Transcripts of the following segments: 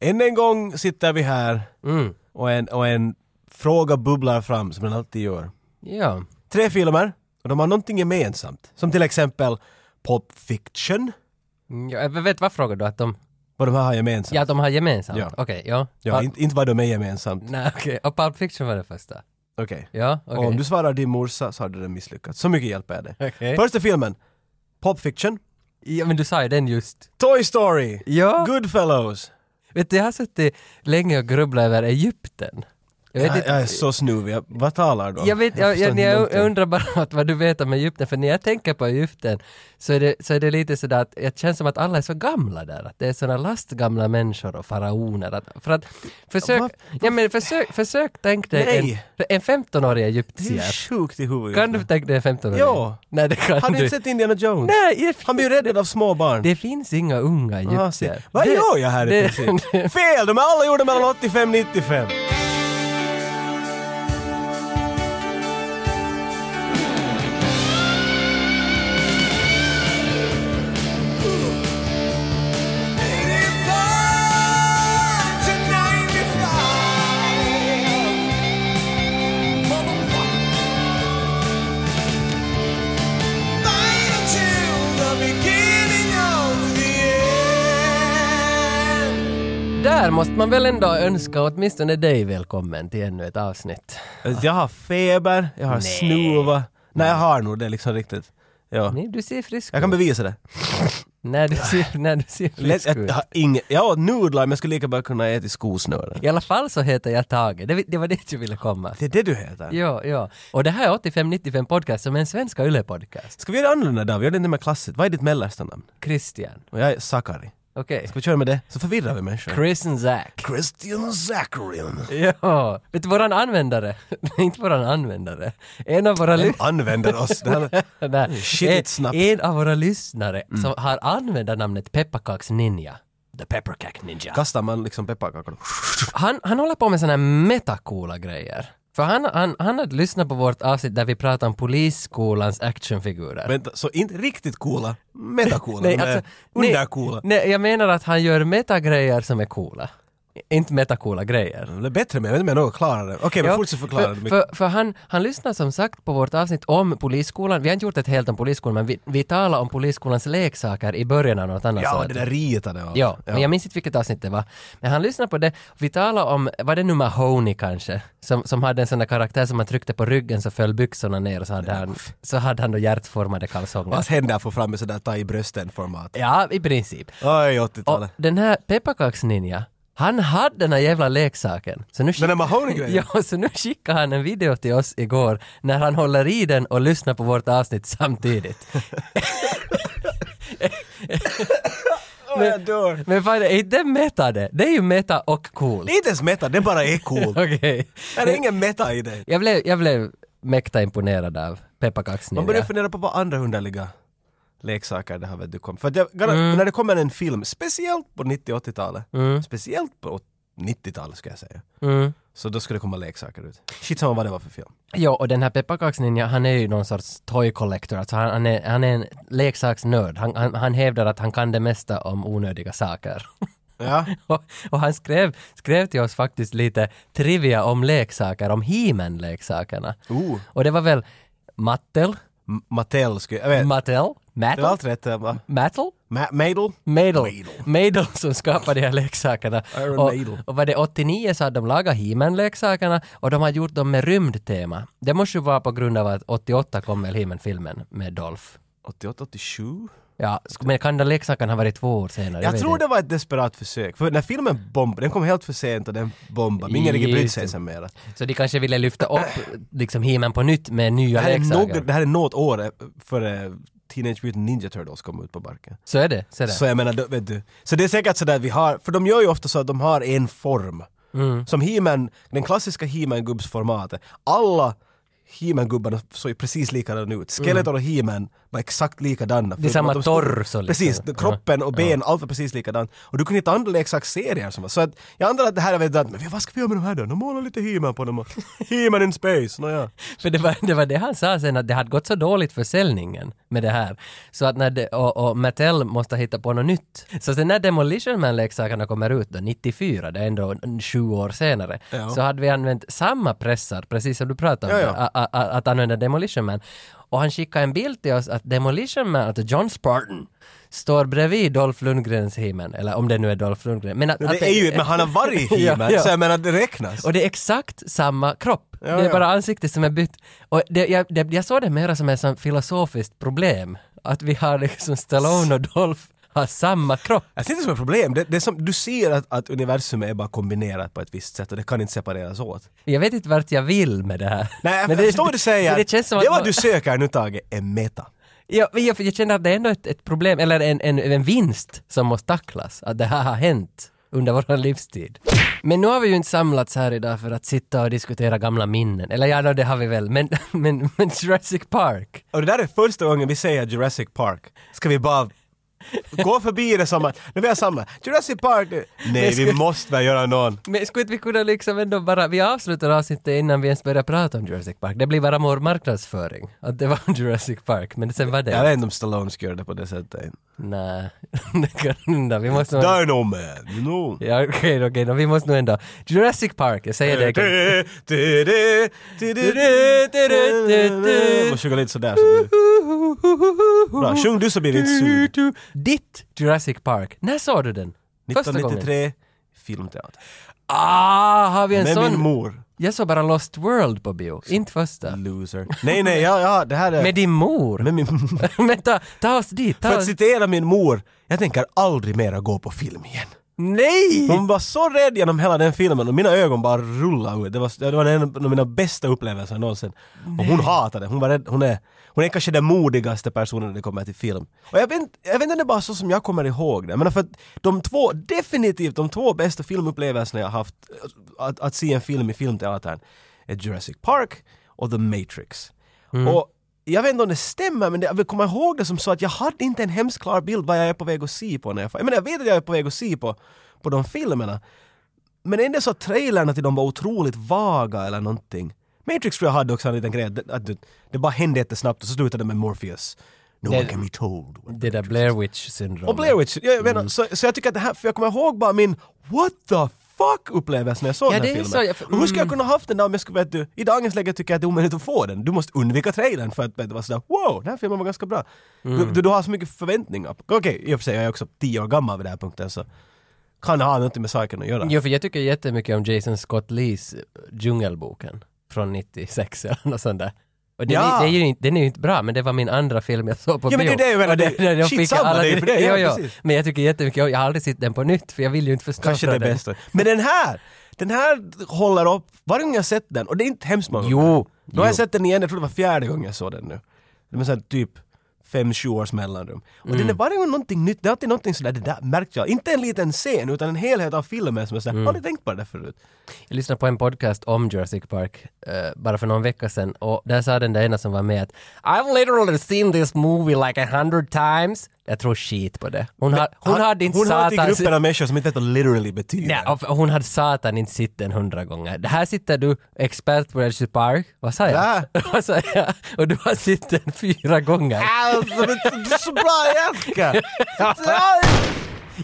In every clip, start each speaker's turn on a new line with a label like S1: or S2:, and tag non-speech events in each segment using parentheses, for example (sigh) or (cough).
S1: Än en gång sitter vi här
S2: Mm.
S1: och en, och en fråga bubblar fram som den alltid gör.
S2: Ja.
S1: Tre filmer och de har någonting gemensamt. Som till exempel Pop Fiction.
S2: Mm, ja. Jag vet vad frågar du? Att de,
S1: Vad de här har gemensamt.
S2: ja, att de har gemensamt?
S1: Ja.
S2: Okej, ja.
S1: Ja,
S2: Pulp-
S1: inte, inte vad de är gemensamt.
S2: Nej, okej. Och Pulp Fiction var det första?
S1: Okej.
S2: Ja,
S1: Och
S2: okej.
S1: om du svarar din morsa så har du den misslyckats. Så mycket hjälper jag dig.
S2: Okej.
S1: Första filmen. Pop Fiction.
S2: Ja, men du sa ju den just.
S1: Toy Story.
S2: Ja.
S1: Goodfellows.
S2: Vet du, jag har suttit länge och grubblat över Egypten. Jag vet
S1: Jag,
S2: inte-
S1: jag är så snuvig. Jag- Vad talar du om?
S2: Jag, vet, jag,
S1: förstår
S2: jag,
S1: inte
S2: jag,
S1: någonting.
S2: jag undrar bara (laughs) att vad du vet om Egypten, för när jag tänker på Egypten så är det, så är det lite sådär att jag känns som att alla är så gamla där, att det är sådana lastgamla människor och faraoner. Att, för att, försök,
S1: Vad-
S2: ja, men försök, försök tänk dig
S1: Nej.
S2: en, en 15-årig
S1: Det är
S2: egyptier.
S1: sjukt i huvudet.
S2: Kan du tänka dig en 15-årig?
S1: Ja.
S2: Nej, det kan
S1: Har du
S2: du
S1: inte sett Indiana Jones?
S2: Nej, det
S1: Han blir
S2: finns,
S1: ju räddad av små barn.
S2: det finns inga unga
S1: Ah, se.
S2: egyptier.
S1: Vad
S2: Det-
S1: gör jag här i
S2: (laughs) det-
S1: princip? Fel! De är alla gjorda mellan 85 och 95.
S2: Där måste man väl ändå önska åtminstone dig välkommen till ännu ett avsnitt.
S1: Jag har feber, jag har
S2: Nej.
S1: snuva. Nej, jag har nog det liksom riktigt. Ja.
S2: Nej, du ser frisk
S1: Jag kan bevisa det.
S2: När
S1: (laughs)
S2: du ser, när du ser
S1: Lätt,
S2: frisk
S1: jag,
S2: ut.
S1: jag har inget... Jag åt nudlar men jag skulle lika bra kunna äta i skosnören.
S2: I alla fall så heter jag Tage. Det, det var dit jag ville komma.
S1: Det är det du heter.
S2: Ja, ja. Och det här är 8595 Podcast som är en svenska YLE-podcast.
S1: Ska vi göra det annorlunda David? Vi gör det inte mer klassiskt. Vad är ditt mellersta namn?
S2: Christian.
S1: Och jag är Sakari.
S2: Okej.
S1: Ska vi köra med det? Så förvirrar vi människor.
S2: Chris Zack.
S1: Christian Zacharian.
S2: Ja. Vet du, våran användare. (laughs) Inte våran användare. En av våra lyssnare.
S1: Använder oss. Det här...
S2: (laughs)
S1: Mm, Shit, it's snabbt. Mm.
S2: en av våra lyssnare som har användarnamnet Pepparkaks Ninja. The Pepparkak Ninja.
S1: Kastar man liksom pepparkakor?
S2: Han, han håller på med såna här metacoola grejer. För han, han, han hade lyssnat på vårt avsnitt där vi pratade om polisskolans actionfigurer.
S1: Vänta, så inte riktigt coola? Metacoola?
S2: Nej,
S1: de är
S2: alltså, nej.
S1: undercoola?
S2: Nej, jag menar att han gör metagrejer som är coola. Inte metacoola grejer.
S1: De är bättre men jag vet inte om jag något klarare. Okej, Mm. men fortsätt förklara. det
S2: för,
S1: mycket.
S2: för, för han, han lyssnar som sagt på vårt avsnitt om polisskolan. Vi har inte gjort ett helt om polisskolan, men vi, vi talar om polisskolans leksaker i början av något annat.
S1: ja,
S2: sånt.
S1: det där ritade och
S2: Ja, men
S1: Alltså, ja.
S2: jag minns inte vilket avsnitt det var. Men han lyssnade på det. Vi talade om, var det nu Mahoney kanske? Som, som hade en sån där karaktär som man tryckte på ryggen så föll byxorna ner och så hade han, så hade han då hjärtformade kalsonger.
S1: Hans händer får fram en sån där ta i brösten-format.
S2: Ja, i princip.
S1: Oj,
S2: Och
S1: 80-talet.
S2: den här pepparkaksninja, han hade den här jävla leksaken. Så nu
S1: Den där
S2: skick-
S1: Mahoney-grejen?
S2: (laughs) Ja, så nu skickade han en video till oss igår när han håller i den och lyssnar på vårt avsnitt samtidigt.
S1: (laughs) Åh, jag dör.
S2: Men vad är det, är inte meta det? Det är ju meta och cool.
S1: Det är inte ens meta, det bara är cool.
S2: Okej.
S1: Det är ingen meta i det.
S2: Jag blev, jag blev mäkta imponerad av
S1: Man börjar
S2: pepparkaksninja.
S1: fundera på vad andra underliga leksaker det här vet du kom. För att jag,
S2: Mm.
S1: garan- när det kommer en film, speciellt på 90 80-talet, speciellt på 90-talet ska jag säga,
S2: Mm.
S1: så då skulle det komma leksaker ut. Skitsamma vad det var för film.
S2: Ja, och den här pepparkaksninja, han är ju någon sorts toy collector, alltså han, han, är, han är en leksaksnörd. Han, han, han hävdar att han kan det mesta om onödiga saker. (laughs)
S1: Ja.
S2: Och, och han skrev, skrev till oss faktiskt lite trivia om leksaker, om he leksakerna
S1: Oh.
S2: Och det var väl Mattel,
S1: M- Mattel skulle jag... vet.
S2: Mattel,
S1: Det var
S2: Mattel,
S1: allt rätt. Va?
S2: Mattel,
S1: Ma- Madel?
S2: Madel.
S1: Madel.
S2: Madel som skapade de här leksakerna.
S1: Iron
S2: Och,
S1: Madel.
S2: och var det 89 så hade de lagat he leksakerna och de har gjort dem med rymdtema. Det måste ju vara på grund av att 88 kom väl he filmen med Dolph.
S1: 88, 87?
S2: Ja, sk- men kan den leksaken ha varit två år senare?
S1: Jag
S2: vet
S1: tror
S2: inte.
S1: det var ett desperat försök. För när filmen bombade, den kom helt för sent och den bombade. Men Ingen riktigt brydde sig sen mera.
S2: Så de kanske ville lyfta upp liksom he på nytt med nya
S1: Det här, är
S2: leksaker.
S1: nog, det här är något år eh, före Teenage Mutant Ninja Turtles kom ut på barken.
S2: Så är det, så är det.
S1: Så jag menar, då- vet du. Så det är säkert sådär vi har, för de gör ju ofta så att de har en form.
S2: Mm.
S1: Som He-Man, den klassiska He-Man gubbsformatet. Alla He-Man gubbarna såg ju precis likadana ut. Skeletor och He-Man var exakt likadana.
S2: Mm. Det är samma
S1: Förutom att de stod-
S2: torso liksom.
S1: Precis,
S2: Ja.
S1: kroppen och ben, allt var precis likadant. Och du kunde inte andra leksakserier som var. Så att jag antar att det här är väl att, men vad ska vi göra med de här då? De målar lite He-Man på dem
S2: (laughs)
S1: och He-Man in space, nåja.
S2: För det var, det var det han sa sen, att det hade gått så dåligt försäljningen med det här. Så att när det, och, och Mattel måste hitta på något nytt. Så sen när Demolition Man-leksakerna kommer ut då, 94, det är ändå en- sju år senare,
S1: Ja.
S2: så hade vi använt samma pressar, precis som du pratade om,
S1: Ja, ja.
S2: a- a- a- att använda Demolition Man. Och han skickade en bild till oss att Demolition Man, att John Spartan, står bredvid Dolph Lundgrens He-Man, eller om det nu är Dolph Lundgren. Men att, att
S1: Det är ju, men han har varit
S2: (laughs) Ja,
S1: He-Man,
S2: ja.
S1: så jag menar det räknas.
S2: och det är exakt samma kropp.
S1: Ja,
S2: det är
S1: ja.
S2: bara ansiktet som är bytt. Och det, jag, det, jag såg det mera som ett sånt filosofiskt problem. Att vi har liksom Stallone och Dolph har samma kropp.
S1: Jag ser inte Alltså, det som ett problem, det, det är som, du ser att, att universum är bara kombinerat på ett visst sätt och det kan inte separeras åt.
S2: Jag vet inte vart jag vill med det här.
S1: Nej, jag
S2: Men
S1: förstår vad du säger.
S2: men Det känns som att...
S1: det vad
S2: man-
S1: du söker nu Tage, är meta.
S2: Ja, men jag, jag känner att det är ändå ett, ett problem, eller en, en, en vinst som måste tacklas. Att det här har hänt under vår livstid. Men nu har vi ju inte samlats här idag för att sitta och diskutera gamla minnen. Eller ja, no, det har vi väl. Men, (laughs) men, men Jurassic Park.
S1: Och det där är första gången vi säger Jurassic Park. Ska vi bara gå förbi det som att, när vi har samma, Jurassic Park, det- nej vi måste väl göra någon.
S2: Men skulle inte vi kunna liksom ändå bara, vi avslutar avsnittet innan vi ens börjar prata om Jurassic Park. Det blir bara vår marknadsföring, att det var (laughs) Jurassic Park, men sen var det...
S1: Jag vet inte om Stallone skulle göra det på det sättet.
S2: Nej, (laughs) det kan inte. Vi måste nog...
S1: Dino Man, you know.
S2: Ja, okej, okej, då, vi måste nog ändå... Jurassic Park, jag säger det
S1: Eh,
S2: igen.
S1: Man sjunger lite sådär. Så det- Bra, sjung du så blir det inte sur.
S2: Ditt Jurassic Park, när såg du den? Första gången?
S1: 1993, filmteater.
S2: Ah, har vi en
S1: Med min
S2: sån?
S1: mor.
S2: Jag såg bara Lost World på bio, inte första.
S1: Loser. Nej, nej, ja, ja, det här är...
S2: Med din mor?
S1: Med min,
S2: (laughs) Men ta, ta oss dit, ta
S1: för att
S2: oss...
S1: citera min mor, jag tänker aldrig mera gå på film igen.
S2: Nej!
S1: Hon var så rädd genom hela den filmen och mina ögon bara rullade ut. Det var, det var en av mina bästa upplevelser någonsin. Och hon hatade det. Hon var rädd. Hon är, hon är kanske den modigaste personen när det kommer till film. Och jag vet, inte- jag vet inte om det är bara så som jag kommer ihåg det. Men för att de två, definitivt de två bästa filmupplevelserna jag haft att, att se en film i filmteatern är Jurassic Park och The Matrix. Och jag vet inte om det stämmer men det, jag vill komma ihåg det som så att jag hade inte en hemskt klar bild vad jag är på väg att se på när jag, jag menar jag vet att jag är på väg att se på, på de filmerna men ändå så att trailerna till dem var otroligt vaga eller någonting. Matrix tror jag hade också en liten grej att- att det, det bara hände jättesnabbt och så slutade det med Morpheus. No
S2: Det-
S1: one can be told.
S2: Det där Blair Witch-syndromet.
S1: Och Blair Witch, jag, jag
S2: Mm.
S1: menar, så, så jag tycker att det här, för jag kommer ihåg bara min what the fuck upplevelse när jag såg
S2: Ja,
S1: den här
S2: det är
S1: filmen.
S2: så, jag- för- mm.
S1: och hur skulle jag kunna haft den där om jag skulle, vet du, i dagens läge tycker jag att det är omöjligt att få den. Du måste undvika trailern för att vet du, vara sådär wow, den här filmen var ganska bra. Du,
S2: Mm.
S1: du, du har så mycket förväntningar. Okej, i och för sig, jag är också tio år gammal vid den här punkten så kan det ha något med saken att göra.
S2: Jo, för jag tycker jättemycket om Jason Scott Lees eh, Djungelboken från 96 eller något sånt där. Och den,
S1: Ja.
S2: är, den, är ju inte, den är ju inte bra, men det var min andra film jag såg på
S1: Ja, men
S2: bio.
S1: det är det jag menar,
S2: Och
S1: det-
S2: jag
S1: shit,
S2: fick
S1: samma, det är ju för det,
S2: jo,
S1: ja,
S2: jo.
S1: precis.
S2: Men jag tycker jättemycket, jag har aldrig sett den på nytt, för jag vill ju inte förstå
S1: Kanske det
S2: från den.
S1: bästa. Men den här, den här håller upp. Varje gång jag sett den, och det är inte hemskt många gånger.
S2: Jo,
S1: Nu har jag
S2: jo.
S1: sett den igen, jag tror det var fjärde gången jag såg den nu. Det var så här typ fem, sju års mellanrum. Och
S2: Mm.
S1: den är varje gång någonting nytt, det är alltid någonting sådär, det där märkte jag. Inte en liten scen, utan en helhet av filmen som jag
S2: Mm.
S1: sådär, har aldrig tänkt på det där förut.
S2: Jag lyssnade på en podcast om Jurassic Park eh, bara för någon vecka sedan och där sa den där ena som var med att I've literally seen this movie like a hundred times. Jag tror skit på det. Hon, har, hon hade inte
S1: Hon har till
S2: satans-
S1: gruppen av människor som inte vet vad literally betyder.
S2: Nej, och hon hade satan inte sett den hundra gånger. Det här sitter du, expert på Jurassic Park. Vad sa jag? (laughs) Vad sa jag? Och du har sett den fyra gånger.
S1: Alltså, men du är så bra
S2: (laughs)
S1: Jerka!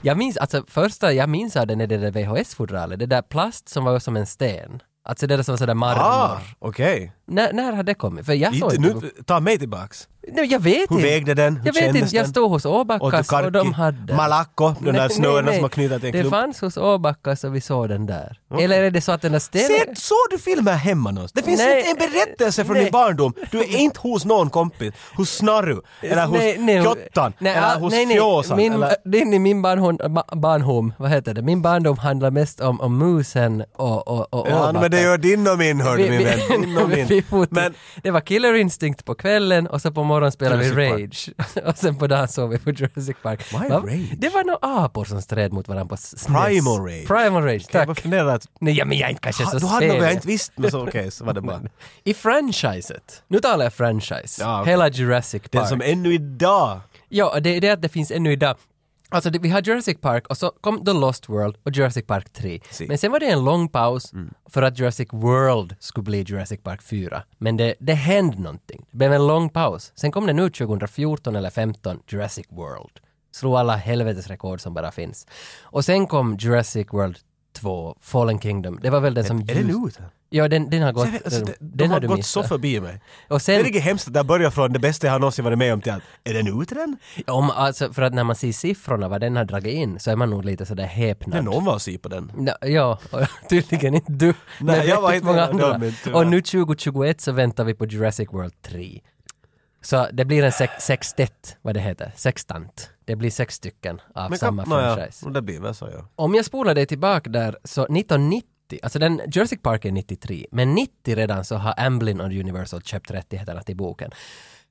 S2: Jag minns, alltså första jag minns av den är det där VHS-fodralet, det där plast som var som en sten. Alltså det där som var sådär marmor.
S1: Ah, okej.
S2: När, när har det kommit? För jag såg
S1: Inte
S2: inte.
S1: nu, ta mig tillbaks.
S2: Nej, jag vet
S1: Hur
S2: inte.
S1: vägde den? Hur
S2: jag vet
S1: kändes
S2: inte, jag
S1: den?
S2: stod hos
S1: Och
S2: Åbackas och,
S1: Tukarki.
S2: de hade.
S1: Malacco, de där
S2: Nej, nej,
S1: snörena
S2: nej.
S1: som har knutit till
S2: Det
S1: en klump.
S2: fanns hos Åbackas och vi såg den där. Eller är det så att den där stenen...
S1: Se, såg du filmer hemma någonstans? Det finns
S2: Nej. eh,
S1: inte en berättelse från
S2: Nej.
S1: din barndom. Du är inte hos någon kompis. Hos Snarru,
S2: Eh,
S1: eller hos Jottan, eller
S2: ah,
S1: hos
S2: nej, nej.
S1: Fjåsan.
S2: Min,
S1: eller...
S2: det är ni- min barnhom, ba- barnhom, vad heter det? Min barndom handlar mest om, om musen och, och, och
S1: Ja,
S2: Åbacka.
S1: men
S2: (laughs)
S1: det gör din och min, hörde min vän. Din och
S2: vi
S1: min.
S2: fotar-
S1: Men
S2: Det var Killer Instinct på kvällen och så på morgon spelade vi Rage. (laughs)
S1: Jurassic
S2: och sen på dagen såg vi på Jurassic Park.
S1: Why
S2: Va?
S1: Rage?
S2: Det var några apor som stred mot varandra på SNES.
S1: Primal Rage.
S2: Primal Rage,
S1: Jag
S2: tack.
S1: bara funderar att...
S2: Nej, ja, men jag är inte kanske
S1: Ha,
S2: så
S1: du hade något jag
S2: spelig.
S1: inte visste, men så okej, så var det
S2: (laughs)
S1: bara.
S2: I franchiset, nu talar jag franchise,
S1: Ja, okej.
S2: hela Jurassic Park.
S1: Den som ännu idag...
S2: Ja, och det är det att det finns ännu idag. Alltså det, vi har Jurassic Park och så kom The Lost World och Jurassic Park 3.
S1: Si. Mm.
S2: Men sen var det en lång paus för att Jurassic World skulle bli Jurassic Park 4. Men det, det hände någonting. Det blev en lång paus. Sen kom det nu 2014 eller 15 Jurassic World. Slog alla helvetes rekord som bara finns. Och sen kom Jurassic World 2, Fallen Kingdom. Det var väl den som...
S1: Är det
S2: ljus-
S1: nu? ute?
S2: Ja, den, den har gått...
S1: Jag vet, alltså,
S2: den,
S1: det- De har
S2: har du
S1: gått så
S2: missat.
S1: förbi mig.
S2: Och
S1: Det
S2: sen,
S1: är riktigt hemskt att det börjar från det bästa jag har någonsin varit med om till att är den ute den?
S2: om, alltså, för att när man ser siffrorna vad den har dragit in så är man nog lite sådär häpnad.
S1: Men någon var och sy på den.
S2: Nå, ja, och (laughs) tydligen inte du.
S1: Nej,
S2: men
S1: jag var
S2: väldigt
S1: inte
S2: många
S1: en av dem,
S2: andra.
S1: men tyvärr.
S2: Och nu 2021 så väntar vi på Jurassic World 3. Så det blir en sex- sextett, vad det heter, sextant. Det blir sex stycken av
S1: Men
S2: samma
S1: kap- nåja,
S2: franchise.
S1: och det blir väl så ja.
S2: Om jag spolar dig tillbaka där, så 1990, alltså den, Jurassic Park är 93, men 90 redan så har Amblin och Universal köpt rättigheterna till boken.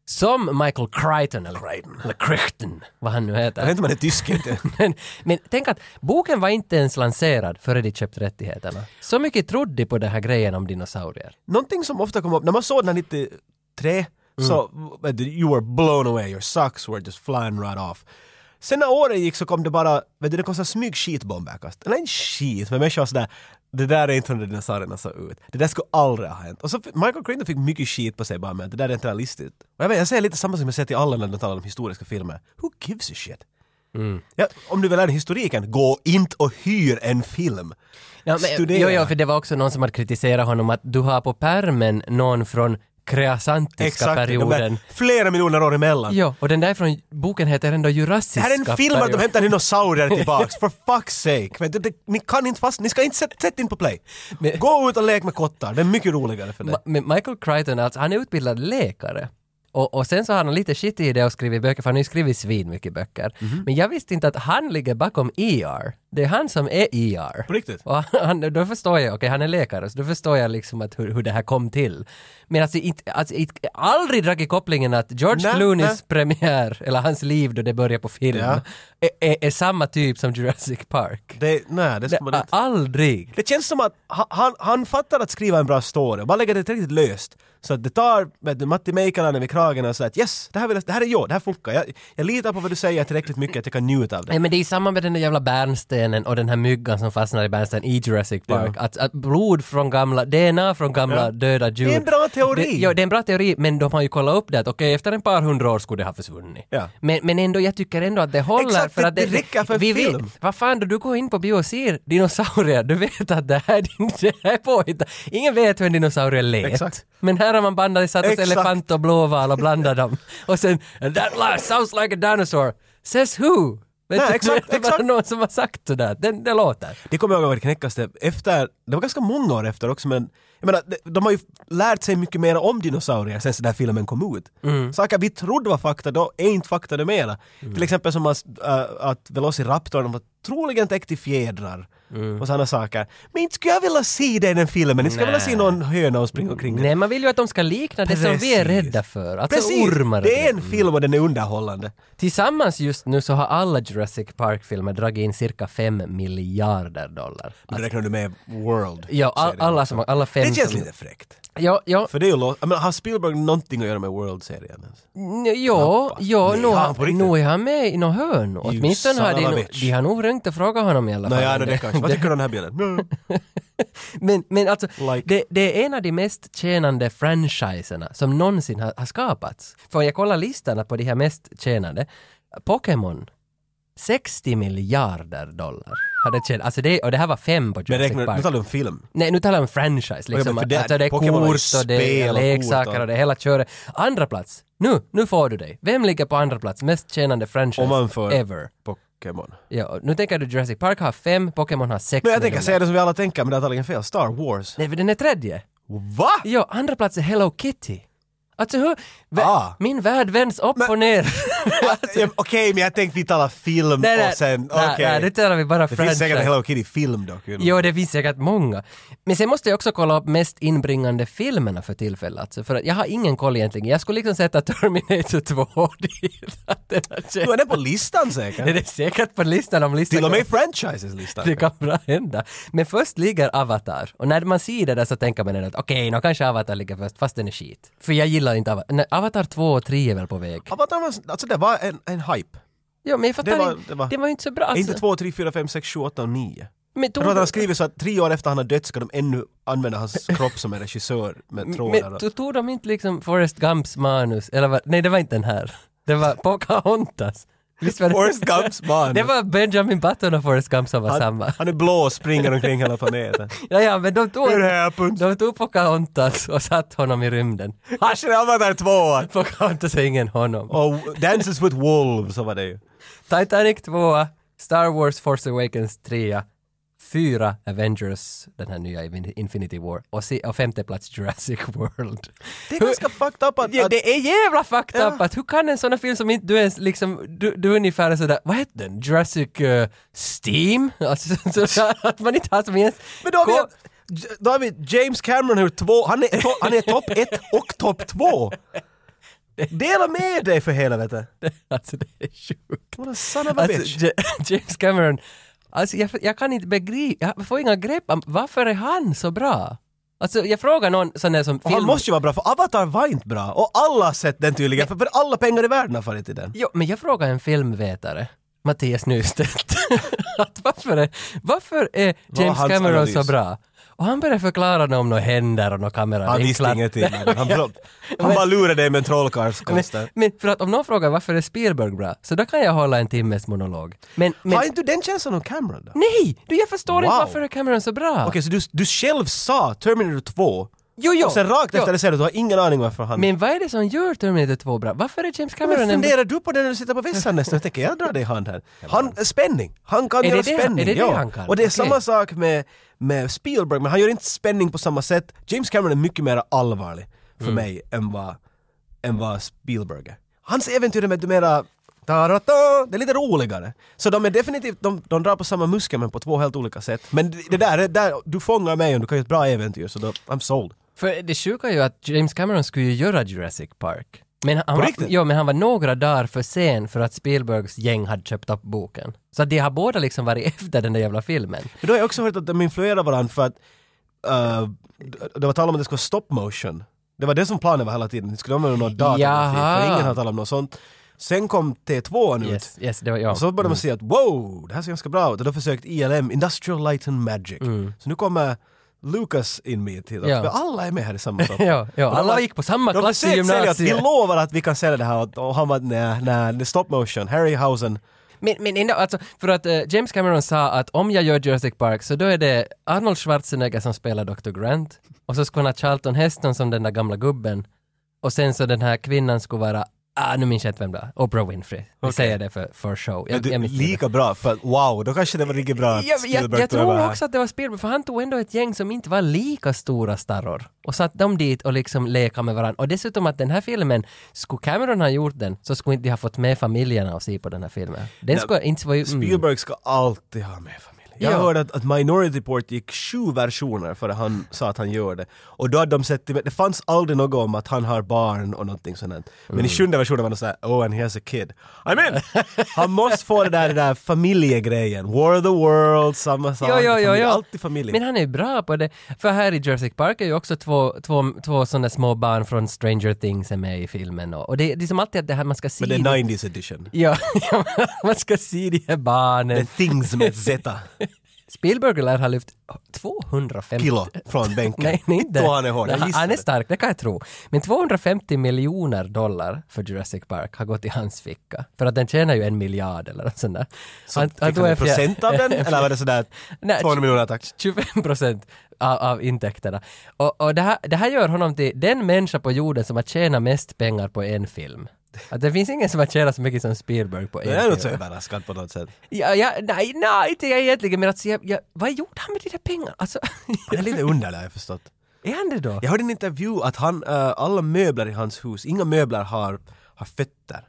S2: Som Michael Crichton, eller Crichton, eller Crichton vad han nu
S1: Jag vet
S2: heter.
S1: inte om man är tysk inte.
S2: (laughs) Men, men tänk att boken var inte ens lanserad före de köpte rättigheterna. Så mycket trodde de på den här grejen om dinosaurier.
S1: Någonting som ofta kom upp, när man såg den här 93 så vet du, you were blown away, your socks were just flying right off. Sen när åren gick så kom det bara, vet du det kom så här smyg skitbomber jag kastade. Eller inte skit, men människor var sådär, det där är inte hur dinosaurierna såg ut. Det där skulle aldrig ha hänt. Och så fick- Michael Crichton fick mycket skit på sig bara med att det där är inte realistiskt. Och jag, vet, jag säger lite samma som jag säger till alla när de talar om historiska filmer. Who gives a shit? Ja, om du vill lära dig historiken, gå inte och hyr en film.
S2: Ja, men,
S1: Studera.
S2: jo, jo, för det var också någon som hade kritiserat honom att du har på pärmen någon från kreasantiska
S1: de där
S2: perioden.
S1: flera miljoner år emellan.
S2: Ja, och den där från boken heter ändå
S1: Det
S2: Jurassiska
S1: här är en film att de
S2: perioden.
S1: hämtar dinosaurier
S2: (laughs)
S1: tillbaks, for fuck's sake! Men det, det, ni kan inte fast, ni ska inte sätta sätt in på play.
S2: Men-
S1: Gå ut och lek med kottar, det är mycket roligare för dig.
S2: Ma- Men Michael Crichton, alltså, han är utbildad läkare. Och, och sen så har han lite shit i det och skrivit böcker, för han har ju skrivit svin mycket böcker.
S1: Mhm.
S2: Men jag visste inte att han ligger bakom ER. Det är han som är E ER.
S1: På riktigt?
S2: (laughs) Och han, då förstår jag, okej han är läkare, så då förstår jag liksom att hur, hur det här kom till. Men alltså, inte, alltså inte, aldrig dragit kopplingen att George
S1: Nej,
S2: Clooneys
S1: nej.
S2: premiär, eller hans liv då det börjar på film,
S1: Ja.
S2: är, är, är samma typ som Jurassic Park.
S1: Det, nej, det ska man
S2: Det,
S1: inte.
S2: aldrig!
S1: Det känns som att ha- han, han fattar att skriva en bra story, bara lägger det tillräckligt löst. Så att det tar vet du, Matti Meikalainen vid kragen och säger att yes, det här, vill, jag- det här är jag, det här funkar. Jag, jag litar på vad du säger tillräckligt mycket att jag kan njuta av det.
S2: Nej men det är i samband med den där jävla bärnstenen och den här myggan som fastnar i bärnstenen i Jurassic Park. Att, att blod från gamla, DNA från gamla
S1: Ja.
S2: döda djur.
S1: Det är en bra teori.
S2: Det, ja, det är en bra teori men de har ju kollat upp det att okej efter en par hundra år skulle det ha försvunnit.
S1: Ja.
S2: Men, men ändå, jag tycker ändå att det håller.
S1: Exakt,
S2: för
S1: det-
S2: att det,
S1: det räcker för en
S2: vi
S1: film.
S2: Vet, vad fan, då du går in på bio och ser dinosaurier, du vet att det här, (laughs) det här är påhittat. Ingen vet hur en dinosaurie lät.
S1: Exakt.
S2: Men här har man bandat, satt oss
S1: Exakt.
S2: elefant och blåval och blandat dem. Och sen, "And that last sounds like a dinosaur. Says who? Vet
S1: Nej,
S2: du,
S1: exakt,
S2: det är bara
S1: exakt.
S2: någon som har sagt det där. Den, det låter.
S1: Det kommer jag ihåg var det knäckaste. Efter, det var ganska många år efter också men jag menar, de, de har ju lärt sig mycket mer om dinosaurier sen så den här filmen kom ut.
S2: Mm.
S1: Saker vi trodde var fakta då är inte fakta det mera. Till exempel som att, äh, att Velociraptorn var troligen täckt i fjädrar
S2: Mm.
S1: och sådana saker. Men inte skulle jag vilja se det i den filmen, inte skulle jag vilja
S2: Nej.
S1: se någon höna och springa omkring.
S2: Nej, man vill ju att de ska likna det som vi är
S1: Precis.
S2: rädda för. Alltså
S1: Precis!
S2: ormar. Mm.
S1: Det är en film och den är underhållande.
S2: Tillsammans just nu så har alla Jurassic Park-filmer dragit in cirka 5 miljarder dollar.
S1: Men då räknar du med World?
S2: Ja, all,
S1: serien
S2: alla,
S1: också.
S2: som, alla fem
S1: Det känns
S2: som...
S1: lite fräckt.
S2: Ja, ja,
S1: För det är ju lo- jag menar, har Spielberg någonting att göra med World-serien? ens?
S2: N- Ja,
S1: Knappast.
S2: ja
S1: Nej,
S2: nog
S1: han på
S2: har-
S1: riktigt.
S2: nog är han med i något hörn. Åtminstone har de,
S1: son of a
S2: nog-
S1: bitch.
S2: de har nog ringt och frågat honom i alla fall.
S1: Nej, ja, det, det kanske. Vad tycker du om den här (laughs) bilden? Mm.
S2: men, men alltså,
S1: Like.
S2: det, det är en av de mest tjänande franchiserna som någonsin har, har skapats. För jag kollar listan på de här mest tjänande. Pokémon, 60 miljarder dollar. Har det tjänat. Alltså det, och det här var fem på
S1: Men
S2: Jurassic
S1: räknar, nu
S2: Park.
S1: talar du om film.
S2: Nej, nu talar jag om franchise. Liksom.
S1: men för
S2: det,
S1: det-
S2: alltså, det är
S1: Pokémon var ju
S2: kort och det är
S1: spel och
S2: leksaker
S1: kort
S2: och
S1: och-
S2: det är hela köret. Andra plats. Nu, nu får du dig. Vem ligger på andra plats? Mest tjänande franchise
S1: Om man får-
S2: ever.
S1: Pokémon.
S2: Ja, och nu tänker du Jurassic Park har fem, Pokémon har sex.
S1: Men jag tänker
S2: miljoner.
S1: säga det som vi alla tänker, men det är antagligen fel. Star Wars.
S2: Nej, för den är tredje.
S1: Va?
S2: Ja, andra plats är Hello Kitty. Alltså hur... Vä-
S1: Ah.
S2: Min värld vänds upp
S1: (laughs)
S2: och ner.
S1: Ja, typ. Okej, men jag tänkte vi talar film
S2: Nej, nej,
S1: och sen...
S2: nej,
S1: Okej.
S2: nej, nu talar vi
S1: Det
S2: bara
S1: finns säkert en
S2: franchise.
S1: Hello Kitty-film dock. you know.
S2: Jo, det finns säkert många. Men sen måste jag också kolla upp mest inbringande filmerna för tillfället. Alltså, för att jag har ingen koll egentligen. Jag skulle liksom sätta Terminator 2 (laughs) dit. Att den har känt-
S1: Du är den på listan
S2: Den
S1: säkert.
S2: är säkert på listan om listan
S1: Till och med i franchises-listan.
S2: Det kan bra hända. Men först ligger Avatar. Och när man ser det där så tänker man ändå att okej, nå kanske Avatar ligger först, fast den är skit. För jag gillar inte Avatar. Nej, Avatar 2 och 3 är väl på väg.
S1: Avatar var, alltså det var en, en hype.
S2: Ja, men jag fattar
S1: Det var-
S2: inte.
S1: det var-
S2: Det var ju inte så bra. Alltså.
S1: Inte 2, 3, 4, 5, 6, 7, 8 och 9.
S2: men
S1: Jag
S2: tog,
S1: tror att han skriver så att tre år efter han har dött ska de ännu använda (laughs) hans kropp som en regissör med trådar.
S2: men
S1: och-
S2: tog, tog de inte liksom Forrest Gumps manus? Eller vad? Nej, det var inte den här. Det var Pocahontas. Visst var det?
S1: Forrest Gumps man.
S2: Det var Benjamin Button och Forrest Gump som var samma.
S1: han, han är blå och springer omkring hela (laughs) planeten.
S2: Ja, ja, men de tog,
S1: It happened.
S2: de tog Pocahontas och satt honom i rymden.
S1: Kanske det Avatar 2!
S2: Pocahontas är ingen honom.
S1: Och Oh, Dances with Wolves, så var det ju.
S2: Titanic 2, Star Wars Force Awakens 3, 4 Avengers, den här nya Infin- Infinity War och, si- och femte plats Jurassic World.
S1: Det är ganska fucked up att...
S2: Ja,
S1: att
S2: det är jävla fucked
S1: Ja.
S2: up att hur kan en sån här film som inte du ens liksom, du, du är ungefär sådär, vad heter den, Jurassic eh, Steam? Alltså så- så, att man inte har som ens...
S1: men då har,
S2: Ko-
S1: vi, då har vi James Cameron här, två, han är, to, han är topp ett och topp två! Dela med dig för helvete!
S2: (laughs) Alltså det är sjukt.
S1: What a son of a
S2: Alltså,
S1: bitch!
S2: Ja- (laughs) James Cameron, alltså jag, jag kan inte begripa, jag får inga grepp om varför är han så bra? Alltså jag frågar någon sån där som
S1: Och han måste ju vara bra, för Avatar var inte bra. Och alla har sett den tydligen, för, för alla pengar i världen har fallit i den.
S2: Jo, men jag frågar en filmvetare, Mattias Nystedt, (laughs) att varför är, varför är
S1: var
S2: James
S1: hans
S2: Cameron
S1: analys?
S2: så bra? Och han började förklara något om några händer och några kameror.
S1: Han visste ingenting. Han, (laughs) han, han bara lurade dig med en
S2: Men,
S1: trollkarlskonst där.
S2: men för att om någon frågar varför är Spielberg bra, så då kan jag hålla en timmes monolog. Men, men
S1: Har inte du den känslan om Cameron då? Okej,
S2: nej! Du, jag förstår inte
S1: Wow.
S2: varför är Cameron så bra.
S1: så du, du själv sa Terminator 2
S2: Jo, jo,
S1: och sen rakt
S2: jo.
S1: efter det säger du att du har ingen aning varför han...
S2: Men vad är det som gör Terminator 2 bra? Varför är James Cameron
S1: Men
S2: en bra...
S1: funderar du på det när du sitter på vässan nästan? Jag tänker, jag drar dig i hand här. Han, spänning! Han kan
S2: det
S1: göra
S2: det han-
S1: spänning,
S2: är det det
S1: ja.
S2: han kan?
S1: Och det är
S2: Okej.
S1: samma sak med, med Spielberg, men han gör inte spänning på samma sätt. James Cameron är mycket mer allvarlig för
S2: Mm.
S1: mig än vad, än vad Spielberg är. Hans äventyr är med mera... Ta-ra-ta, det är lite roligare. Så de är definitivt, de, de drar på samma muskel men på två helt olika sätt. Men det- det där, det där du fångar mig och du kan göra ett bra äventyr så då, I'm sold.
S2: För det sjuka är ju att James Cameron skulle ju göra Jurassic Park. Men han, var,
S1: riktigt?
S2: ja, men han var några dagar för sen för att Spielbergs gäng hade köpt upp boken. Så att de har båda liksom varit (laughs) efter den där jävla filmen.
S1: Men då har jag också hört att de influerar varandra för att eh, det- det var tal om att det skulle vara stop motion. Det var det som planen var hela tiden, det skulle använda någon dator
S2: Jaha.
S1: för ingen har talat om något sånt. Sen kom T2 ut
S2: Yes, yes, det var jag.
S1: och så började man se att wow, det här ser ganska bra ut. Och då försökte ILM, Industrial Light and Magic. Så nu kommer Lucas in med till
S2: Mm. Ja.
S1: ja. alla är med här i
S2: (laughs)
S1: samma sak.
S2: (laughs) Ja, ja,
S1: Och de
S2: alla
S1: var-
S2: gick på samma
S1: de
S2: klass i
S1: försökte sälja att vi
S2: gymnasiet.
S1: lovar att vi kan sälja det här och han var nej, nej, det är stop motion, Harryhausen.
S2: Men, men ändå, alltså, för att eh, James Cameron sa att om jag gör Jurassic Park så då är det Arnold Schwarzenegger som spelar Dr. Grant och så skulle han ha Charlton Heston som den där gamla gubben och sen så den här kvinnan skulle vara, ah nu minns jag inte vem det var, Oprah Winfrey. Vi säger det för, för show. Jag,
S1: Men du,
S2: jag minns inte.
S1: lika bra, för att, wow, då kanske det var riktigt bra att
S2: jag, jag,
S1: Spielberg
S2: jag
S1: tog över
S2: tror
S1: här.
S2: också att det var Spielberg, för han tog ändå ett gäng som inte var lika stora starror och satt dem dit och liksom leka med varandra. Och dessutom att den här filmen, skulle Cameron ha gjort den så skulle inte de ha fått med familjerna och se på den här filmen. Den
S1: Nej,
S2: skulle inte vara ju... Mm.
S1: Spielberg ska alltid ha med familj. Jag
S2: Ja.
S1: hörde att, att Minority Report gick sju versioner före han sa att han gör det. Och då hade de sett, det fanns aldrig något om att han har barn och någonting sånt. där. Men
S2: Mm.
S1: i sjunde versionen var det såhär, oh and he has a kid. I'm in!
S2: (laughs)
S1: han måste få det där, det där familjegrejen. War of the World, samma sak.
S2: Jo, jo, jo,
S1: Familj-
S2: jo.
S1: Alltid familj.
S2: Men han är ju bra på det. För här i Jurassic Park är ju också två, två, två sådana små barn från Stranger Things är med i filmen. Och, och det, det är som alltid att det här man ska se...
S1: Men det är 90s edition.
S2: Ja, (laughs) man ska se de här
S1: The
S2: barnen.
S1: things med Z
S2: Spielberg lär ha lyft 250
S1: kilo från bänken.
S2: Nej, nej inte.
S1: Då han är hård.
S2: Nej,
S1: Jag
S2: han,
S1: gissade.
S2: han är stark, det kan jag tro. Men 250 miljoner dollar för Jurassic Park har gått i hans ficka. För att den tjänar ju en miljard eller något sånt där.
S1: Så Fick han
S2: tog
S1: en
S2: fjär-
S1: procent
S2: (laughs)
S1: av den? Eller var det sådär
S2: Nej,
S1: 200 miljoner tack?
S2: 25 procent av, av intäkterna. Och, och det, här, det här gör honom till den människa på jorden som har tjänat mest pengar på en film. Att det finns ingen som har tjänat så mycket som Spielberg på en
S1: Jag är nog
S2: film.
S1: så överraskad på något sätt.
S2: Ja, ja, nej, nej, inte jag egentligen, men alltså, (laughs) jag, jag, vad gjorde han med de där pengarna? Alltså,
S1: Han är lite underlig har jag förstått.
S2: Är han det då?
S1: Jag hörde en intervju att han, eh, alla möbler i hans hus, inga möbler har, har fötter.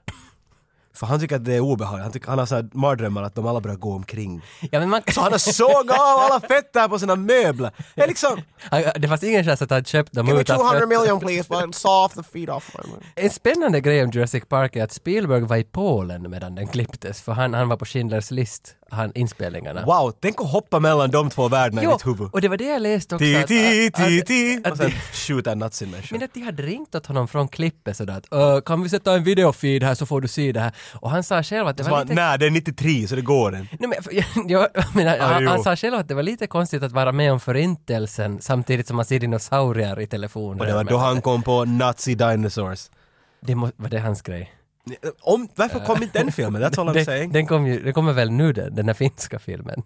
S1: För han tycker att det är obehagligt. Han, tycker, han har sådana mardrömmar att de alla börjar gå omkring.
S2: Ja, men man...
S1: Så
S2: (laughs)
S1: han har (laughs) sågat av alla fötter på sina möbler. Det är (laughs) liksom...
S2: Han- Det fanns ingen chans att han köpt dem
S1: Give me
S2: utan
S1: 200
S2: fötter.
S1: million please, but saw off the feet off my
S2: En spännande grej om Jurassic Park är att Spielberg var i Polen medan den klipptes, för han, han var på Schindler's list, han, inspelningarna.
S1: Wow, tänk att hoppa mellan de två världarna i ditt huvud.
S2: och det var det jag läste också.
S1: Ti,
S2: att-
S1: ti,
S2: att- att-
S1: ti, ti.
S2: att-
S1: Och sen skjuta en nazi-människa.
S2: Men att de hade ringt åt honom från klippet sådär att "Ö, kan vi sätta en videofeed här så får du se det här. Och han sa själv att det
S1: Så
S2: var
S1: bara,
S2: lite...
S1: Nej, det är 93 så det går den.
S2: Nej, men, (laughs) jag, jag menar, han,
S1: Ah, jo.
S2: han sa själv att det var lite konstigt att vara med om förintelsen samtidigt som man ser dinosaurier i telefonen.
S1: Och det var
S2: Men
S1: då han kom på Nazi Dinosaurs.
S2: det må, var det hans grej?
S1: Om, varför kom inte den filmen? That's all I'm
S2: Den,
S1: saying.
S2: den, kom ju, den kommer väl nu den, den här finska filmen?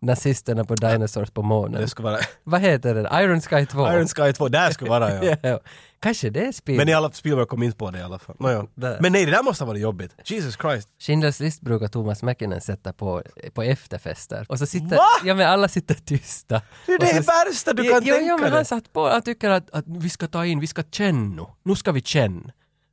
S2: Nazisterna på Dinosaurs på månen.
S1: Det skulle vara
S2: Vad heter den? Iron Sky 2?
S1: Iron Sky 2, där skulle vara (laughs) ja.
S2: (laughs) Ja, ja. Kanske det är spel.
S1: Men i alla Spielberg kom inte på det i alla fall. Nåja.
S2: Där.
S1: Men nej, det där måste ha varit jobbigt. Jesus Christ.
S2: Schindler's list brukar Thomas Mäkinen sätta på, på efterfester. Och så sitter,
S1: Va?
S2: ja men alla sitter tysta.
S1: Det är
S2: Och så-
S1: det värsta du kan
S2: jo, jo,
S1: tänka
S2: men han
S1: dig.
S2: satt på, han tycker att, att vi ska ta in, vi ska känna nu. Nu ska vi känna.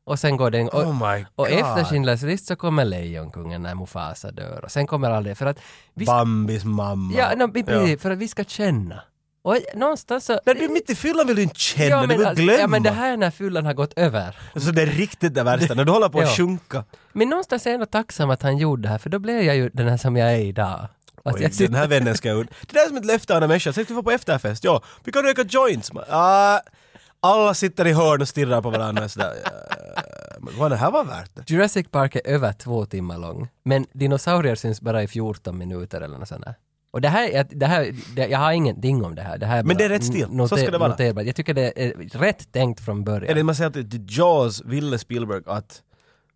S2: Och sen går den, och,
S1: Oh my
S2: och
S1: God.
S2: efter Schindler's list så kommer Lejonkungen när Mufasa dör. Och sen kommer all det, för att vi, ska-
S1: Bambis mamma.
S2: ja, no, i princip, för att vi ska känna. Och någonstans så...
S1: När du är mitt i fyllan vill du inte känna,
S2: ja,
S1: du vill
S2: alltså,
S1: glömma.
S2: ja men det här är när fyllan har gått över.
S1: Så det är riktigt det värsta, när du håller på att
S2: Ja.
S1: sjunka.
S2: Men någonstans är jag ändå tacksam att han gjorde det här, för då blev jag ju den här som jag är idag. Att
S1: Oj,
S2: jag sitter-
S1: den här vännen ska ut. Det där är som ett löfte av en människa. Säg att vi får på efterfest. Ja, vi kan röka joints. Man, ah, alla sitter i hörn och stirrar på varandra sådär. Ja, men vad det här var värt det.
S2: Jurassic Park är över två timmar lång, men dinosaurier syns bara i 14 minuter eller något sånt där. Och det här, är- det här det, jag har ingenting om det här. Det här
S1: Men det är
S2: bara
S1: rätt stil.
S2: n-
S1: Så ska det vara.
S2: noterbart. Jag tycker det är rätt tänkt från början.
S1: Eller man säger att Jaws ville Spielberg att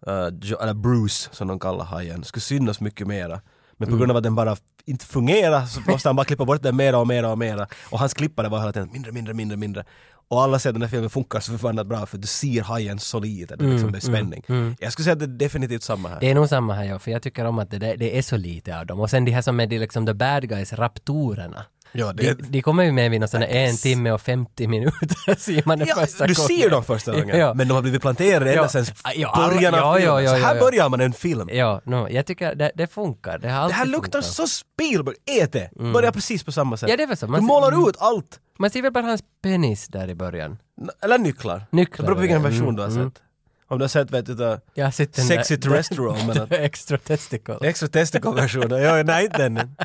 S1: eh, Jo- eller Bruce, som de kallar hajen, skulle synas mycket mera. Men på
S2: Mm.
S1: grund av att den bara f- inte fungerar så måste han bara klippa bort den mera och mera och mera. Och hans klippare var hela tiden mindre, mindre, mindre, mindre. Och alla säger att den här filmen funkar så förbannat bra för du ser hajen så lite, det är
S2: Mm,
S1: liksom det är spänning. Jag skulle säga att det är definitivt samma här.
S2: Det är nog samma här jag, för jag tycker om att det, där- det är så lite av dem. Och sen de här som är de, liksom the bad guys, raptorerna.
S1: Ja, det
S2: De,
S1: är,
S2: de kommer ju med vid någon sån här en timme och 50 minuter, (laughs) ser man den
S1: ja,
S2: första
S1: du
S2: gången.
S1: ser dem första
S2: Ja,
S1: gången,
S2: ja.
S1: men de har blivit planterade
S2: Ja.
S1: ända sedan
S2: Ja, alla-
S1: början av
S2: ja, ja,
S1: filmen.
S2: ja,
S1: Så här
S2: ja.
S1: börjar man en film.
S2: Ja, no, jag tycker det, det funkar. Det, har
S1: Det här
S2: alltid
S1: luktar
S2: funkat.
S1: så Spielberg, ät det! Börjar precis på samma sätt.
S2: Ja, det är väl så. mm.
S1: Du målar ut allt!
S2: Man ser väl bara hans penis där i början.
S1: N- Eller nycklar.
S2: Nycklar.
S1: Det beror på vilken
S2: Mm,
S1: version du har
S2: mm.
S1: sett. Om du har sett vet du, the
S2: Jag har sett den
S1: Sexy
S2: (laughs) där-
S1: Terrestrial men att-
S2: Extra testicle.
S1: extra testicle-versionen, ja, nej inte den.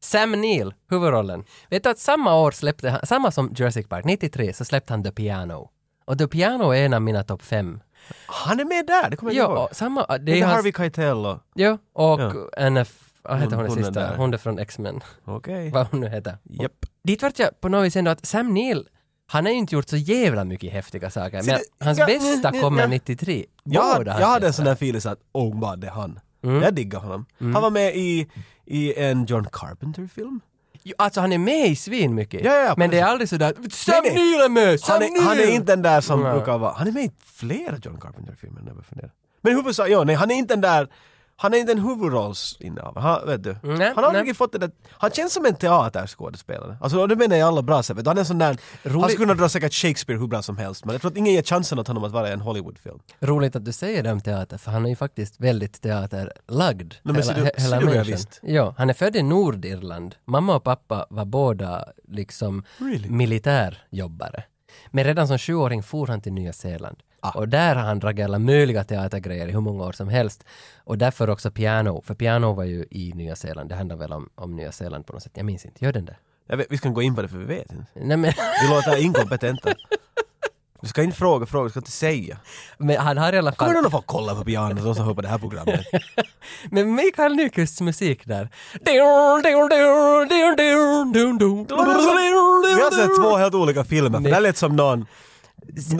S2: Sam Neill, huvudrollen. Vet du att samma år släppte han, samma som Jurassic Park, 93, så släppte han The Piano. Och The Piano är en av mina topp fem.
S1: Han är med där, det kommer jag
S2: Jo,
S1: ihåg.
S2: samma, det
S1: Det
S2: är
S1: är
S2: hans,
S1: Harvey Keitel och...
S2: jo, och
S1: Ja.
S2: Anna, F- vad heter
S1: Hon-
S2: hon, den
S1: hon den
S2: sista?
S1: där.
S2: Hon är från X-Men, (laughs)
S1: Okej.
S2: vad hon nu heter.
S1: Japp.
S2: Dit vart jag på något vis ändå att Sam Neill, han har ju inte gjort så jävla mycket häftiga saker,
S1: Så
S2: men
S1: det-
S2: hans
S1: ja,
S2: bästa
S1: ja,
S2: kommer
S1: ja.
S2: 93.
S1: Jag,
S2: Båda
S1: jag
S2: hans
S1: hade en
S2: bästa.
S1: sån där feeling så att åh vad det är han.
S2: Mm.
S1: Jag diggar honom. Han var med i, i en John Carpenter-film.
S2: Jo, Alltså han är med i svin mycket.
S1: Ja, ja,
S2: men det är
S1: precis.
S2: aldrig sådär Sam
S1: Nej, nej.
S2: Neill är med! Sam
S1: Han är, han är
S2: Neill!"
S1: inte den där som
S2: Nej.
S1: brukar vara... Han är med i flera John Carpenter-filmer när jag börjar fundera. Men i huvudsak, ja, nej han är inte den där... Han är inte en huvudrollsinnehavare, han, vet du.
S2: Nej,
S1: han har aldrig
S2: nej.
S1: fått det där, Han känns som en teaterskådespelare. Alltså och det menar jag alla bra sätt. vet du. Han är en sån där... Han skulle kunna dra säkert Shakespeare hur bra som helst men jag tror att ingen ger chansen åt honom att vara i en Hollywoodfilm.
S2: Roligt att du säger det om teater, för han är ju faktiskt väldigt teaterlagd.
S1: men ser du-
S2: he-
S1: ser du vad jag
S2: människan.
S1: visste?
S2: Ja, han är född i Nordirland. Mamma och pappa var båda liksom
S1: Really?
S2: militärjobbare. Men redan som sjuåring for han till Nya Zeeland.
S1: Ah.
S2: Och där har han dragit alla möjliga teatergrejer i hur många år som helst. Och därför också piano, för piano var ju i Nya Zeeland. Det handlar väl om, om Nya Zeeland på något sätt. Jag minns inte, gör den det?
S1: Jag vet, vi ska inte gå in på det för vi vet inte.
S2: Nej, men...
S1: Vi låter (laughs) inkompetenta. Du ska inte fråga frågor, du ska inte säga.
S2: Men han har i alla fall...
S1: Kommer någon att få kolla på pianot de som hör på det här programmet?
S2: Men Mikael Nyqvists musik där. Det
S1: låter Vi har sett två helt olika filmer, för
S2: Nej.
S1: det här lät som någon...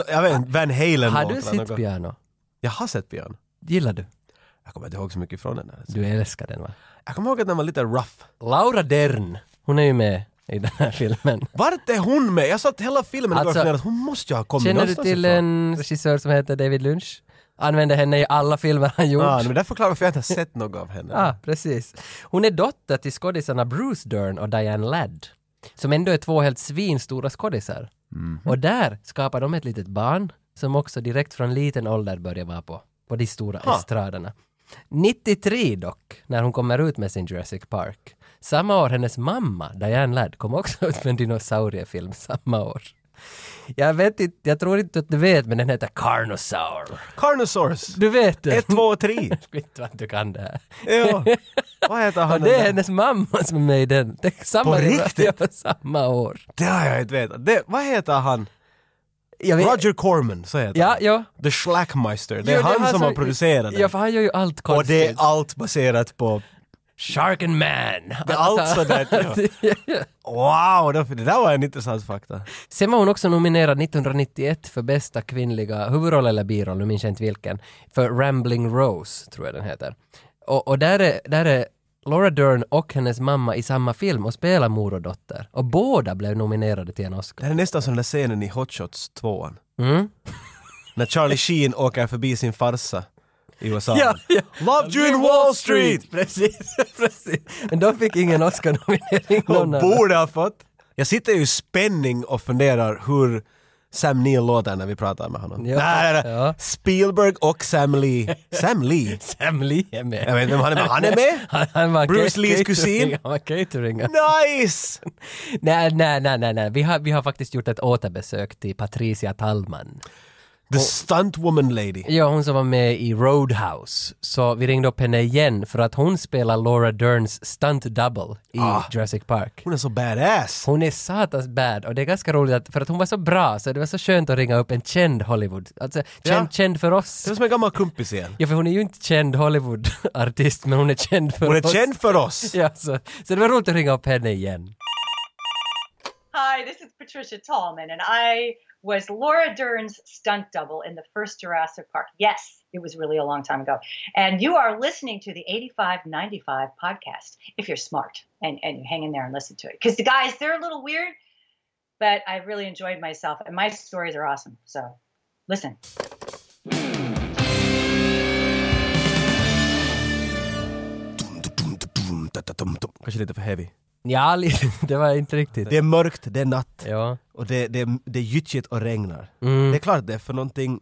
S1: Jag vet inte, Van Halen
S2: Har
S1: låt
S2: du
S1: eller
S2: sett
S1: något.
S2: piano?
S1: Jag har sett piano.
S2: Gillar du?
S1: Jag kommer inte ihåg så mycket från den här.
S2: Du älskar den va?
S1: Jag kommer ihåg att den var lite rough.
S2: Laura Dern, hon är ju med i den här filmen.
S1: Vart är hon med? Jag satt hela filmen och
S2: Alltså,
S1: alltså, att hon måste ju ha kommit
S2: Känner du
S1: någonstans
S2: till
S1: ifrån.
S2: en regissör som heter David Lynch? Använder henne i alla filmer han gjort.
S1: Ah, nej, men det förklarar varför jag inte har sett något av henne.
S2: Ah, precis. Hon är dotter till skådisarna Bruce Dern och Diane Ladd, som ändå är två helt svinstora skådisar. Och där skapar de ett litet barn som också direkt från liten ålder börjar vara på, på de stora
S1: Ha.
S2: estraderna. 93 dock, när hon kommer ut med sin Jurassic Park. Samma år hennes mamma, Diane Ladd, kom också (laughs) ut med en dinosauriefilm samma år. Jag vet inte, jag tror inte att du vet, men den heter Carnosaur.
S1: Carnosaurs!
S2: Du vet den?
S1: Ett, två, tre!
S2: Skit vad du kan det här. (laughs)
S1: Ja. Vad heter
S2: Och
S1: han?
S2: det
S1: den
S2: är
S1: där?
S2: hennes mamma som är med i den. Det är samma
S1: På riktigt?
S2: Ja, på samma år.
S1: Det har jag inte vetat. Det, vad heter han?
S2: Jag vet-
S1: Roger Corman, så heter
S2: Ja, ja.
S1: han. The Schlackmeister. Det är
S2: Jo,
S1: han som har producerat den.
S2: Ja, för han gör ju allt
S1: Och
S2: konstigt.
S1: det är allt baserat på...
S2: Shark and man! Alltså,
S1: Det är allt sådär.
S2: (laughs)
S1: Ja. Wow, det det där var en intressant fakta.
S2: Sen var hon också nominerad 1991 för bästa kvinnliga huvudroll eller biroll, nu minns jag inte vilken, för Rambling Rose, tror jag den heter. Och, och där, är, där är Laura Dern och hennes mamma i samma film och spelar mor och dotter. Och båda blev nominerade till en
S1: Det
S2: Oscar.
S1: här är nästan som den där scenen i Hot Shots 2.
S2: Mm.
S1: När Charlie Sheen åker förbi sin farsa i USA.
S2: Ja, ja.
S1: Love you in Wall Street!
S2: (laughs) Precis, precis. Men de fick ingen Oscar-nominering.
S1: Hon
S2: någon av dem.
S1: borde ha fått. Jag sitter ju i spänning och funderar hur Sam Neill låter när vi pratar med honom.
S2: Ja.
S1: nej, nej, nej.
S2: Ja.
S1: Spielberg och Sam Lee. Sam Lee?
S2: Sam Lee är med.
S1: Jag vet inte vem han är med. Han är med?
S2: Han, han var
S1: Bruce
S2: ca-
S1: Lees
S2: catering-
S1: kusin?
S2: Han var cateringa.
S1: Nice!
S2: Nej, nej, nej, nej, nej. Vi, har, vi har faktiskt gjort ett återbesök till Patricia Tallman.
S1: The stunt woman lady.
S2: Ja, hon som var med i Roadhouse. Så vi ringde upp henne igen för att hon spelar Laura Derns stunt double i
S1: Ah.
S2: Jurassic Park.
S1: Hon är så badass.
S2: Hon är satans bad och det är ganska roligt att, för att hon var så bra så det var så skönt att ringa upp en känd Hollywood, alltså känd,
S1: Ja.
S2: känd för oss.
S1: Det är som en gammal kumpis igen.
S2: Ja, för hon är ju inte känd Hollywood-artist men hon är känd för
S1: Hon är
S2: oss.
S1: känd för oss.
S2: (laughs) Ja, så, så det var roligt att ringa upp henne igen.
S3: Hi, this is Patricia Tallman, and I was Laura Dern's stunt double in the first Jurassic Park. Yes, it was really a long time ago. And you are listening to the 8595 podcast if you're smart and, and you hang in there and listen to it. Because the guys, they're a little weird, but I really enjoyed myself, and my stories are awesome. So listen.
S1: Kanske lite för heavy.
S2: Ja, li- (laughs) det var inte riktigt.
S1: Det är mörkt, det är natt
S2: Ja.
S1: och det, det, det är gyttjigt och regnar.
S2: Mm.
S1: Det är klart det är för någonting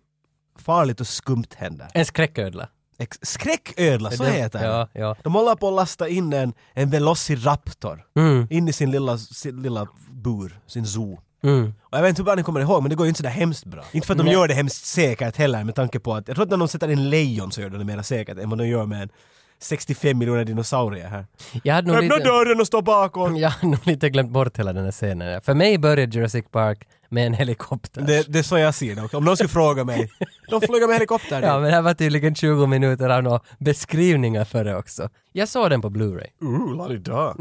S1: farligt och skumt händer.
S2: En skräcködla.
S1: Ex- skräcködla, så
S2: Det-
S1: heter det.
S2: Ja, ja.
S1: De håller på att lasta in en, en Velociraptor
S2: Mm,
S1: in i sin lilla, sin lilla bur, sin zoo.
S2: mm.
S1: Och jag vet inte hur bra ni kommer ihåg men det går ju inte sådär hemskt bra. Inte för att de
S2: Nej.
S1: gör det hemskt säkert heller med tanke på att jag tror att när de sätter in lejon så gör de det mer säkert än vad de gör med en 65 miljoner dinosaurier här.
S2: Jag hade nog
S1: Öppna
S2: lite,
S1: dörren och stå bakom!
S2: (laughs) jag hade nog lite glömt bort hela den här scenen. För mig började Jurassic Park med en helikopter.
S1: Det, det är så jag ser det också. Om någon skulle fråga
S2: (laughs)
S1: mig. De flyger med helikopter.
S2: Ja,
S1: Ja,
S2: men det här var tydligen 20 minuter av några beskrivningar för det också. Jag såg den på Blu-ray.
S1: Ooh, lalida.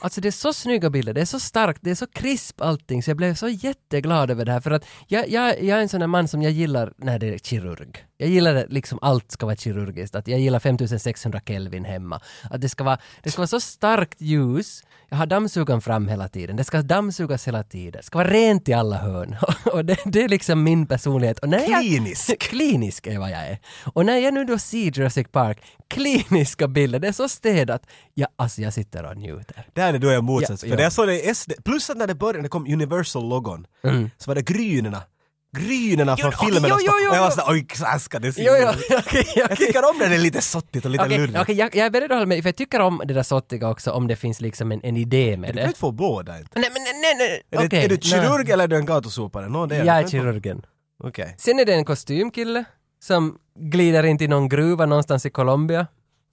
S2: Alltså det är så snygga bilder, det är så starkt, det är så krisp allting så jag blev så jätteglad över det här för att jag, jag, jag är en sån där man som jag gillar när det är kirurg. Jag gillar det, liksom allt ska vara kirurgiskt, att jag gillar 5600 Kelvin hemma. Att det ska vara, det ska vara så starkt ljus, jag har dammsugaren fram hela tiden, det ska dammsugas hela tiden, det ska vara rent i alla hörn. (laughs) Och det, det är liksom min personlighet. Och när jag,
S1: Klinisk!
S2: klinisk är vad jag är. Och när jag nu då ser Jurassic Park, kliniska bilder, det är så städat. Ja, alltså jag sitter och njuter.
S1: Där är då jag motsats.
S2: Ja,
S1: För
S2: ja.
S1: när jag såg det i SD, plus att när det började, när det kom Universal-logon, så var det grynerna. Grynerna från
S2: okej,
S1: filmerna.
S2: jo,
S1: som-
S2: jo, jo,
S1: och jag var
S2: jo.
S1: sådär, oj, klaska, det ser
S2: Jo, (laughs) jo,
S1: ut."
S2: okej,
S1: Jag
S2: okej.
S1: tycker om när det är lite sottigt och lite
S2: Okej,
S1: lurigt.
S2: okej, jag, jag är beredd att hålla med, för jag tycker om det där sottiga också, om det finns liksom en, en idé med
S1: Du kan
S2: det.
S1: inte få båda. Inte.
S2: Nej, men nej, nej, nej.
S1: Är, det,
S2: okej,
S1: är du
S2: nej.
S1: kirurg eller är du en gatusopare? No, det är du.
S2: Jag är
S1: Du kan inte
S2: kirurgen.
S1: få- Okej.
S2: Sen är det en kostymkille som glider in till någon gruva någonstans i Colombia.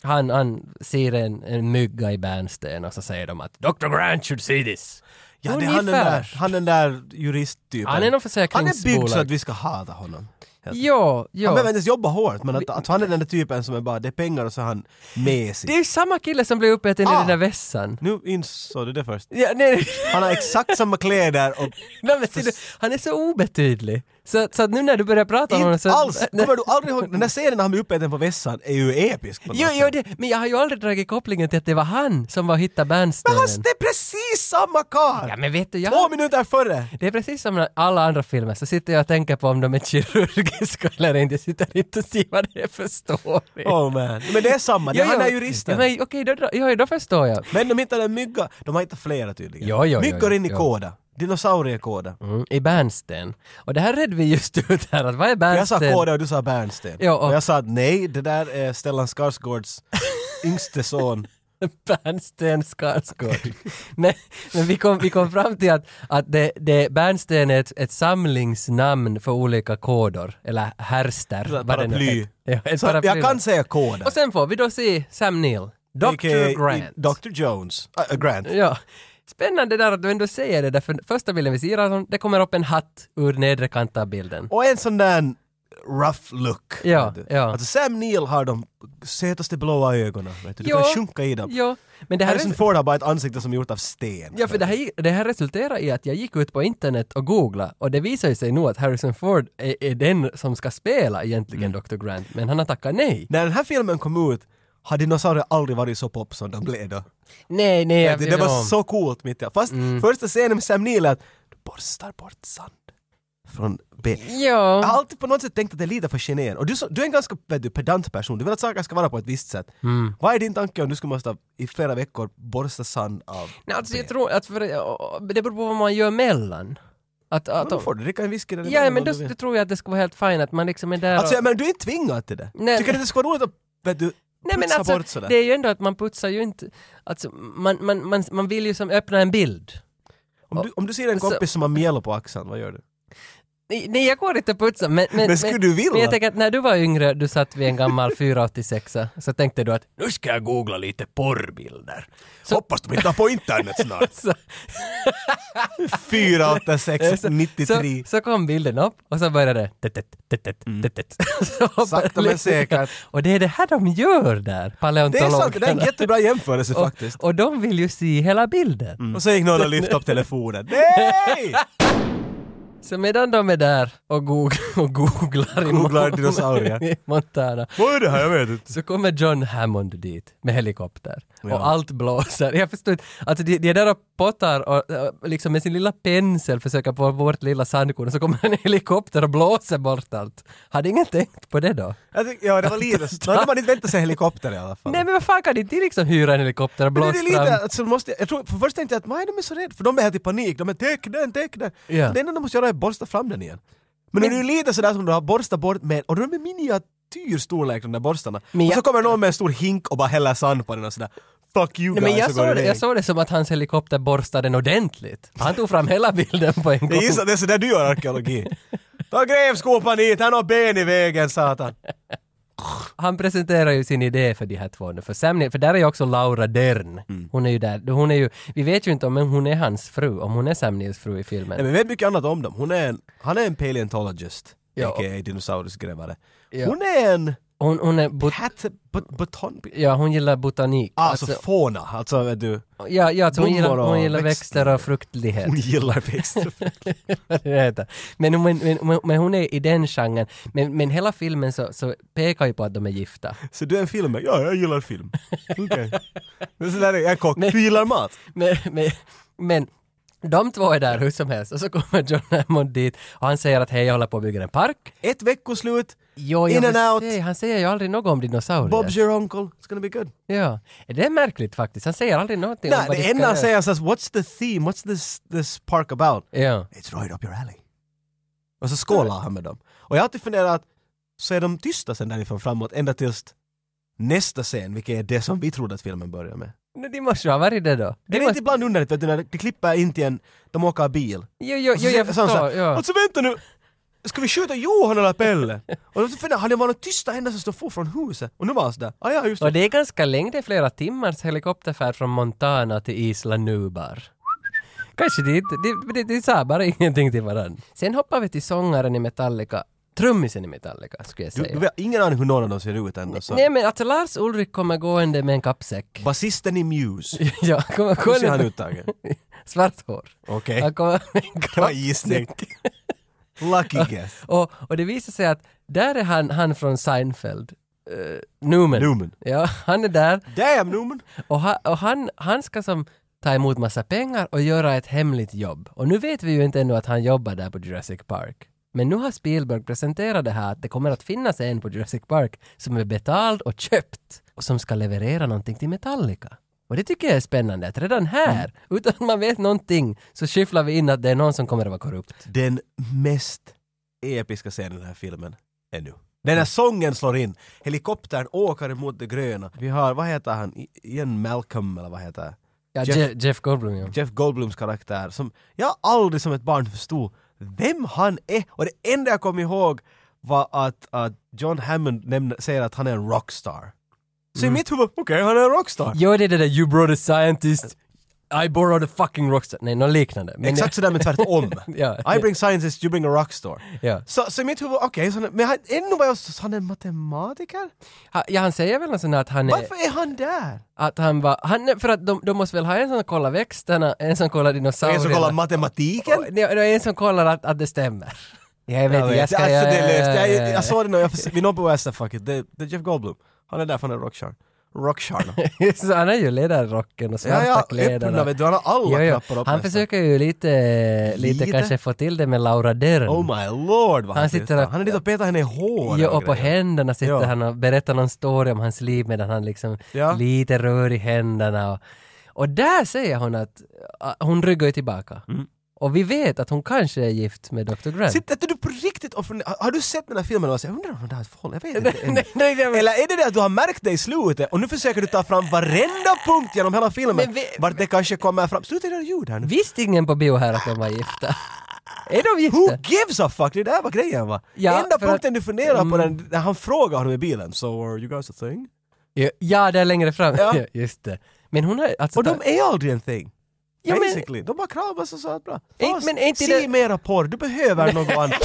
S2: Han, han ser en, en mygga i bärnsten och så säger de att Dr. Grant should see this.
S1: Ja, det är han den
S2: Ungefär.
S1: där, han den där juristtypen.
S2: Han är någon
S1: Han är byggd så
S2: försäkringsbolag.
S1: att vi ska hata honom. Helt.
S2: Ja, ja.
S1: Han behöver inte ens jobba hårt, men att, att han är den där typen som är bara, det är pengar och så är han mesig.
S2: Det är ju samma kille som blev uppäten i
S1: Ah.
S2: den där vässan.
S1: Nu insåg du det först.
S2: Ja, nej,
S1: Han har exakt samma kläder
S2: (laughs)
S1: och
S2: nej, men, ser du, (laughs) han är så obetydlig. Så, så att nu när du börjar prata om honom så...
S1: Inte alls!
S2: (laughs) Nej.
S1: Kommer du aldrig ihåg, den där scenen när han blir uppäten på vässan är ju episk på något
S2: Jo,
S1: sätt.
S2: jo, det, men jag har ju aldrig dragit kopplingen till att det var han som var och hittade
S1: Men han,
S2: bärnstenen.
S1: det är precis samma karl!
S2: Ja, men vet du, jag...
S1: Två minuter före!
S2: Det är precis som när alla andra filmer, så sitter jag och tänker på om de är kirurgiska (laughs) eller inte. Jag sitter inte och ser vad det är för story.
S1: Oh man. Men det är samma, det är
S2: Jo,
S1: han
S2: jo.
S1: där juristen.
S2: Ja, men Okej, då, då, jo, då förstår jag.
S1: Men de hittade en mygga, de har hittat flera tydligen.
S2: Jo, jo, jo,
S1: Myggor
S2: jo,
S1: in i
S2: jo.
S1: kåda. Dinosauriekoder.
S2: Mm, I Bernsten. Och det här redde vi just (laughs) ut här, att vad är
S1: Jag sa
S2: Bernsten?
S1: koder och du sa Bernsten.
S2: Ja, och-
S1: och jag sa att nej, det där är Stellan Skarsgårds yngste son.
S2: (laughs) Bernsten Skarsgård. men men vi, kom, vi kom fram till att, att det, det, Bernsten är ett, ett samlingsnamn för olika kodor, eller härster. vad det nu
S1: Paraply.
S2: heter. Ja, ett
S1: Så
S2: paraply.
S1: jag kan säga koder.
S2: Och sen får vi då se Sam Neill, Dr.
S1: AKA
S2: Grant.
S1: Dr. Jones. Äh, Grant.
S2: Ja. Spännande där att du ändå säger det där, för första bilden vi ser, alltså, det kommer upp en hatt ur nedre kant av bilden.
S1: Och en sån där rough look.
S2: Ja,
S1: vet du.
S2: ja.
S1: Alltså Sam Neill har de sötaste blåa ögonen. Vet du. du
S2: Ja,
S1: kan sjunka i dem.
S2: Ja, men det här
S1: Harrison Ford har bara ett ansikte som är gjort av sten.
S2: Ja, för det här, gick- det här resulterar i att jag gick ut på internet och googlade och det visar ju sig nu att Harrison Ford är, är den som ska spela
S1: Mm.
S2: egentligen Dr. Grant, men han har tackat nej.
S1: När den här filmen kom ut har dinosaurier aldrig varit så pop som de blev då.
S2: Nej, nej, jag
S1: det,
S2: vet
S1: det
S2: inte
S1: var
S2: om.
S1: så coolt mitt i allt. Fast
S2: Mm.
S1: första scenen med Sam Neill är att du borstar bort sand från ben. Jag har
S2: Ja,
S1: alltid på något sätt tänkt att det är lite för generande. Och du, så- du är en ganska vet du, pedant person, du vill att saker ska vara på ett visst sätt.
S2: Mm.
S1: Vad är din tanke om du skulle måste i flera veckor borsta sand av
S2: nej, alltså jag tror att för, det beror på vad man gör mellan. Att,
S1: Men Då
S2: att,
S1: får du dricka en whisky eller
S2: ja,
S1: vad
S2: men
S1: du
S2: då,
S1: vill.
S2: då tror jag att det ska vara helt fint att man liksom är där
S1: Alltså,
S2: och,
S1: men du är inte tvingad till det.
S2: Nej,
S1: Tycker du att det skulle vara roligt att vet du,
S2: Nej men
S1: putsa
S2: alltså,
S1: bort sådär?
S2: det är ju ändå att man putsar ju inte, alltså man, man, man, man vill ju som öppna en bild.
S1: Om, du, om du ser en
S2: Så-
S1: kompis som har mjäll på axeln, vad gör du?
S2: Nej, nej jag går inte och putsar men, men,
S1: Men skulle du vilja?
S2: men jag tänker att när du var yngre, du satt vid en gammal 486 så tänkte du att nu ska jag googla lite porrbilder. Så-
S1: Hoppas de hittar på internet snart!
S2: (laughs) Så,
S1: 486
S2: så,
S1: 93
S2: så kom bilden upp och så började det tet, tet, tet, tet, tet, tet. (laughs) Så hoppade
S1: Mm. Sakta men
S2: lite.
S1: säkert.
S2: Och det är det här de gör där,
S1: Det är
S2: paleontologerna.
S1: sant, det är en jättebra jämförelse faktiskt. Mm.
S2: (laughs) och, och de vill ju se hela bilden.
S1: Och så gick någon och lyfte upp
S2: (laughs)
S1: telefonen. Nej!
S2: Så medan de är där och, goog- (laughs) och googlar, i
S1: Googlar
S2: Mon-
S1: dinosaurier.
S2: (laughs) i Montana
S1: Vad är det här? Jag vet inte.
S2: så kommer John Hammond dit med helikopter
S1: Ja.
S2: och allt blåser. Jag förstår inte, alltså de, de är där och pottar och, och liksom med sin lilla pensel försöker få bort lilla sandkorn och så kommer en helikopter och blåser bort allt. Hade ingen tänkt på det då?
S1: Jag tycker- Ja, det
S2: (laughs)
S1: var lite... Då hade man inte väntat sig helikopter i alla fall.
S2: Nej men vad fan kan inte de liksom hyra en helikopter och
S1: Men
S2: blåsa
S1: det är lite,
S2: fram?
S1: alltså, måste, jag tror, för först tänkte jag att nej, de är så rädda, för de är helt i panik. De är täck den, täck den.
S2: Ja.
S1: Det enda de måste göra är borsta fram den igen. Men, det är ju lite sådär som de har borstat bort med, och de är miniatyrstorlek de där borstarna.
S2: Men
S1: och så
S2: jag-
S1: kommer någon med en stor hink och bara häller sand på den och sådär. Fuck you
S2: Nej,
S1: guys,
S2: men jag
S1: och går
S2: såg, det,
S1: iväg.
S2: jag såg det som att hans helikopter borstade den ordentligt. Han tog fram hela bilden på en gång.
S1: Jag gissar att det är sådär du gör
S2: (laughs)
S1: arkeologi. Ta grävskopan hit, han har ben i vägen satan.
S2: han presenterar ju sin idé för de här två nu, för Sam Neill, för där är ju också Laura Dern. Hon är ju där, hon är ju, vi vet ju inte om hon är hans fru, om hon är Sam Neills fru i filmen.
S1: Nej, men vi vet mycket annat om dem. Hon är en, han är en paleontologist,
S2: Ja.
S1: a.k.a. dinosauriesgrävare.
S2: Ja.
S1: Hon är en
S2: Hon, hon är bot-
S1: pat, but, buton,
S2: ja, hon gillar botanik.
S1: Alltså, fauna, alltså vet du,
S2: ja, ja, alltså hon, gillar,
S1: blommor och
S2: hon gillar
S1: växter.
S2: växter och fruktlighet.
S1: hon gillar växter.
S2: (laughs) Vad det heter. men, hon- men, men, men hon är i den genren. Men, men hela filmen så, så pekar ju på att de är gifta.
S1: (laughs) Så du är en film? Ja, jag gillar (laughs) film. Okej. Men så där är jag är kock. Du gillar mat?
S2: men, men, men de två är där hur som helst och så kommer John Hammond dit och han säger att hej, jag håller på att bygga en park.
S1: Ett veckoslut,
S2: Jo, jag
S1: In
S2: vill
S1: and out.
S2: säga, han säger ju aldrig något om dinosaurier.
S1: Bob's your uncle, it's gonna be good.
S2: Ja. Det är märkligt faktiskt. Han säger aldrig någonting
S1: Nej,
S2: vad de
S1: det
S2: ska
S1: enda han
S2: göra.
S1: säger är såhär, what's the theme, what's this, this park about?
S2: Ja.
S1: It's right up your alley. Och så skålar han med dem. Och jag har alltid funderat, så är de tysta sen därifrån framåt ända tills nästa scen, vilket är det som vi trodde att filmen börjar med.
S2: Nu, de måste ju ha varit det då.
S1: Det
S2: De
S1: är inte
S2: måste...
S1: ibland underligt, vet du, när de klipper in till en, de åker bil.
S2: Jo, jo,
S1: Och så
S2: jo, jag
S1: säger- så han
S2: förstår.
S1: så här,
S2: Ja.
S1: Alltså vänta nu! Ska vi skjuta Johan eller
S2: (laughs)
S1: Pelle? Och då funderar han, det var några tysta händer som stod få från huset. Och nu var han sådär, ah, ja just
S2: Och
S1: det.
S2: det är ganska länge, det är flera timmars helikopterfärd från Montana till Isla Nubar. Kanske det inte, det, det, det sa bara (laughs) ingenting till varandra. Sen hoppar vi till sångaren i Metallica, trummisen i Metallica skulle jag
S1: Du,
S2: säga.
S1: du har ingen aning hur någon av dem ser ut ändå. Så.
S2: Nej men alltså Lars Ulrik kommer gående med en kappsäck.
S1: Basisten i Muse.
S2: (laughs) ja, kommer
S1: Hur ser han
S2: gående
S1: ut Tage?
S2: med svart hår.
S1: Okej.
S2: Han kommer med en
S1: Eh. Det var
S2: kappsäck.
S1: en gissning. Lucky guess.
S2: Och, och det visar sig att där är han, han från Seinfeld, eh, Newman.
S1: Newman.
S2: Ja, han är där
S1: Damn Newman!
S2: och, ha, och han, han ska som ta emot massa pengar och göra ett hemligt jobb. Och nu vet vi ju inte ännu att han jobbar där på Jurassic Park. Men nu har Spielberg presenterat det här att det kommer att finnas en på Jurassic Park som är betald och köpt och som ska leverera någonting till Metallica. Och det tycker jag är spännande, att redan
S1: Mm.
S2: här, utan att man vet någonting, så skyfflar vi in att det är någon som kommer att vara korrupt.
S1: Den mest episka scenen i den här filmen ännu. Den här sången slår in. Helikoptern åker mot det gröna. Vi har, vad heter han, I- Ian Malcolm eller vad heter han?
S2: Ja,
S1: Jeff-
S2: Jeff, Jeff Goldblum ja.
S1: Jeff Goldblums karaktär som jag aldrig som ett barn förstod vem han är. Och det enda jag kom ihåg var att, att John Hammond nämnde, säger att han är en rockstar. Så i mitt huvud, okej han är en rockstar.
S2: Jo, det är det där “You brought a scientist, I borrowed a fucking rockstar”. Nej, något liknande. Men
S1: Exakt sådär men tvärtom.
S2: (laughs) Ja.
S1: I bring scientist, you bring a rockstar.
S2: Ja.
S1: Så, så i mitt huvud, okej, så han- men han, ännu var jag så han är matematiker?
S2: eh, Ha- Ja, han säger väl något sånt här att han är...
S1: Varför är han där?
S2: Att han var... Han, för att de, de måste väl ha en som kollar växterna, en som kollar
S1: En
S2: dinosaurierna.
S1: som kollar matematiken?
S2: Nej, det är en som kollar att, att det stämmer. Jag vet inte, jag
S1: Alltså
S2: ska...
S1: det
S2: jag-
S1: löste, jag, alltså- jag, jag såg det när jag, förs- vid någon på West, fuck it, det, det är Jeff Goldblum. Han är där för han är rockstar.
S2: (laughs)
S1: Rockstar.
S2: (laughs) Så han har ju ledarrocken och svarta
S1: Ja, ja, öppna
S2: kläderna.
S1: vet du, han har alla
S2: Jo, jo.
S1: knappar upp
S2: Han
S1: nästan.
S2: försöker ju lite, lite
S1: Lite?
S2: kanske få till det med Laura Dern.
S1: Oh my lord vad han,
S2: Han
S1: sitter
S2: sitter och-
S1: Han är lite och petar henne i håret.
S2: Jo, och på
S1: grejer.
S2: händerna sitter
S1: Ja.
S2: han och berättar någon story om hans liv medan han liksom
S1: Ja.
S2: lite rör i händerna. Och, och där säger hon att att hon ryggar ju tillbaka.
S1: Mm.
S2: Och vi vet att hon kanske är gift med Dr. Grant.
S1: (laughs) Sitter inte du på riktigt och funderar, har du sett den här filmen och säger undrar om hon där har ett förhållande? Jag
S2: (laughs)
S1: vet inte. ännu."
S2: nej, nej, nej, men-
S1: Eller är det det att du har märkt det i slutet och nu försöker du ta fram varenda punkt genom hela filmen
S2: Men vi-
S1: vart det kanske kommer fram. Sluta göra ljud här nu.
S2: Visste ingen på bio här att de var gifta? är de
S1: Who
S2: gifta?
S1: gives a fuck? Det där var grejen va?
S2: Ja,
S1: Enda
S2: för att- Mm.
S1: punkten du funderar på den, när han frågar honom i bilen, so are you guys a thing?
S2: Ja, där längre fram.
S1: Ja.
S2: (laughs) Ja. Just det. Men hon har alltså...
S1: Och de är aldrig en thing.
S2: Ja, men-
S1: Basically. De bara kramas och så att bra.
S2: Ej,
S1: Fast,
S2: men är inte
S1: se
S2: det-
S1: mera porr, du behöver något annat.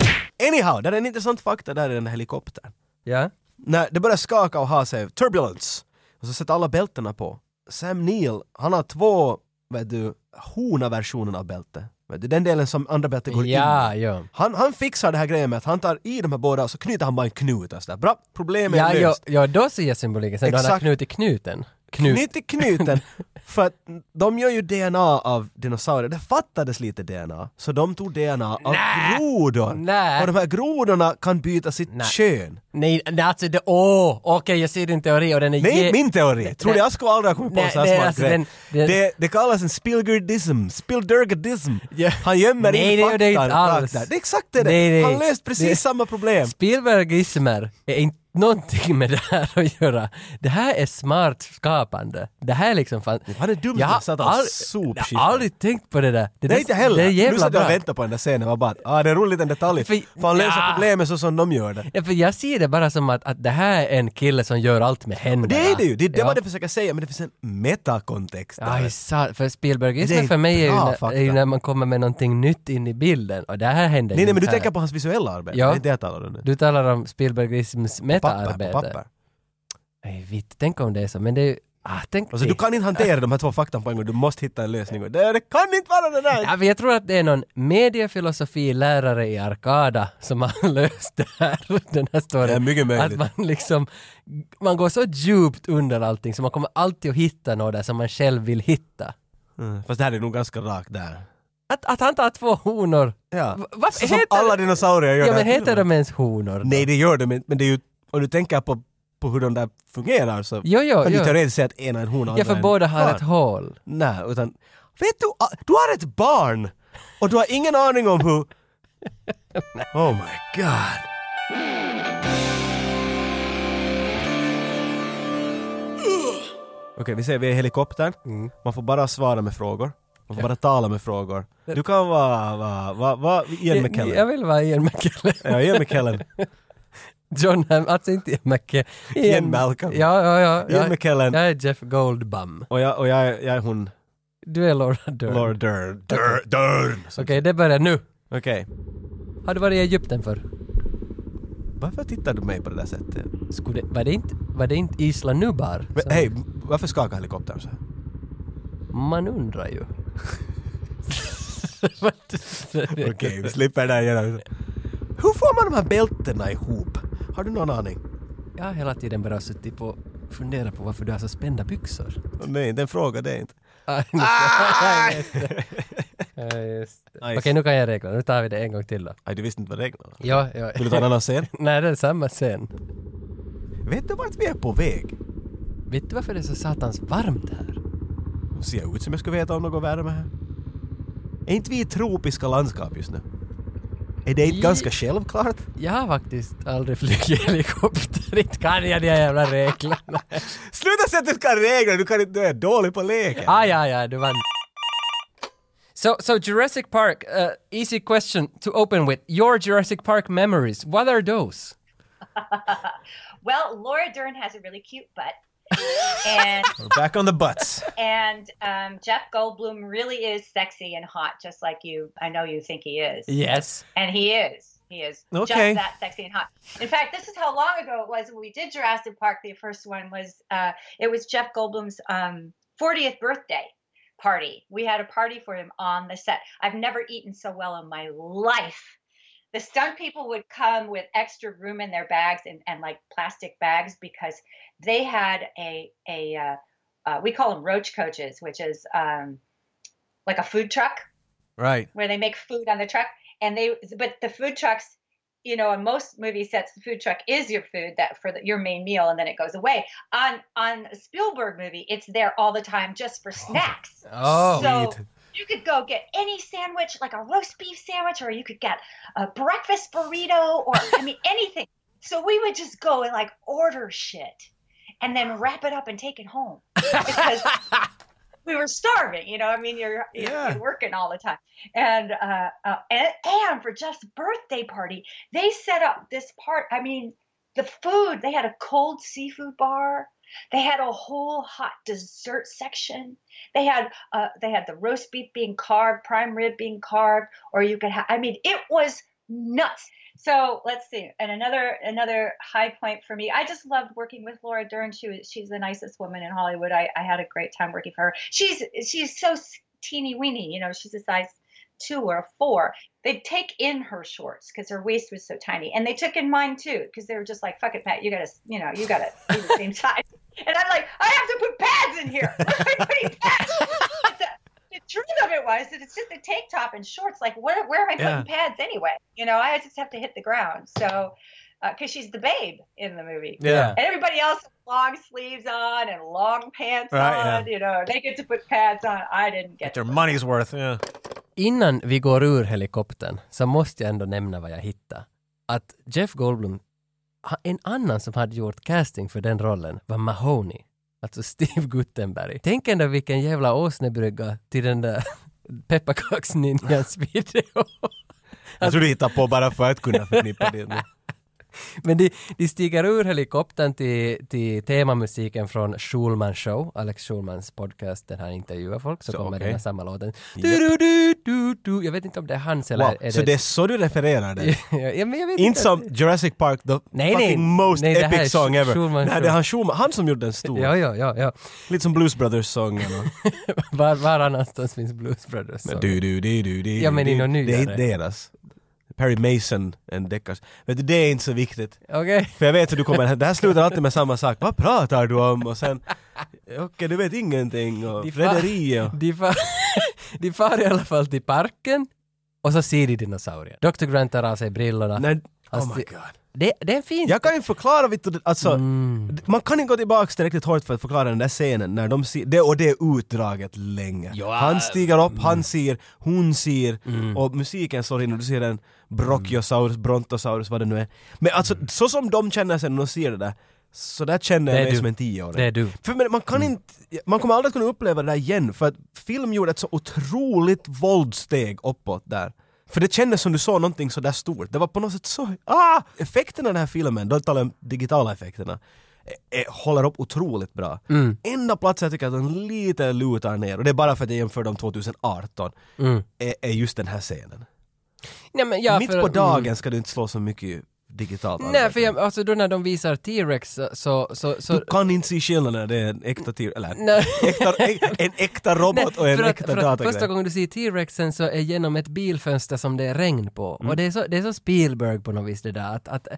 S1: Anyhow, det är en intressant fakta där i den här helikoptern.
S2: Ja.
S1: När det börjar skaka och ha sig, turbulence, och så sätter alla bältena på. Sam Neill, han har två, vet du, hona-versionen av bälte. Vet du, den delen som andra bältet går in
S2: Ja,
S1: i.
S2: ja.
S1: Han, han fixar det här grejen med att han tar i de här båda och så knyter han bara en knut och sådär. Bra, problemet
S2: Ja,
S1: är
S2: ja,
S1: löst.
S2: ja, då ser jag symboliken. Sen då han har
S1: Exakt.
S2: knutit knuten. Knut.
S1: Knyt i
S2: (laughs)
S1: knuten. För att de gör ju DNA av dinosaurier. Det fattades lite DNA. Så de tog DNA av grodor.
S2: Nä.
S1: Och de här grodorna kan byta sitt
S2: Nä.
S1: kön.
S2: Nej, nej, alltså det... Åh! Okej, jag ser din teori och den är...
S1: Nej,
S2: ge-
S1: min teori. Tror du
S2: nej.
S1: jag skulle aldrig ha kommit på
S2: Nej,
S1: en sån här
S2: nej,
S1: smart
S2: alltså
S1: grej?
S2: den- den-
S1: det, det kallas en spilgerdism. Spildergadism.
S2: Ja.
S1: Han gömmer
S2: Nej, det
S1: in
S2: gör det inte
S1: faktan rakt
S2: alls.
S1: där. Det är exakt det.
S2: Nej, nej.
S1: Han löst precis
S2: Det-
S1: samma problem.
S2: Spielbergismer är inte någonting med det här att göra. Det här är smart skapande. Det här är liksom fan...
S1: Han är dum
S2: Jag
S1: som
S2: har
S1: satt och
S2: aldrig-
S1: sopskiftat.
S2: jag har aldrig tänkt på det där. Det,
S1: Nej
S2: där-
S1: inte heller.
S2: Det är
S1: nu
S2: jävla
S1: satt jag och
S2: bra.
S1: väntade på den där scenen och bara ah, det är roligt en detalj.
S2: För-
S1: För han löser
S2: Ja.
S1: problemet så som de gör det.
S2: Ja, för jag ser det bara som att, att det här är en kille som gör allt med händerna.
S1: Det är det ju, det är det
S2: Ja.
S1: vad jag försöker säga, men det finns en metakontext där.
S2: Aj, sa, för
S1: Det
S2: Spielbergismen
S1: är
S2: för mig är ju,
S1: bra
S2: när,
S1: fakta.
S2: är ju när man kommer med någonting nytt in i bilden och det här händer
S1: nej,
S2: ju
S1: nej, men du
S2: inte här.
S1: tänker på hans visuella arbete,
S2: Ja.
S1: det är det jag talar om nu.
S2: Du talar om Spielbergisms
S1: papper, på
S2: metaarbete.
S1: papper.
S2: Nej, vitt, tänk om det är så, men det är ju... Ah, tänk
S1: Alltså,
S2: det.
S1: du kan inte hantera de här två faktan på en gång, du måste hitta en lösning. Och Det, det kan inte vara det där!
S2: Ja, men jag tror att det är någon mediefilosofilärare i Arkada som har (laughs) löst det här, den här storyn.
S1: Det är mycket möjligt.
S2: Att man liksom, man går så djupt under allting så man kommer alltid att hitta något där som man själv vill hitta.
S1: Mm, fast det här är nog ganska rakt där.
S2: Att, att han tar två honor.
S1: Ja.
S2: Va- varför
S1: Så som
S2: heter
S1: alla
S2: det-
S1: dinosaurier gör
S2: Ja
S1: det
S2: men
S1: här
S2: heter
S1: filmen.
S2: de ens honor? då?
S1: Nej det gör de inte, men det är ju, om du tänker på, på hur de där fungerar så
S2: Jo, jo,
S1: kan du
S2: jo.
S1: teoretiskt säga att ena är en hona och
S2: Ja för
S1: andra är en
S2: båda har
S1: karl.
S2: ett hål.
S1: Nej, utan vet du, ah, du har ett barn och du har ingen aning om hur... Oh my god. Okej, vi säger vi är i helikoptern. Man får bara svara med frågor. Man får bara tala med frågor. Du kan vara, vara, vara, vara Ian
S2: Jag, jag
S1: McKellen.
S2: vill vara Ian McKellen.
S1: Ja, Ian McKellen.
S2: (laughs) John Ham, alltså inte Ian McKellen.
S1: Ian Malcolm.
S2: Ja, ja, ja.
S1: Ian
S2: Jag-
S1: McKellen.
S2: Jag är Jeff Goldblum.
S1: Och jag, och jag, är- jag är hon
S2: Du är Laura Dern.
S1: Laura Dern. Dern. Dern.
S2: Okej, det börjar nu.
S1: Okej.
S2: Har du varit i Egypten för?
S1: Varför tittar du på mig på det där sättet?
S2: Skulle, var, det inte, var det inte Isla Nubar?
S1: Men,
S2: som-
S1: hej, varför skakar helikoptern så här?
S2: Man undrar ju.
S1: Okej, vi slipper där igen. Hur får man de här bältena ihop? Har du någon aning?
S2: Jag har hela tiden bara suttit på fundera på varför du har så spända byxor.
S1: Åh, nej, den frågan det är inte.
S2: Ah, just det. Ja, just det.
S1: Nice.
S2: Okej, nu kan jag räkna. Nu tar vi det en gång till då.
S1: Aj, du visste inte vad det regnade.
S2: Ja, ja.
S1: Vill du ta en annan scen?
S2: (laughs) Nej, det är samma scen.
S1: (laughs) Vet du vart vi är på väg?
S2: Vet du varför det är så satans varmt här?
S1: Ser jag ut som jag skulle veta om något värme här? Är inte vi i tropiska landskap just nu? Är det inte
S2: I-
S1: ganska självklart?
S2: Jag har faktiskt aldrig flugit (laughs) helikopter. Inte kan jag de här jävla reglerna.
S1: Sluta säga att du kan regler, du, kan, inte- du är dålig på leken!
S2: Ah, ja, ja, du vann. So, so Jurassic Park, uh, easy question to open with. Your Jurassic Park memories, what are those?
S3: Well, Laura Dern has a really cute butt. and
S1: We're back on the (laughs) butts.
S3: and um, Jeff Goldblum really is sexy and hot, just like you. I know you think he is.
S2: Yes.
S3: And he is. He is
S1: Okay.
S3: just that sexy and hot. In fact, this is how long ago it was when we did Jurassic Park. The first one was uh, it was Jeff Goldblum's um, 40th birthday party. We had a party for him on the set. I've never eaten so well in my life. The stunt people would come with extra room in their bags and, and like plastic bags because they had a a uh, uh, we call them roach coaches, which is um, like a food truck
S1: Right.
S3: where they make food on the truck and they but the food trucks you know in most movie sets the food truck is your food that for the, your main meal and then it goes away on on a spielberg movie it's there all the time just for snacks
S2: Oh.
S3: So-
S1: Sweet.
S3: you could go get any sandwich like a roast beef sandwich or you could get a breakfast burrito or i mean anything so we would just go and like order shit and then wrap it up and take it home because we were starving. You know, I mean, you're you're,
S1: Yeah.
S3: you're working all the time, and, uh, uh, and and for Jeff's birthday party, they set up this part. I mean, the food they had a cold seafood bar. They had a whole hot dessert section. They had uh, they had the roast beef being carved, prime rib being carved, or you could have. I mean, it was nuts. So let's see. And another another high point for me. I just loved working with Laura Dern. She was she's the nicest woman in Hollywood. I, I had a great time working for her. She's she's so teeny weeny. You know, she's a size two or a four. They'd take in her shorts because her waist was so tiny, and they took in mine too because they were just like, "Fuck it, Pat. You gotta you know you gotta be the same (laughs) size." And I'm like, I have to put pads in here. I'm putting pads. But the, the truth of it was that it's just a tank top and shorts. Like, where, where am I putting
S1: Yeah.
S3: pads anyway? You know, I just have to hit the ground. So, because she's the babe in the movie.
S1: Yeah.
S3: And everybody else has long sleeves on and long pants
S1: Right, yeah.
S3: on, you know, they get to put pads on. I didn't get
S1: Get your money's worth. Yeah.
S2: Innan vi går ur helikoptern så måste jag ändå nämna vad jag hittade. Att Jeff Goldblum, ha- en annan som hade gjort casting för den rollen var Mahoney. Alltså (laughs) Steve Guttenberg. Tänk ändå vilken jävla åsnebrygga till den där (laughs) pepparkaksninjans video.
S1: Jag tror Alltså, du hittar på bara för att kunna förknippa det. med-
S2: Men de, de stiger ur helikoptern till, till temamusiken från Schulman Show, Alex Schulmans podcast där han intervjuar folk, så,
S1: Så,
S2: kommer
S1: okej.
S2: den här samma låten.
S1: Japp.
S2: Du, du, du, du, du. Jag vet inte om det är hans eller
S1: Wow.
S2: är
S1: Så det är så du refererar det?
S2: (laughs) ja, men jag vet
S1: Inte som Jurassic Park, the
S2: Nej,
S1: fucking
S2: nej.
S1: most
S2: Nej, det här är
S1: epic song ever.
S2: Schulman
S1: nej, det är han Schulman. Han som gjorde den stor.
S2: Ja, ja, ja, ja.
S1: Lite som Blues Brothers-sången.
S2: (laughs)
S1: och-
S2: Var, var annanstans finns Blues Brothers? så.
S1: Du, du, du, du, du,
S2: Ja, men
S1: du,
S2: i någon
S1: du. Det är
S2: nyare.
S1: inte deras. Perry Mason, en deckars. Vet du, det är inte så viktigt.
S2: Okej.
S1: För jag vet hur du kommer, det här slutar alltid med samma sak. Vad pratar du om? Och
S2: (laughs)
S1: sen, okej du vet ingenting och
S2: De fa-
S1: Frederier.
S2: De, far, (laughs) de far i alla fall till parken och så ser de dinosaurier. Dr. Grant tar av sig brillorna.
S1: Nej,
S2: Alltså,
S1: oh my
S2: det-
S1: god.
S2: Det, det är en fin...
S1: Jag kan ju förklara, vet du, alltså,
S2: Mm.
S1: man kan inte gå tillbaka tillräckligt hårt för att förklara den där scenen när de ser, det, och det är utdraget länge.
S2: Ja. mm.
S1: Han stiger upp, han ser, hon ser och musiken slår in och du ser en Brachiosaurus, Brontosaurus, vad det nu är. Men alltså så som de känner sig när de ser det där, så där känner
S2: Mm. Det är
S1: jag mig
S2: du.
S1: som en tioåring.
S2: Det är du.
S1: För men, man kan
S2: Mm.
S1: inte, man kommer aldrig kunna uppleva det där igen för att film gjorde ett så otroligt våldsteg uppåt där. För det kändes som du såg någonting så där stort. Det var på något sätt så... Ah! Effekterna i den här filmen, då talar jag om digitala effekterna, eh, eh, håller upp otroligt bra.
S2: Mm.
S1: Enda platsen jag tycker att den lite lutar ner, och det är bara för att jag jämför dem 2018, är, är just den här scenen.
S2: Nej, men Mm. ja,
S1: Mitt
S2: för-
S1: på dagen
S2: Mm.
S1: ska du inte slå så mycket digitalt.
S2: Nej, för jag, alltså då när de visar T-Rex så... så, så, så
S1: Du kan inte se skillnaden när det är en äkta tir, eller
S2: Nej.
S1: äkta, äk- en äkta robot och en
S2: för att,
S1: äkta
S2: för att första
S1: datagrej.
S2: gången du ser T-Rexen så
S1: Mm.
S2: är genom ett bilfönster som det är regn på. Och det är så, det är så Spielberg på något vis det där att, att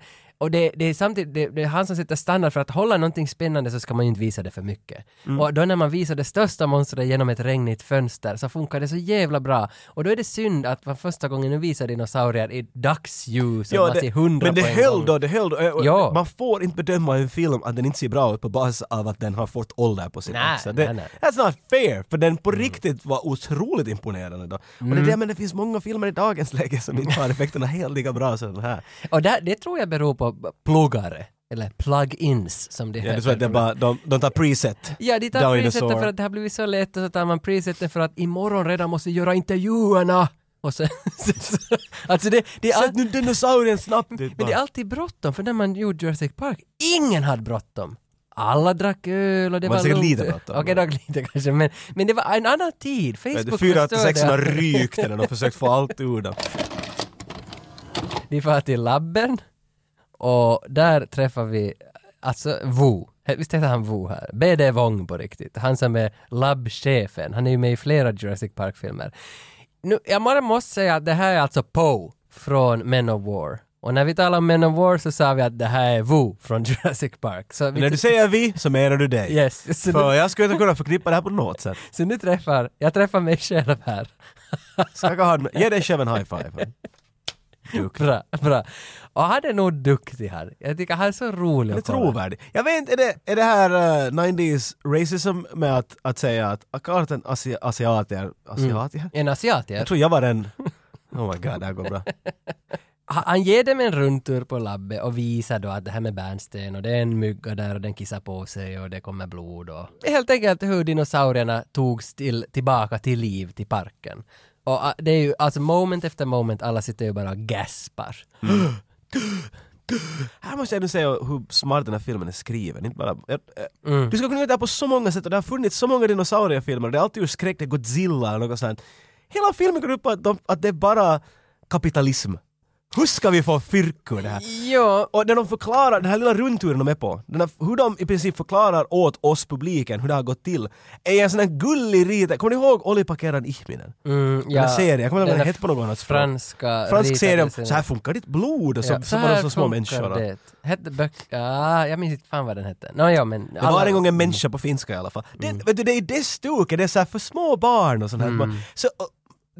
S2: Och det, det är samtidigt, det, det är han som sätter standard för att hålla någonting spännande så ska man ju inte visa det för mycket.
S1: Mm.
S2: Och då när man visar det största monstret genom ett regnigt fönster så funkar det så jävla bra. Och då är det synd att man första gången nu visar dinosaurier i dagsljus och
S1: Ja,
S2: man
S1: det-
S2: ser hundra
S1: men det
S2: på en
S1: höll
S2: gång.
S1: då, det höll då. Eh, och
S2: Ja.
S1: Man får inte bedöma en film att den inte ser bra ut på basis av att den har fått ålder på sin
S2: Nej,
S1: axel.
S2: nej,
S1: Det-
S2: nej. Mm.
S1: That's not fair, för den på riktigt var otroligt imponerande då. Och det är det, men det finns många filmer i dagens läge som inte
S2: (laughs)
S1: har effekterna helt lika bra som den här.
S2: Och där, det tror jag beror på pluggare, eller plug-ins som det
S1: Ja, du tror att det är bara, de, de tar preset.
S2: Ja, de tar
S1: Dinosaur.
S2: priset för att det har blivit så lätt och så tar man priset för att imorgon redan måste göra intervjuerna. Och så, (laughs) alltså det, det, är all,
S1: Sätt nu dinosaurien snabbt ut
S2: men det är
S1: bara.
S2: alltid bråttom för när man gjorde Jurassic Park, ingen hade bråttom. Alla drack öl och det
S1: Man
S2: var
S1: säkert
S2: lugnt.
S1: lite bråttom.
S2: Okej, dock lite kanske. Men, men det var en annan tid. Facebook förstörde
S1: 486 har
S2: allt.
S1: rykt den och försökt få allt ur dem.
S2: Vi far till labben och där träffar vi, alltså Wu. Visst heter han Wu här? BD Wong på riktigt. Han som är labbchefen. Han är ju med i flera Jurassic Park-filmer. Nu, jag bara måste säga att det här är alltså Poe från Men of War. Och när vi talar om Men of War så sa vi att det här är Wu från (laughs) Jurassic Park. Så vi
S1: När du säger vi så menar du dig.
S2: Yes. (laughs) Så
S1: För
S2: nu,
S1: jag skulle inte kunna förknippa det här på något sätt.
S2: så nu träffar, jag träffar mig själv här.
S1: Skaka hand, ge dig själv en high five. Duk.
S2: (laughs) Bra, bra. Och han är nog duktig här. Jag tycker han är så rolig
S1: Det är
S2: att kolla.
S1: trovärdigt. Jag vet inte, är det, är det här eh, 90s racism med att, att säga att akarten asia, asiater, asiatier?
S2: En asiat, ja.
S1: Jag tror jag var den... Oh my god, det här går bra.
S2: Ha- han ger dem en rundtur på labbet och visar då att det här med bärnsten och det är en mygga där och den kissar på sig och det kommer blod och Det är helt enkelt hur dinosaurierna togs till, tillbaka till liv till parken. Och ah, det är ju alltså moment efter moment alla sitter ju bara och gaspar.
S1: Mm. Här måste jag nu säga hur smart den här filmen är skriven. Inte bara, jag, eh,
S2: Mm.
S1: Du ska kunna göra det här på så många sätt och det har funnits så många dinosauriefilmer. Det är alltid ur skräck, det är Godzilla eller något sånt. Hela filmen går ut på att, de, att det är bara kapitalism. Hur ska vi få fyrk ur det här?
S2: Ja,
S1: Och när de förklarar, den här lilla rundturen de är på, den här, hur de i princip förklarar åt oss publiken hur det har gått till, är en sån här gullig rita. Kommer ni ihåg Olli Pakeran Ihminen?
S2: mm, ja.
S1: Den här serien, jag kommer inte ihåg
S2: Den
S1: vad
S2: där
S1: den hette på något annat språk.
S2: Franska
S1: Fransk
S2: ritade
S1: serie om
S2: serien.
S1: så här funkar ditt blod och så,
S2: Ja,
S1: så var de
S2: här
S1: så små
S2: funkar
S1: människor. Det.
S2: Det. Hette böcker, ah, jag minns inte fan vad den hette. Nå, ja, men
S1: det var en
S2: Mm.
S1: gång en människa på finska i alla fall. Det, vet du, det är det stuket, det är så här för små barn och sånt här.
S2: Mm.
S1: Så, och,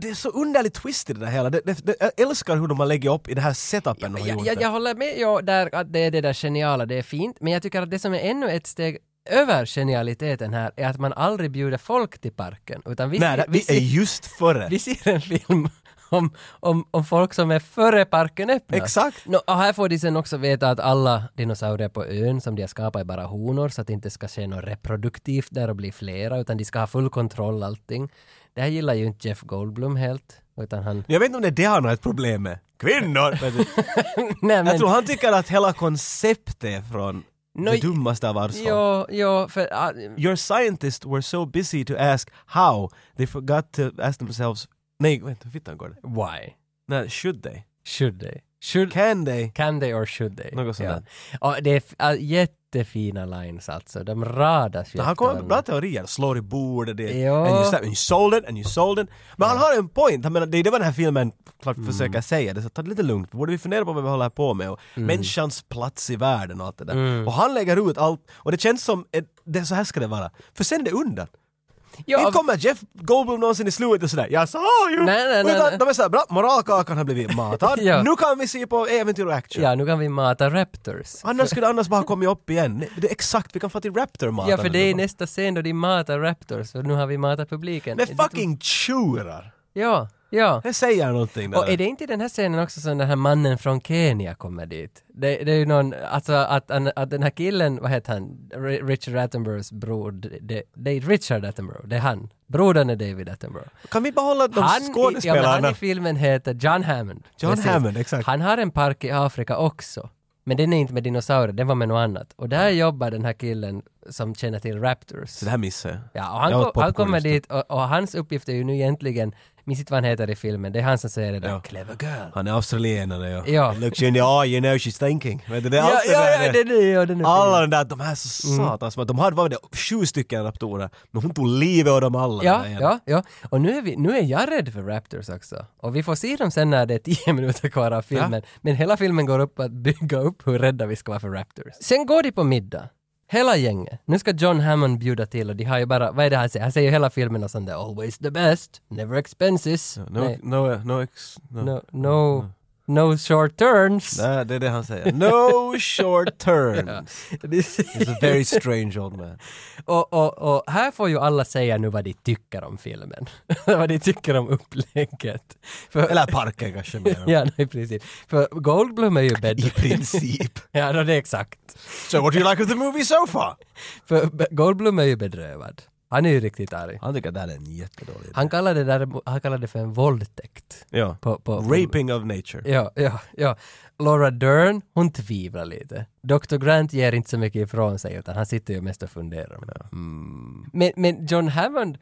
S1: det är så underligt twist i det där hela. Det, det, det, jag älskar hur de har lagt upp i det här setupen de har gjort.
S2: jag, jag,
S1: det.
S2: jag håller med ja, där, att det är det där geniala, det är fint, men jag tycker att det som är ännu ett steg över genialiteten här är att man aldrig bjuder folk till parken, utan vi,
S1: Nej,
S2: ser,
S1: det,
S2: vi,
S1: vi är
S2: ser,
S1: just före.
S2: vi ser en film om, om, om folk som är före parken öppnas.
S1: Exakt.
S2: Nå, och här får de sen också veta att alla dinosaurier på ön som de har skapat är bara honor så att det inte ska ske något reproduktivt där och bli flera utan de ska ha full kontroll allting. Det här gillar ju inte Jeff Goldblum helt utan han... (laughs)
S1: Jag vet inte om det är det han har ett problem med. Kvinnor! Vet du.
S2: Nej, men...
S1: Jag tror han tycker att hela konceptet är från
S2: Nå,
S1: det dummaste av arvsfall.
S2: Ja, ja, för... ah,
S1: Your scientists were so busy to ask how they forgot to ask themselves Nej, vänta, hur fittan går det?
S2: Why?
S1: Nej, should they?
S2: Should they? Should,
S1: Can they?
S2: can they or should they?
S1: Något sånt
S2: ja. Och det är f- ah, jättefina lines alltså. De radas ju
S1: Han
S2: efter
S1: kommer med bra
S2: varandra.
S1: teorier. Slår i bordet, det är...
S2: Ja.
S1: And you, sa- and you sold it, and you sold it. Men han har en point. Han menar, det är det vad den här filmen klart
S2: Mm.
S1: försöker säga. Det är så, ta det lite lugnt. Borde vi fundera på vad vi håller på med? Och
S2: Mm.
S1: människans plats i världen och allt det där. Och han lägger ut allt. Och det känns som, ett, det, så här ska det vara. För sen är det undan.
S2: Ja,
S1: Inte kommer Jeff Goldblum någonsin i slutet och sådär “Jag sa ju!”
S2: Nej, nej, nej,
S1: Utan
S2: nej.
S1: de är såhär “Bra, moralkakan har blivit matad.
S2: (laughs) Ja.
S1: Nu kan vi se på äventyr och action.”
S2: ja, nu kan vi mata Raptors.
S1: Annars skulle det annars bara kommit upp igen. Nej, Det är exakt, vi kan få till Raptor-matarna.
S2: Ja, för det är nästa scen då de matar Raptors, för nu har vi matat publiken.
S1: Med fucking tjurar!
S2: Ja, ja.
S1: Det säger någonting där.
S2: Och är det inte i den här scenen också som den här mannen från Kenya kommer dit? Det, det är ju någon, alltså att, att, att den här killen, vad heter han, Ri- Richard Attenboroughs bror, det, det är Richard Attenborough, det är han. Brodern är David Attenborough.
S1: Kan vi behålla de
S2: han, i- Ja, men
S1: skådespelarna?
S2: han i filmen heter John Hammond.
S1: John Hammond, exakt.
S2: Han har en park i Afrika också. Men den är inte med dinosaurier, den var med något annat. Och där jobbar den här killen som känner till Raptors.
S1: Mm. Så det här missar jag.
S2: Ja, och han,
S1: Jag åt
S2: kom, han
S1: popcorn
S2: kommer
S1: just nu.
S2: dit och, och hans uppgift är ju nu egentligen, minns inte vad han heter i filmen, det är han som säger det där
S1: Ja.
S2: ”clever girl”.
S1: Han är australienare ja.
S2: Ja.
S1: Looks you in the eye, you know she's thinking. Vet du, det är
S2: Ja,
S1: allt det
S2: ja,
S1: där.
S2: ja, den är ja, den är
S1: Alla
S2: fin.
S1: de där, de här är så satans mm. De hade, vad var det, sju stycken raptorer. Men hon tog livet av dem alla.
S2: Ja,
S1: där igen.
S2: ja, ja. Och nu är, vi, nu är jag rädd för Raptors också. Och vi får se dem sen när det är tio (laughs) minuter kvar av filmen. Men hela filmen går upp att bygga upp hur rädda vi ska vara för Raptors. Sen går de på middag. Hela gänget. Nu ska John Hammond bjuda till och de har ju bara, vad är det han säger? Han säger ju hela filmen och sånt där “Always the best, never expenses”.
S1: No,
S2: Nej.
S1: no, no, ex, no.
S2: No, no, no short turns. (laughs)
S1: Nej, det är det han säger. No short turns.
S2: (laughs)
S1: He's a very strange old man.
S2: och, och, och här får ju alla säga nu vad de tycker om filmen. (laughs) vad de tycker om upplägget. För,
S1: Eller parken kanske mer.
S2: ja, nej, i princip. För Goldblum är ju
S1: I
S2: bedrövlig.
S1: princip.
S2: (laughs) ja, no, det är exakt.
S1: So what do you like of the movie so far?
S2: För B- Goldblum är ju bedrövad. Han är ju riktigt arg.
S1: Han tycker det här är en jättedålig idé.
S2: Han kallar det, där, han kallar det för en våldtäkt.
S1: Ja.
S2: På, på, på,
S1: Raping of nature.
S2: Ja, ja, ja. Laura Dern, hon tvivlar lite. Dr. Grant ger inte så mycket ifrån sig utan han sitter ju mest och funderar. Mm. Men, men John Hammond,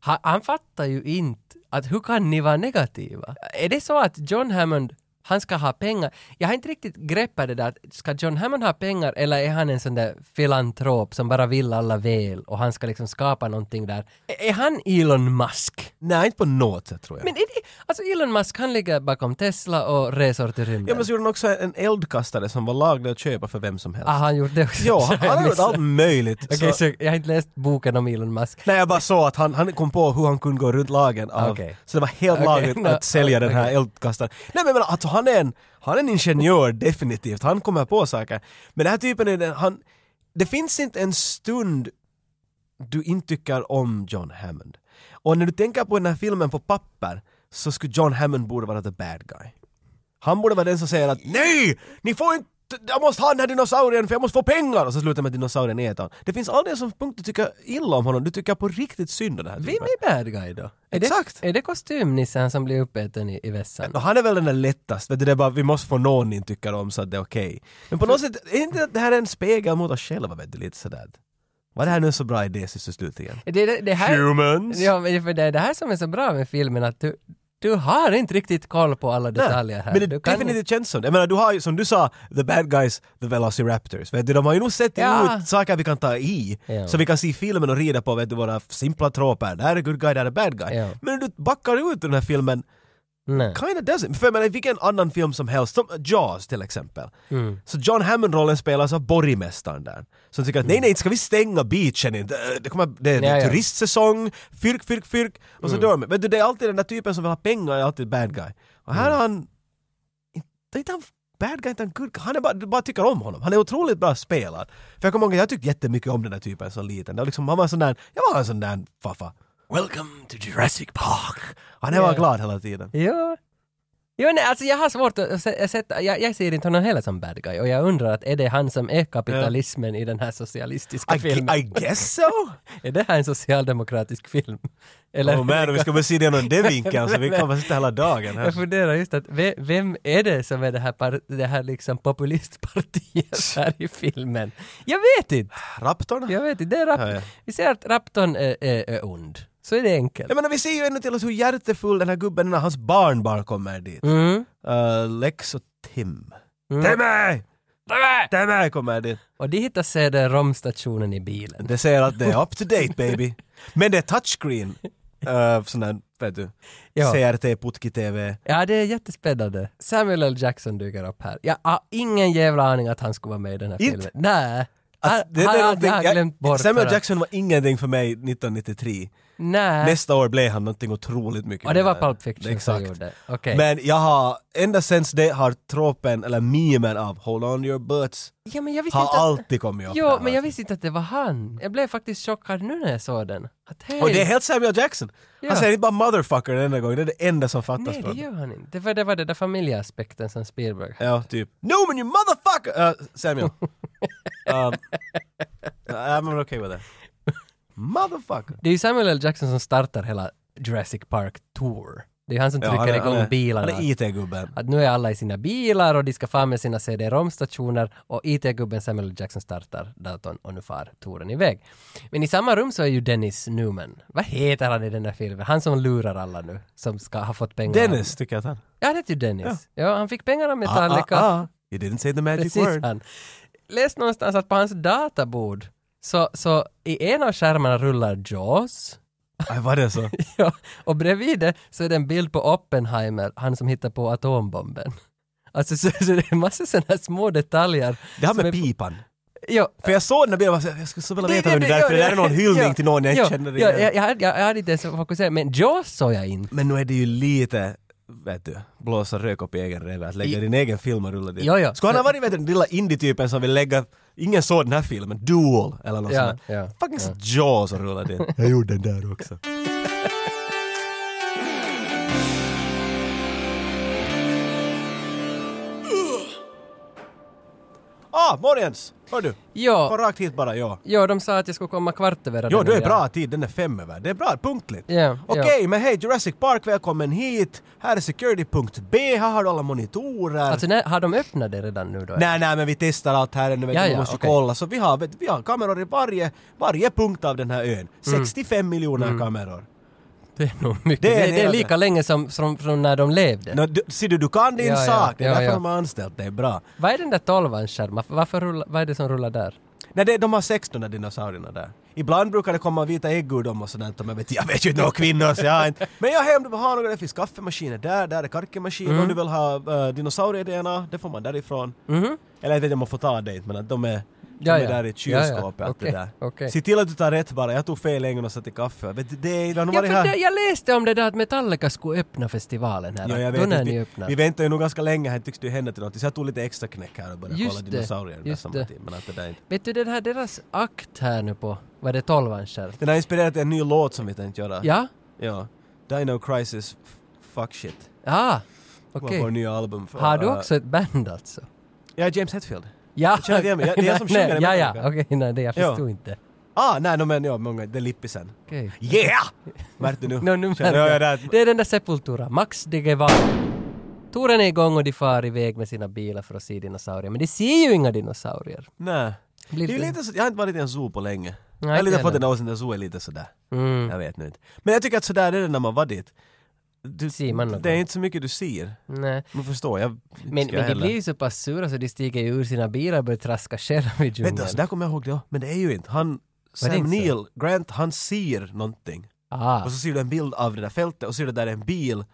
S2: han, han fattar ju inte att hur kan ni vara negativa? Är det så att John Hammond, han ska ha pengar? Jag har inte riktigt greppat det där. Ska John Hammond ha pengar eller är han en sån där filantrop som bara vill alla väl och han ska liksom skapa någonting där? Är, är han Elon Musk?
S1: Nej, inte på något sätt tror jag.
S2: Men är det, alltså Elon Musk han ligger bakom Tesla och resor till rymden.
S1: Ja men så gjorde han också en eldkastare som var laglig att köpa för vem som helst.
S2: Ah, han gjorde det
S1: (laughs)
S2: också.
S1: Ja,
S2: Så
S1: han
S2: jag
S1: har gjort
S2: missade.
S1: allt möjligt.
S2: Okej,
S1: så,
S2: så jag har inte läst boken om Elon Musk.
S1: nej, jag bara såg att han, han kom på hur han kunde gå runt lagen av,
S2: Okej.
S1: så det var helt
S2: (laughs) Okej,
S1: lagligt
S2: no,
S1: att sälja den här
S2: okej.
S1: eldkastaren. Nej men jag menar, alltså han är en, han är en ingenjör definitivt, han kommer på saker. Men den här typen är den, han, det finns inte en stund du inte tycker om John Hammond. Och när du tänker på den här filmen på papper så skulle John Hammond borde vara the bad guy. Han borde vara den som säger att NEJ! Ni får inte jag måste ha den här dinosaurien för jag måste få pengar! Och så slutar med att dinosaurien äter honom. Det finns aldrig en sån punkt du tycker illa om honom, du tycker på riktigt synd om den här
S2: Vem
S1: typen.
S2: är bad guy då? Är
S1: Exakt.
S2: Det, är det kostymnissen som blir uppäten i, i vässan?
S1: Och han är väl den där lättast, vet du, det är bara vi måste få någon ni tycker om så att det är okej. Men på något sätt, är inte det här en spegel mot oss själva vet du, lite sådär? Var det här nu en så bra idé sist och slutligen?
S2: Det, det, det här,
S1: Humans!
S2: ja, men för det är det här som är så bra med filmen att du, du har inte riktigt koll på alla
S1: Nej,
S2: detaljer här.
S1: Men det
S2: du kan
S1: definitivt känns som det. Jag menar, du har ju, som du sa, the bad guys, the velociraptors. Vet du, de har ju nog sett
S2: Ja.
S1: ut saker vi kan ta i.
S2: Ja.
S1: Så vi kan se filmen och rida på vet du, våra simpla tråpar. Det här är good guy, det här är bad guy.
S2: Ja.
S1: Men du backar ut ur den här filmen,
S2: Nej.
S1: kinda doesn't. För jag menar, vilken annan film som helst, som Jaws till exempel.
S2: Mm.
S1: Så John Hammond-rollen spelas av borgmästaren där. Som tycker att nej, nej, inte ska vi stänga beachen? Det, det, kommer, det är
S2: Ja, ja.
S1: turistsäsong, fyrk, fyrk, fyrk. Och så dör de. Men du, det är alltid den där typen som vill ha pengar, är alltid bad guy. Och här har han... Det är inte han bad guy, inte han good guy. Han är bara, du bara tycker om honom. Han är otroligt bra spelad. För jag kommer ihåg att jag tyckte jättemycket om den där typen som liten. Det var liksom, han var en sån där, jag var en sån där faffa. Welcome to Jurassic Park! Han är
S2: Ja.
S1: bara glad hela tiden.
S2: Ja. Jo, nej, alltså jag har svårt att se- att sätta, jag, jag ser inte honom heller som bad guy och jag undrar att är det han som är kapitalismen i den här socialistiska
S1: I,
S2: filmen?
S1: gue- I guess so!
S2: Är det här en socialdemokratisk film? (laughs) Eller,
S1: Åh man, om vi ska börja se det genom den vinkeln så vi kommer sitta hela dagen här.
S2: Jag funderar just att ve- vem är det som är det här, par, det här
S1: (laughs)
S2: liksom populistpartiet här i filmen? Jag vet inte!
S1: Raptorn?
S2: Jag vet inte, det är rap-
S1: Ja, ja.
S2: Vi ser att Raptorn är, är, är ond. Så är det enkelt.
S1: Jag menar vi ser ju ännu till oss hur hjärtefull den här gubben är när hans barnbarn kommer dit.
S2: Mm.
S1: Eh, Lex och Tim.
S2: Mm.
S1: Timmy! Timmy kommer dit.
S2: Och de hittar CD-ROM-stationen i bilen.
S1: Det säger att det är up to
S2: (laughs)
S1: date baby. Men det är touchscreen. Uh, sån där, vet du,
S2: Ja.
S1: CRT, putki-tv.
S2: Ja, det är jättespännande. Samuel L. Jackson dyker upp här. Jag har ingen jävla aning att han skulle vara med i den här
S1: Inte?
S2: filmen. Nej. Han,
S1: Alltså, det- det är
S2: han,
S1: någonting-
S2: jag har
S1: jag-
S2: glömt bort.
S1: Samuel
S2: för att-
S1: Jackson var ingenting för mig 1993.
S2: Nej.
S1: Nästa år blev han någonting otroligt mycket.
S2: Och det var
S1: mer.
S2: Pulp Fiction
S1: Exakt.
S2: som gjorde. Okej.
S1: Men jag har, ända sen det har tropen, eller memen av “Hold on your butts”
S2: Ja, men jag visste
S1: har
S2: inte att-
S1: alltid kommit upp. alltså.
S2: Jo,
S1: där.
S2: men jag visste inte att det var han. Jag blev faktiskt chockad nu när jag såg den. Att hej!
S1: Och det är helt Samuel Jackson.
S2: Ja.
S1: Han säger inte bara “motherfucker” den enda gången, det är det enda som fattas
S2: Nej,
S1: från
S2: det gör han inte. Det var, det var den där familjeaspekten som Spielberg hade.
S1: Ja, typ. No, men you motherfucker! Uh,
S2: (laughs)
S1: Samuel. um, I'm not okay with that. Motherfucker.
S2: Det är ju Samuel L. Jackson som startar hela Jurassic Park Tour. Det är ju han som trycker
S1: han är-
S2: igång
S1: han är-
S2: bilarna.
S1: Han är IT-gubben.
S2: att nu är alla i sina bilar och de ska fara med sina CD-ROM-stationer och IT-gubben Samuel L. Jackson startar datorn och nu far touren iväg. Men i samma rum så är ju Dennis Newman. Vad heter han i den där filmen? Han som lurar alla nu, som ska ha fått pengar.
S1: Dennis tycker jag att han...
S2: Ja, han heter ju Dennis. Ja, han fick pengar av
S1: Ah,
S2: Metallica.
S1: ah, ah. You didn't say the magic
S2: Precis
S1: word.
S2: han. Läs någonstans att på hans databord så, så i en av skärmarna rullar Jaws. (laughs)
S1: Aj, var det så?
S2: Ja, och bredvid det så är det en bild på Oppenheimer, han som hittar på atombomben. Alltså så, så det är massor sådana här små detaljer.
S1: Det här
S2: som är-
S1: med pipan.
S2: Ja.
S1: För jag såg den där bilden och bara, jag skulle så vilja veta vem det där är, för det där är någon hyllning till någon jag
S2: ja,
S1: inte känner
S2: ja,
S1: igen.
S2: jag, jag, hade- jag, jag hade inte ens fokuserat, men Jaws såg jag inte.
S1: Men nu är det ju lite, vet du, blåsa rök upp i egen röv, att lägga din egen film och rulla dit.
S2: Ja, ja.
S1: Skulle han ha varit vet du, den lilla indie-typen som vill lägga, ingen såg den här filmen, Duel eller något
S2: Ja,
S1: sånt där.
S2: ja,
S1: Fucking ja. Jaws och rulla dit. jag gjorde den där också. Ah, morgens! Hör du? Kom
S2: Ja,
S1: rakt hit bara, ja.
S2: ja, de sa att jag skulle komma kvart över.
S1: Jo,
S2: den
S1: du är
S2: och jag-
S1: bra tid, den är fem över. Det är bra, punktligt.
S2: Ja,
S1: Okej,
S2: ja.
S1: men hej Jurassic Park, välkommen hit. Här är security.b, här har du alla monitorer.
S2: Alltså när, har de öppnat det redan nu då?
S1: nej, nej, men vi testar allt här ännu, vet
S2: Ja,
S1: du, vi
S2: ja,
S1: måste
S2: okej.
S1: kolla. Så vi har, vet, vi har kameror i varje, varje punkt av den här
S2: Mm.
S1: ön. 65 miljoner kameror.
S2: Det är nog mycket.
S1: Det
S2: Det
S1: är
S2: är,
S1: en
S2: det är
S1: hel-
S2: lika länge som, som från när de levde.
S1: Nå, du, ser du, du kan din
S2: Ja, ja,
S1: sak, det är
S2: ja,
S1: därför
S2: ja.
S1: de har anställt dig bra.
S2: Vad är den där tolvans skärm? Varför rullar, vad är det som rullar där?
S1: Nej, det, de har 16 av dinosaurierna där. Ibland brukar det komma vita ägg ur dem och sådär. Men vet, jag vet ju inte några kvinnor så jag har inte... Men jag hej, om du vill ha några, det finns kaffemaskiner där, där är karkemaskiner.
S2: Mm.
S1: Om du vill ha uh, dinosaurier-DNA, det får man därifrån. Eller jag vet inte om man får ta det men att de är... De
S2: Mm-hmm. Ja,
S1: är
S2: ja.
S1: där i
S2: Ja, ja.
S1: kylskåpet. Allt det
S2: Okej,
S1: där.
S2: okej.
S1: Se till att du tar rätt bara. Jag tog fel äggen och satte i kaffe. Vet du, det är... De har
S2: Ja,
S1: varit
S2: för
S1: här...
S2: det, jag läste om det där att Metallica skulle öppna festivalen här.
S1: Ja, jag
S2: Då
S1: vet
S2: när
S1: inte.
S2: ni
S1: Vi,
S2: öppnar.
S1: vi väntade ju nog ganska länge här, tycks det ju hända till något. Så jag tog lite extra knäck här och började
S2: Just
S1: kolla
S2: det,
S1: dinosaurier där
S2: just
S1: samma
S2: det.
S1: tid. Men att det där är inte...
S2: Vet du den här deras akt här nu på, vad är det tolvans skärm?
S1: Den har inspirerat en ny låt som vi tänkte göra.
S2: Ja?
S1: Ja. Dino Crisis f- Fuck Shit.
S2: Ja,
S1: Okay.
S2: okej.
S1: Vår nya album. För,
S2: Har du
S1: eh,
S2: också ett band alltså?
S1: ja, James Hetfield.
S2: Ja,
S1: känner igen mig. Jag- det är jag som
S2: nej,
S1: sjunger i
S2: Ja, ja,
S1: Metallica.
S2: okej, nej, det jag
S1: Ja.
S2: förstod inte.
S1: Ah, nej, no, men ja, många, det är Lippisen.
S2: Okej.
S1: Yeah! Märkte
S2: (laughs)
S1: du nu?
S2: Nå, nu
S1: Känner
S2: märker
S1: jag
S2: jag.
S1: det?
S2: Det är den där Sepultura, Max de Guevara. Touren är igång och de far iväg med sina bilar för att se dinosaurier, men de ser ju inga dinosaurier.
S1: Nej. Det
S2: Blir
S1: är ju
S2: det-
S1: lite så, jag har inte varit i en zoo på länge. jag har
S2: inte
S1: lite fått
S2: heller.
S1: den åsen, att zoo är lite sådär.
S2: Mm.
S1: Jag vet nu inte. Men jag tycker att sådär är det när man var dit. Du,
S2: Ser man något?
S1: det är inte så mycket du ser.
S2: Nej.
S1: Man förstår, jag...
S2: Men,
S1: ska jag
S2: men de
S1: heller-
S2: blir ju så pass sura så de stiger ju ur sina bilar och börjar traska själva i
S1: Vet
S2: djungeln.
S1: du, så där kommer jag ihåg det, ja. men det är ju inte. Han,
S2: Var det
S1: Sam
S2: inte så?
S1: Neill, Grant, han ser någonting.
S2: Ah.
S1: Och så ser du en bild av det där fältet och ser du där är en bil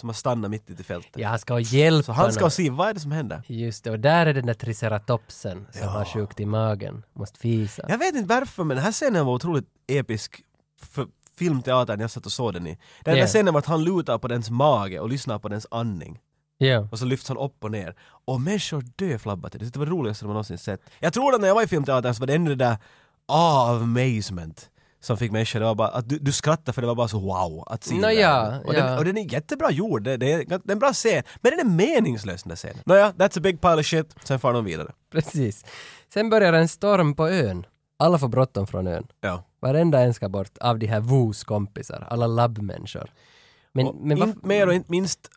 S1: som har stannat mitt ute i fältet.
S2: Ja, han ska ha hjälp.
S1: Så han ska se, vad är det som händer?
S2: Just det, och där är den där triceratopsen som
S1: Ja.
S2: har sjukt i magen. Måste fisa.
S1: Jag vet inte varför men den här scenen var otroligt episk för filmteatern jag satt och såg den i. Den där
S2: Ja.
S1: scenen var att han lutar på dens mage och lyssnar på dens andning.
S2: Ja.
S1: Och så lyfts han upp och ner. Och människor dö flabbat. Det var det roligaste man någonsin sett. Jag tror att när jag var i filmteatern så var det ändå det där ah, amazement som fick människor, det var bara, att du, du skrattade för det var bara så wow att se
S2: Nå
S1: det.
S2: ja,
S1: och,
S2: ja.
S1: Den, och den är jättebra gjord, det, det, är, det är en bra scen. Men den är meningslös den där scenen. Nåja, that's a big pile of shit, sen far de vidare.
S2: Precis. Sen börjar en storm på ön. Alla får bråttom från ön.
S1: Ja.
S2: Varenda en ska bort av de här Woos kompisar, alla labbmänniskor. Men,
S1: Och
S2: men varför...
S1: inte mer och inte minst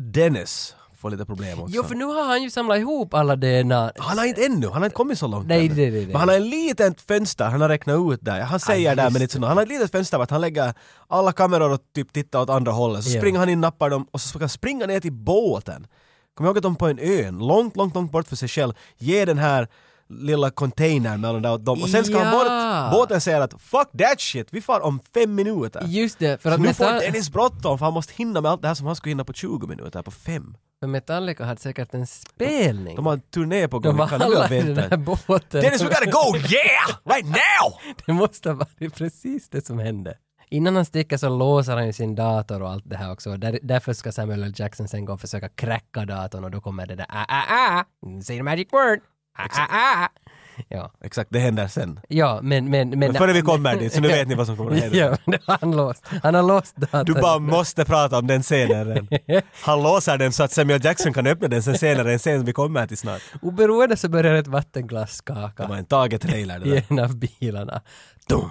S1: Dennis får lite problem också.
S2: Jo, för nu har han ju samlat ihop alla DNA.
S1: Han har inte ännu, han har inte kommit så långt
S2: Nej,
S1: ännu.
S2: det- det- det-
S1: Men han har en litet fönster, han har räknat ut där. Han säger där men inte så noga. Han har ett litet fönster vart han lägger alla kameror och typ tittar åt andra hållet. Så
S2: Ja.
S1: springer han in, nappar dem och så ska han springa ner till båten. Kom ihåg att de på en ö, långt, långt, långt bort för sig själv, ger den här lilla containern mellan där åt dem. Och sen ska han
S2: Ja.
S1: bort. Båten säger att “fuck that shit, vi far om fem minuter”.
S2: Just det, för
S1: Så
S2: att
S1: nu får
S2: Metal...
S1: Dennis bråttom för han måste hinna med allt det här som han skulle hinna på 20 minuter, på fem.
S2: för Metallica hade säkert en spelning.
S1: De har en turné på gång,
S2: De
S1: vi
S2: var
S1: kan du
S2: alla i den
S1: vänta.
S2: här båten.
S1: Dennis, we gotta
S2: (laughs)
S1: go! Yeah! Right now!
S2: Det måste ha varit precis det som hände. Innan han sticker så låser han ju sin dator och allt det här också. Där, därför ska Samuel L. Jackson sen gå och försöka kräcka datorn och då kommer det där ah, ah, ah, say the magic word, ah, ah, ah. Ja,
S1: Exakt, det händer sen.
S2: ja men, men, men...
S1: Men före vi kommer dit, så nu vet ni vad som kommer att hända.
S2: Ja, men det har han låst. Han har låst datorn.
S1: Du bara måste prata om den scenen
S2: (laughs)
S1: redan. Han låser den så att Samuel Jackson kan öppna den sen senare, en scen vi kommer till snart.
S2: Oberoende så börjar ett vattenglas
S1: Det var
S2: skaka
S1: en taget trailer det
S2: i
S1: där.
S2: en av bilarna. Dum.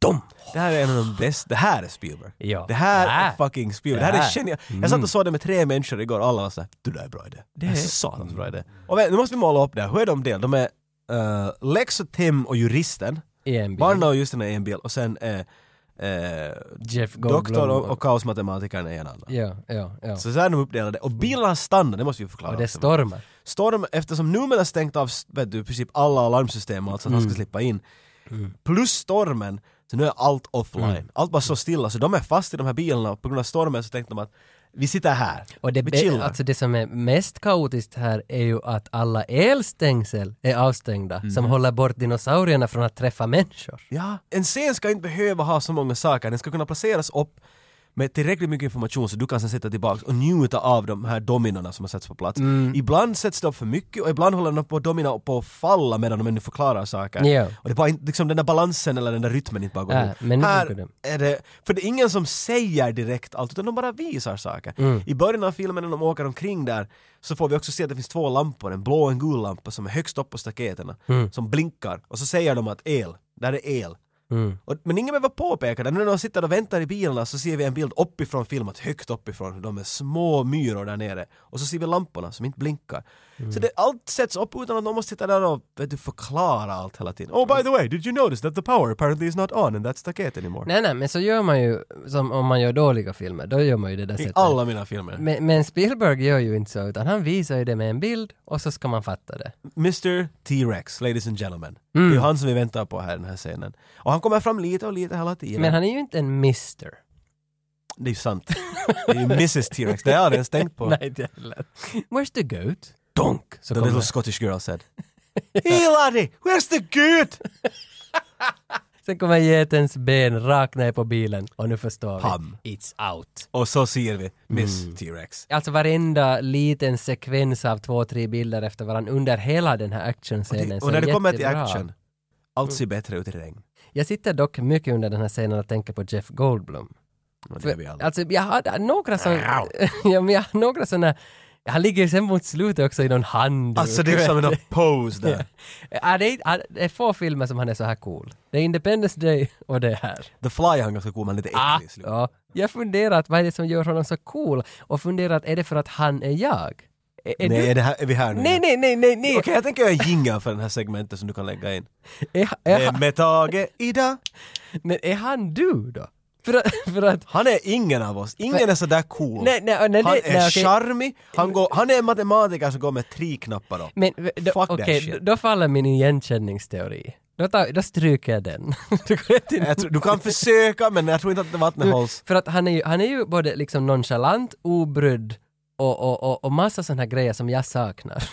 S2: dem.
S1: Det här är en av de bästa. Det här är Spielberg.
S2: Ja.
S1: Det här
S2: Det
S1: är
S2: här.
S1: fucking Spielberg. Det här
S2: Det
S1: är
S2: här. Mm.
S1: genialt. Jag satt och såg det med tre människor igår alla var såhär, du där är bra idé. Det är
S2: är-
S1: satans bra idé. Och vä- nu måste vi måla upp det här. Hur är de del? De är uh, Lex och Tim och juristen.
S2: I en bil.
S1: Barna och juristen är i en bil och sen är eh,
S2: Jeff Goldblum.
S1: doktor och, och kaosmatematikern är i en annan.
S2: Ja, ja, ja.
S1: Så så här är de uppdelade. Och bilarna stannar, det måste vi förklara.
S2: och det
S1: också.
S2: stormar.
S1: Storm, eftersom Newman har stängt av vet du, i princip alla alarmsystem och allt så att han ska slippa in. Plus stormen, så nu är allt offline. Allt bara står stilla, så de är fast i de här bilarna och på grund av stormen så tänkte de att vi sitter här,
S2: Och det,
S1: vi
S2: be-
S1: chillar.
S2: alltså det som är mest kaotiskt här är ju att alla elstängsel är avstängda
S1: Mm.
S2: som håller bort dinosaurierna från att träffa människor.
S1: Ja, en scen ska inte behöva ha så många saker, den ska kunna placeras upp med tillräckligt mycket information så du kan sen sitta tillbaka och njuta av de här dominorna som har satts på plats. Ibland sätts det upp för mycket och ibland håller de på domina på att falla medan de ännu förklarar saker.
S2: Ja.
S1: Och det är bara inte, liksom den där balansen eller den där rytmen inte bara går
S2: Ja,
S1: ihop.
S2: men nu funkar
S1: Här
S2: det.
S1: är det, för det är ingen som säger direkt allt utan de bara visar saker.
S2: Mm.
S1: I början av filmen när de åker omkring där så får vi också se att det finns två lampor, en blå och en gul lampa som är högst upp på staketerna
S2: Mm.
S1: som blinkar och så säger de att el, där är el. Och, men ingen behöver påpeka det. Nu när de sitter och väntar i bilarna så ser vi en bild uppifrån filmat, högt uppifrån, hur de är små myror där nere. Och så ser vi lamporna som inte blinkar.
S2: Mm.
S1: Så det, allt sätts upp utan att någon måste sitta där och vet du, förklara allt hela tiden. Oh by the way, did you notice that the power apparently is not on in that stacket anymore?
S2: Nej, nej, men så gör man ju, som om man gör dåliga filmer, då gör man ju det där
S1: I
S2: sättet.
S1: alla mina filmer.
S2: Men, men Spielberg gör ju inte så, utan han visar ju det med en bild och så ska man fatta det.
S1: Mr T-Rex, ladies and gentlemen.
S2: Mm.
S1: Det är ju han som vi väntar på här i den här scenen. Och han kommer fram lite och lite hela tiden.
S2: Men han är ju inte en mister.
S1: Det är ju sant. det är ju Mrs T-Rex, det har jag aldrig ens tänkt på.
S2: (laughs) Nej, inte heller. Where's the goat? Donk!
S1: The
S2: Så kommer
S1: little
S2: han.
S1: Scottish girl said. (laughs) Hey laddie, where's the goat?
S2: Sen kommer getens ben rakt ner på bilen och nu förstår
S1: Pam.
S2: vi. It's out.
S1: Och så ser vi Miss T-Rex.
S2: Alltså varenda liten sekvens av två, tre bilder efter varandra under hela den här actionscenen.
S1: Och
S2: så
S1: när
S2: är
S1: det kommer till
S2: jättebra.
S1: action, allt ser bättre ut i regn.
S2: Jag sitter dock mycket under den här scenen och tänker på Jeff Goldblum.
S1: Och det är vi
S2: För,
S1: alla.
S2: alltså jag hade några sådana...
S1: Wow.
S2: (laughs) ja, men jag hade några sådana... Han ligger ju sen mot slutet också i någon handduk.
S1: Alltså det är
S2: (laughs)
S1: som en pose där.
S2: Ja, det, är, ja, det är få filmer som han är så här cool. Det är Independence Day och det här.
S1: The Fly han ganska cool men lite
S2: Ah,
S1: äcklig liksom. i slutet.
S2: ja. Jag funderat, vad är det som gör honom så cool? Och funderat, är det för att han är jag? Är, är
S1: Nej,
S2: du...
S1: är, det här, är vi här nu?
S2: nej, nej, nej, nej, nej.
S1: Okej, jag tänker göra en jingle för den här segmentet som du kan lägga in.
S2: Är, är,
S1: Vem är Tage idag?
S2: Men är han du då? För att... För att
S1: Han är ingen av oss. Ingen är sådär cool.
S2: nej, nej, nej,
S1: han
S2: nej,
S1: är
S2: nej, okej.
S1: charmig, han, går, han är en matematiker som går med tre knappar upp.
S2: Men v- då,
S1: Fuck that
S2: okej,
S1: shit.
S2: då- då faller min igenkänningsteori. Då, tar, då stryker jag den. (laughs) Du går inte in-
S1: Jag tror, du kan försöka men jag tror inte att vattnet hålls.
S2: för att han är ju, han är ju både liksom nonchalant, obrydd och, och, och, och massa sådana här grejer som jag saknar.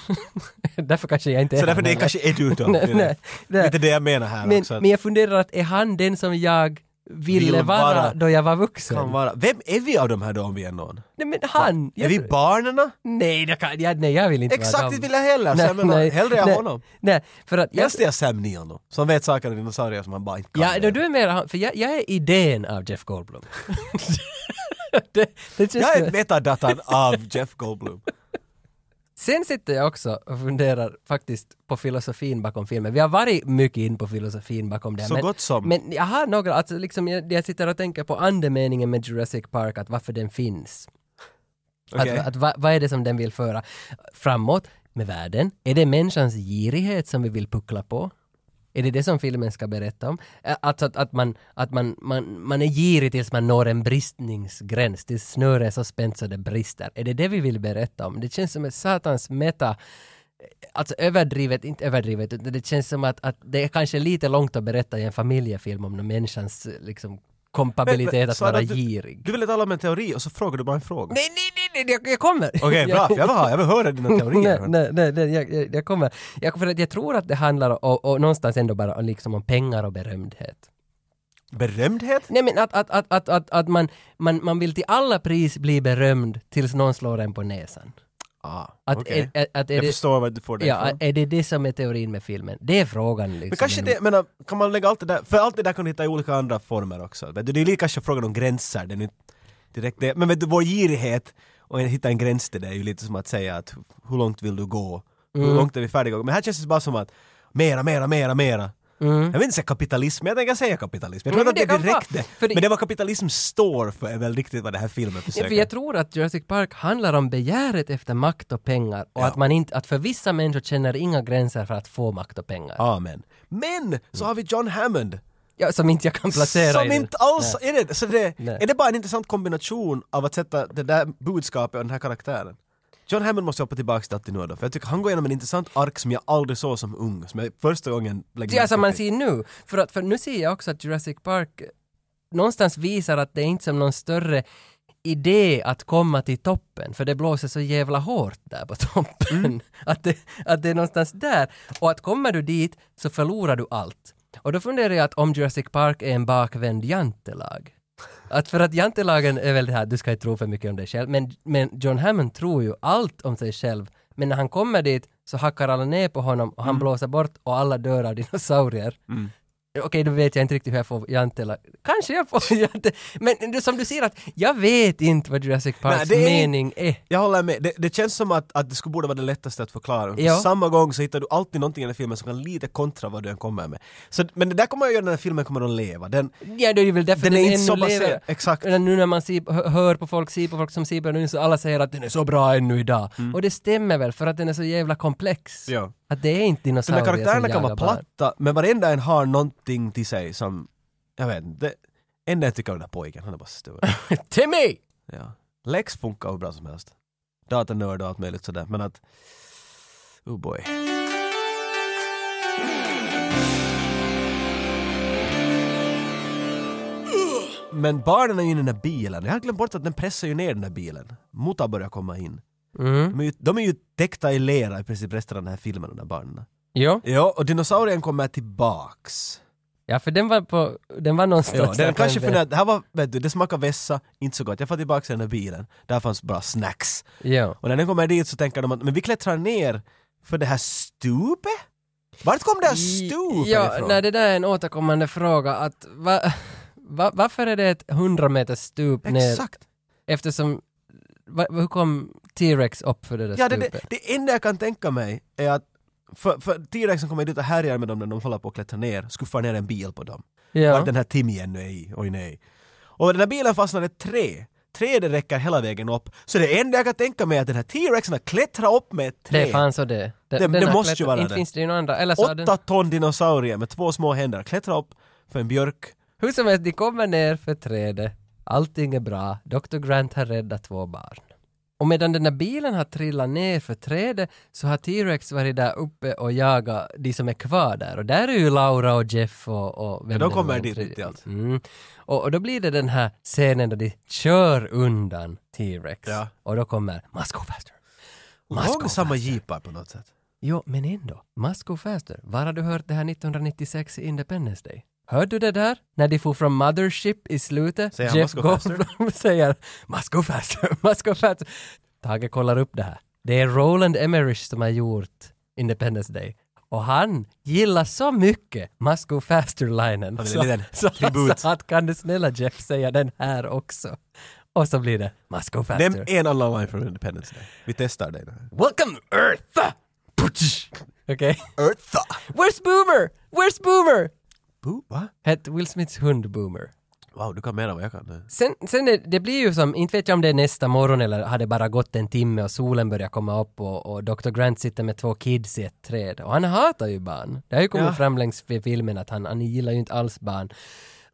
S2: (laughs) därför kanske jag inte är
S1: Så därför
S2: han
S1: det
S2: heller.
S1: kanske är du då.
S2: Nej, nej, nej.
S1: Lite det jag menar här
S2: men,
S1: också. att-
S2: men jag funderar att är han den som jag ville
S1: Vill
S2: vara,
S1: vara.
S2: då jag var vuxen?
S1: kan vara. Vem är vi av de här då om vi är någon?
S2: Nej men han!
S1: är
S2: Jag,
S1: vi barnen?
S2: nej, det kan, jag, nej, jag vill inte vara
S1: Exakt
S2: dem.
S1: det vill jag heller. Så jag menar, hellre jag
S2: nej,
S1: honom.
S2: Nej, för att... Jag,
S1: Helst är jag Sam Neill då, som vet saker om dinosaurier som han bara inte kan.
S2: ja, då, du är mer han, för jag, jag är idén av Jeff Goldblum. (laughs) det, det känns
S1: jag är
S2: som-
S1: metadatan av Jeff
S2: (laughs)
S1: Goldblum.
S2: Sen sitter jag också och funderar faktiskt på filosofin bakom filmen. Vi har varit mycket in på filosofin bakom det. här,
S1: Så gott som.
S2: Men jag har några, alltså liksom, jag, jag sitter och tänker på andemeningen med Jurassic Park, att varför den finns.
S1: Okej.
S2: Att, att va, vad är det som den vill föra framåt med världen? Är det människans girighet som vi vill puckla på? Är det det som filmen ska berätta om? Ä- Alltså att, att, man, att man, man, man är girig tills man når en bristningsgräns, tills snöret är så spänt så det brister. Är det det vi vill berätta om? Det känns som ett satans meta, alltså överdrivet, inte överdrivet, utan det känns som att, att det är kanske lite långt att berätta i en familjefilm om den människans liksom, kompabilitet (laughs)
S1: Men- men,
S2: att
S1: Sara,
S2: vara
S1: du-
S2: girig.
S1: Du ville tala om en teori och så frågar du bara en fråga.
S2: Nej, nej, nej, nej, jag, jag kommer!
S1: Okej,
S2: (laughs)
S1: bra.
S2: Jag-
S1: Jag vill, ha, jag vill höra dina teorier.
S2: Nej, nej, nej, nej jag, jag, jag kommer. Jag, för att jag tror att det handlar om, och någonstans ändå bara om liksom om pengar och berömdhet.
S1: Berömdhet?
S2: Nej men att, att, att, att, att, att man, man, man vill till alla pris bli berömd tills någon slår en på näsan.
S1: Ah,
S2: Att,
S1: okej.
S2: är, är, att är,
S1: Jag
S2: det,
S1: förstår vad du får det
S2: ja,
S1: ifrån.
S2: är det det som är teorin med filmen? Det är frågan liksom.
S1: Men kanske det, menar, kan man lägga allt det där, för allt det där kan du hitta i olika andra former också. Vet du, Det är lika kanske frågan om gränser, den är inte direkt det. Men vet du, vår girighet och att hitta en gräns till det är ju lite som att säga att
S2: Mm.
S1: hur långt vill du gå? Hur långt är vi färdiga? Men här känns det bara som att mera, mera, mera, mera. Jag vill inte säga kapitalism, men jag tänker säga kapitalism. Jag
S2: Mm. Men
S1: tror inte
S2: det
S1: att det
S2: kan vara-
S1: direkt det.
S2: för det-
S1: Men det var kapitalism står för är väl riktigt vad den här filmen
S2: Ja,
S1: försöker.
S2: för jag tror att Jurassic Park handlar om begäret efter makt och pengar och att, man inte, att för vissa människor känner inga gränser för att få makt och pengar.
S1: Amen. Men så har vi John Hammond.
S2: Ja, som inte jag kan placera i
S1: Som
S2: den.
S1: inte alls är det. Så det
S2: Nej.
S1: är det bara en intressant kombination av att sätta det där budskapet och den här karaktären? John Hammond måste jag hoppa tillbaka till nu då, för jag tycker han går igenom en intressant ark som jag aldrig såg som ung, som jag första gången lägger
S2: Ja,
S1: märke
S2: som man
S1: till.
S2: ser nu. För, att, för nu ser jag också att Jurassic Park någonstans visar att det är inte som någon större idé att komma till toppen, för det blåser så jävla hårt där på toppen. (laughs) Att, det, att det är någonstans där. Och att kommer du dit så förlorar du allt. Och då funderar jag att om Jurassic Park är en bakvänd jantelag. Att för att jantelagen är väl det här, du ska inte tro för mycket om dig själv, men, men John Hammond tror ju allt om sig själv. Men när han kommer dit så hackar alla ner på honom och han
S1: Mm.
S2: blåser bort och alla dör av dinosaurier. Okej, då vet jag inte riktigt hur jag får jantela. Kanske jag får (laughs) jante... Men det- som du ser att jag vet inte vad Jurassic Parks
S1: det är-
S2: mening är.
S1: Jag håller med, det, det känns som att, att det skulle borde vara det lättaste att förklara. För
S2: Ja.
S1: Samma gång så hittar du alltid någonting i den här filmen som kan lite kontra vad du än kommer med. Så, men det där kommer jag göra när den här filmen kommer att leva. Den,
S2: Ja, det är ju väl därför
S1: Den är inte
S2: ännu
S1: så baserad,
S2: lever.
S1: exakt.
S2: Men Nu när man ser, hö- hör på folk, ser på folk som ser på den nu så alla säger att den är så bra ännu idag. Och det stämmer väl för att den är så jävla komplex.
S1: Mm. Ja.
S2: Att det är inte
S1: de där
S2: dinosaurier
S1: karaktärerna
S2: som
S1: kan vara
S2: jagar barn.
S1: platta, men varenda en har någonting till sig som, jag vet inte. Enda jag tycker om den där pojken, han är bara stor.
S2: (laughs) Timmy!
S1: Ja. Lex funkar hur bra som helst. Datanörd och allt möjligt sådär, men att... Oh boy. Men barnen är ju i den där bilen. Jag hade glömt bort att den pressar ju ner den där bilen. Muta börjar komma in.
S2: Mm.
S1: De är ju, de är ju täckta i lera i princip resten av den här filmen, de där barnen.
S2: Jo.
S1: Ja, och dinosaurien kommer tillbaks.
S2: Ja, för den var på, den var någonstans
S1: Ja,
S2: där
S1: den
S2: på
S1: kanske
S2: en väg.
S1: funderar, det här var, vet du, det smakar vässa, inte så gott. Jag får tillbaks den där bilen. Där fanns bra snacks.
S2: Ja.
S1: Och när den kommer dit så tänker de att men vi klättrar ner för det här stupet? Vart kom det här stupet
S2: Ja,
S1: ifrån?
S2: nej, det där är en återkommande fråga att va, va, varför är det ett 100 meters stup ner?
S1: Exakt!
S2: Eftersom, va, hur kom T-Rex upp för det där
S1: Ja, det,
S2: stupet?
S1: det, det enda jag kan tänka mig är att för, för T-rexen kommer dit och härjar med dem när de håller på att klättra ner, skuffar ner en bil på dem.
S2: Ja.
S1: Vart den här timjen nu är i, oj nej. Och den här bilen fastnade tre. Tre det räcker hela vägen upp. Så det enda jag kan tänka mig är att den här T-rexen har klättrat upp med ett
S2: Det
S1: träd.
S2: är fan så det. Den,
S1: Det-
S2: den
S1: det
S2: har
S1: måste ju
S2: klättrat-
S1: vara
S2: Inte
S1: det.
S2: finns det ju någon annan. Eller så har den,
S1: Åtta ton dinosaurier med två små händer klättrar upp för en björk.
S2: hur som helst, de kommer ner för trädet. Allting är bra. Dr. Grant har räddat två barn. Och medan den där bilen har trillat ner för trädet så har T-Rex varit där uppe och jagat de som är kvar där. Och där är ju Laura och Jeff och... och vem
S1: Ja, de
S2: det
S1: kommer
S2: var, den
S1: dit
S2: tredje.
S1: mitt i allt.
S2: Mm. Och, och då blir det den här scenen där de kör undan T-Rex.
S1: Ja.
S2: Och då kommer “Must go faster”. Must go
S1: Långsamma
S2: faster."
S1: jeepar på något sätt.
S2: Jo, men ändå. Must go faster. Var har du hört det här 1996 i Independence Day? Hörde du det där? När de for från Mothership i slutet.
S1: Säger han, "Must go faster?"
S2: Goldblum (laughs) säger “Must go faster, (laughs) must go faster”. Tage kollar upp det här. Det är Roland Emmerich som har gjort Independence Day. Och han gillar så mycket “Must go faster”-linen.
S1: Ja, det är
S2: Så,
S1: en liten
S2: så han
S1: tribut.
S2: sa att “Kan du snälla Jeff säga den här också?” Och så blir det “Must go faster”.
S1: Nämn en annan line från Independence Day. Vi testar dig nu.
S2: “Welcome Earth!” Okej?
S1: Eartha!
S2: Where's Boomer? Where's Boomer?
S1: Bo, va?
S2: Hette Will Smiths hund Boomer.
S1: Wow, du kan mer än vad jag kan.
S2: Sen, sen det, det blir ju som, inte vet jag om det är nästa morgon eller hade bara gått en timme och solen börjar komma upp och, och Dr. Grant sitter med två kids i ett träd och han hatar ju barn. Det har ju kommit
S1: Ja.
S2: fram längs fi- filmen att han, han gillar ju inte alls barn.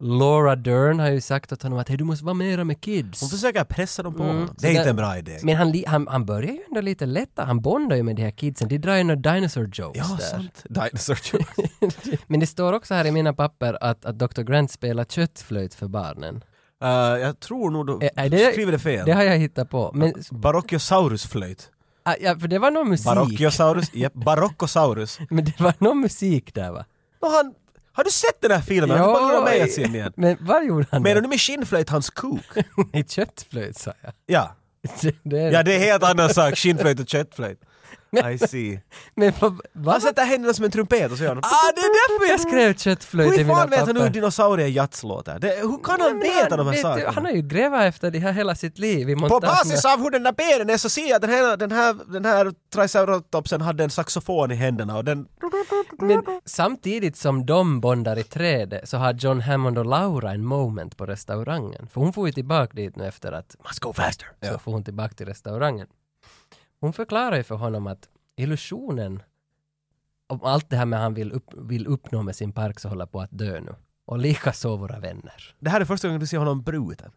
S2: Laura Dern har ju sagt åt honom att hej du måste vara mera med kids.
S1: Hon försöker pressa dem på honom.
S2: Mm. Så
S1: Det är inte
S2: där-
S1: en bra idé.
S2: Men han, li- han, han börjar ju ändå lite lätta, han bondar ju med de här kidsen, de drar ju några dinosaur jokes
S1: ja,
S2: där.
S1: sant. Dinosaur Jones.
S2: (laughs) Men det står också här i mina papper att, att Dr. Grant spelar köttflöjt för barnen.
S1: Eh, jag tror nog du,
S2: Ä- är
S1: du
S2: det-
S1: skriver det fel.
S2: Det har jag hittat på. Men,
S1: Barocchiosaurusflöjt.
S2: ah, ja, för det var någon musik.
S1: Barocchiosaurus, japp, (laughs) baroccosaurus.
S2: Men det var någon musik där va?
S1: Nå, han, har du sett den här filmen? Han bara lurar mig att se den igen.
S2: men vad gjorde han
S1: Menar
S2: då?
S1: du med skinnflöjt hans kok?
S2: (laughs) I köttflöjt sa jag. (laughs)
S1: Ja.
S2: Det, det är,
S1: Ja, det är helt annan sak. Skinnflöjt och köttflöjt. I
S2: (laughs)
S1: see.
S2: Men vad...
S1: Han
S2: vad
S1: sätter händerna som en trumpet och så gör han...
S2: ah, det är därför jag skrev köttflöjt i
S1: Hur
S2: mina
S1: fan vet
S2: papper.
S1: han hur dinosaurier jazz låter? Det- Hur kan han veta de här
S2: vet du, Han
S1: sakerna?
S2: har ju grävat efter det här hela sitt liv i
S1: På
S2: montagen.
S1: basis av hur den där benen är så ser jag att den här, den här, den här triceratopsen hade en saxofon i händerna och den...
S2: Men samtidigt som de bondar i trädet så har John Hammond och Laura en moment på restaurangen. För hon får ju tillbaka dit nu efter att “Must go faster” så får hon tillbaka till restaurangen. Hon förklarar ju för honom att illusionen om allt det här med han vill, upp, vill uppnå med sin park så håller på att dö nu. Och likaså våra vänner.
S1: Det här är första gången du ser honom bruten.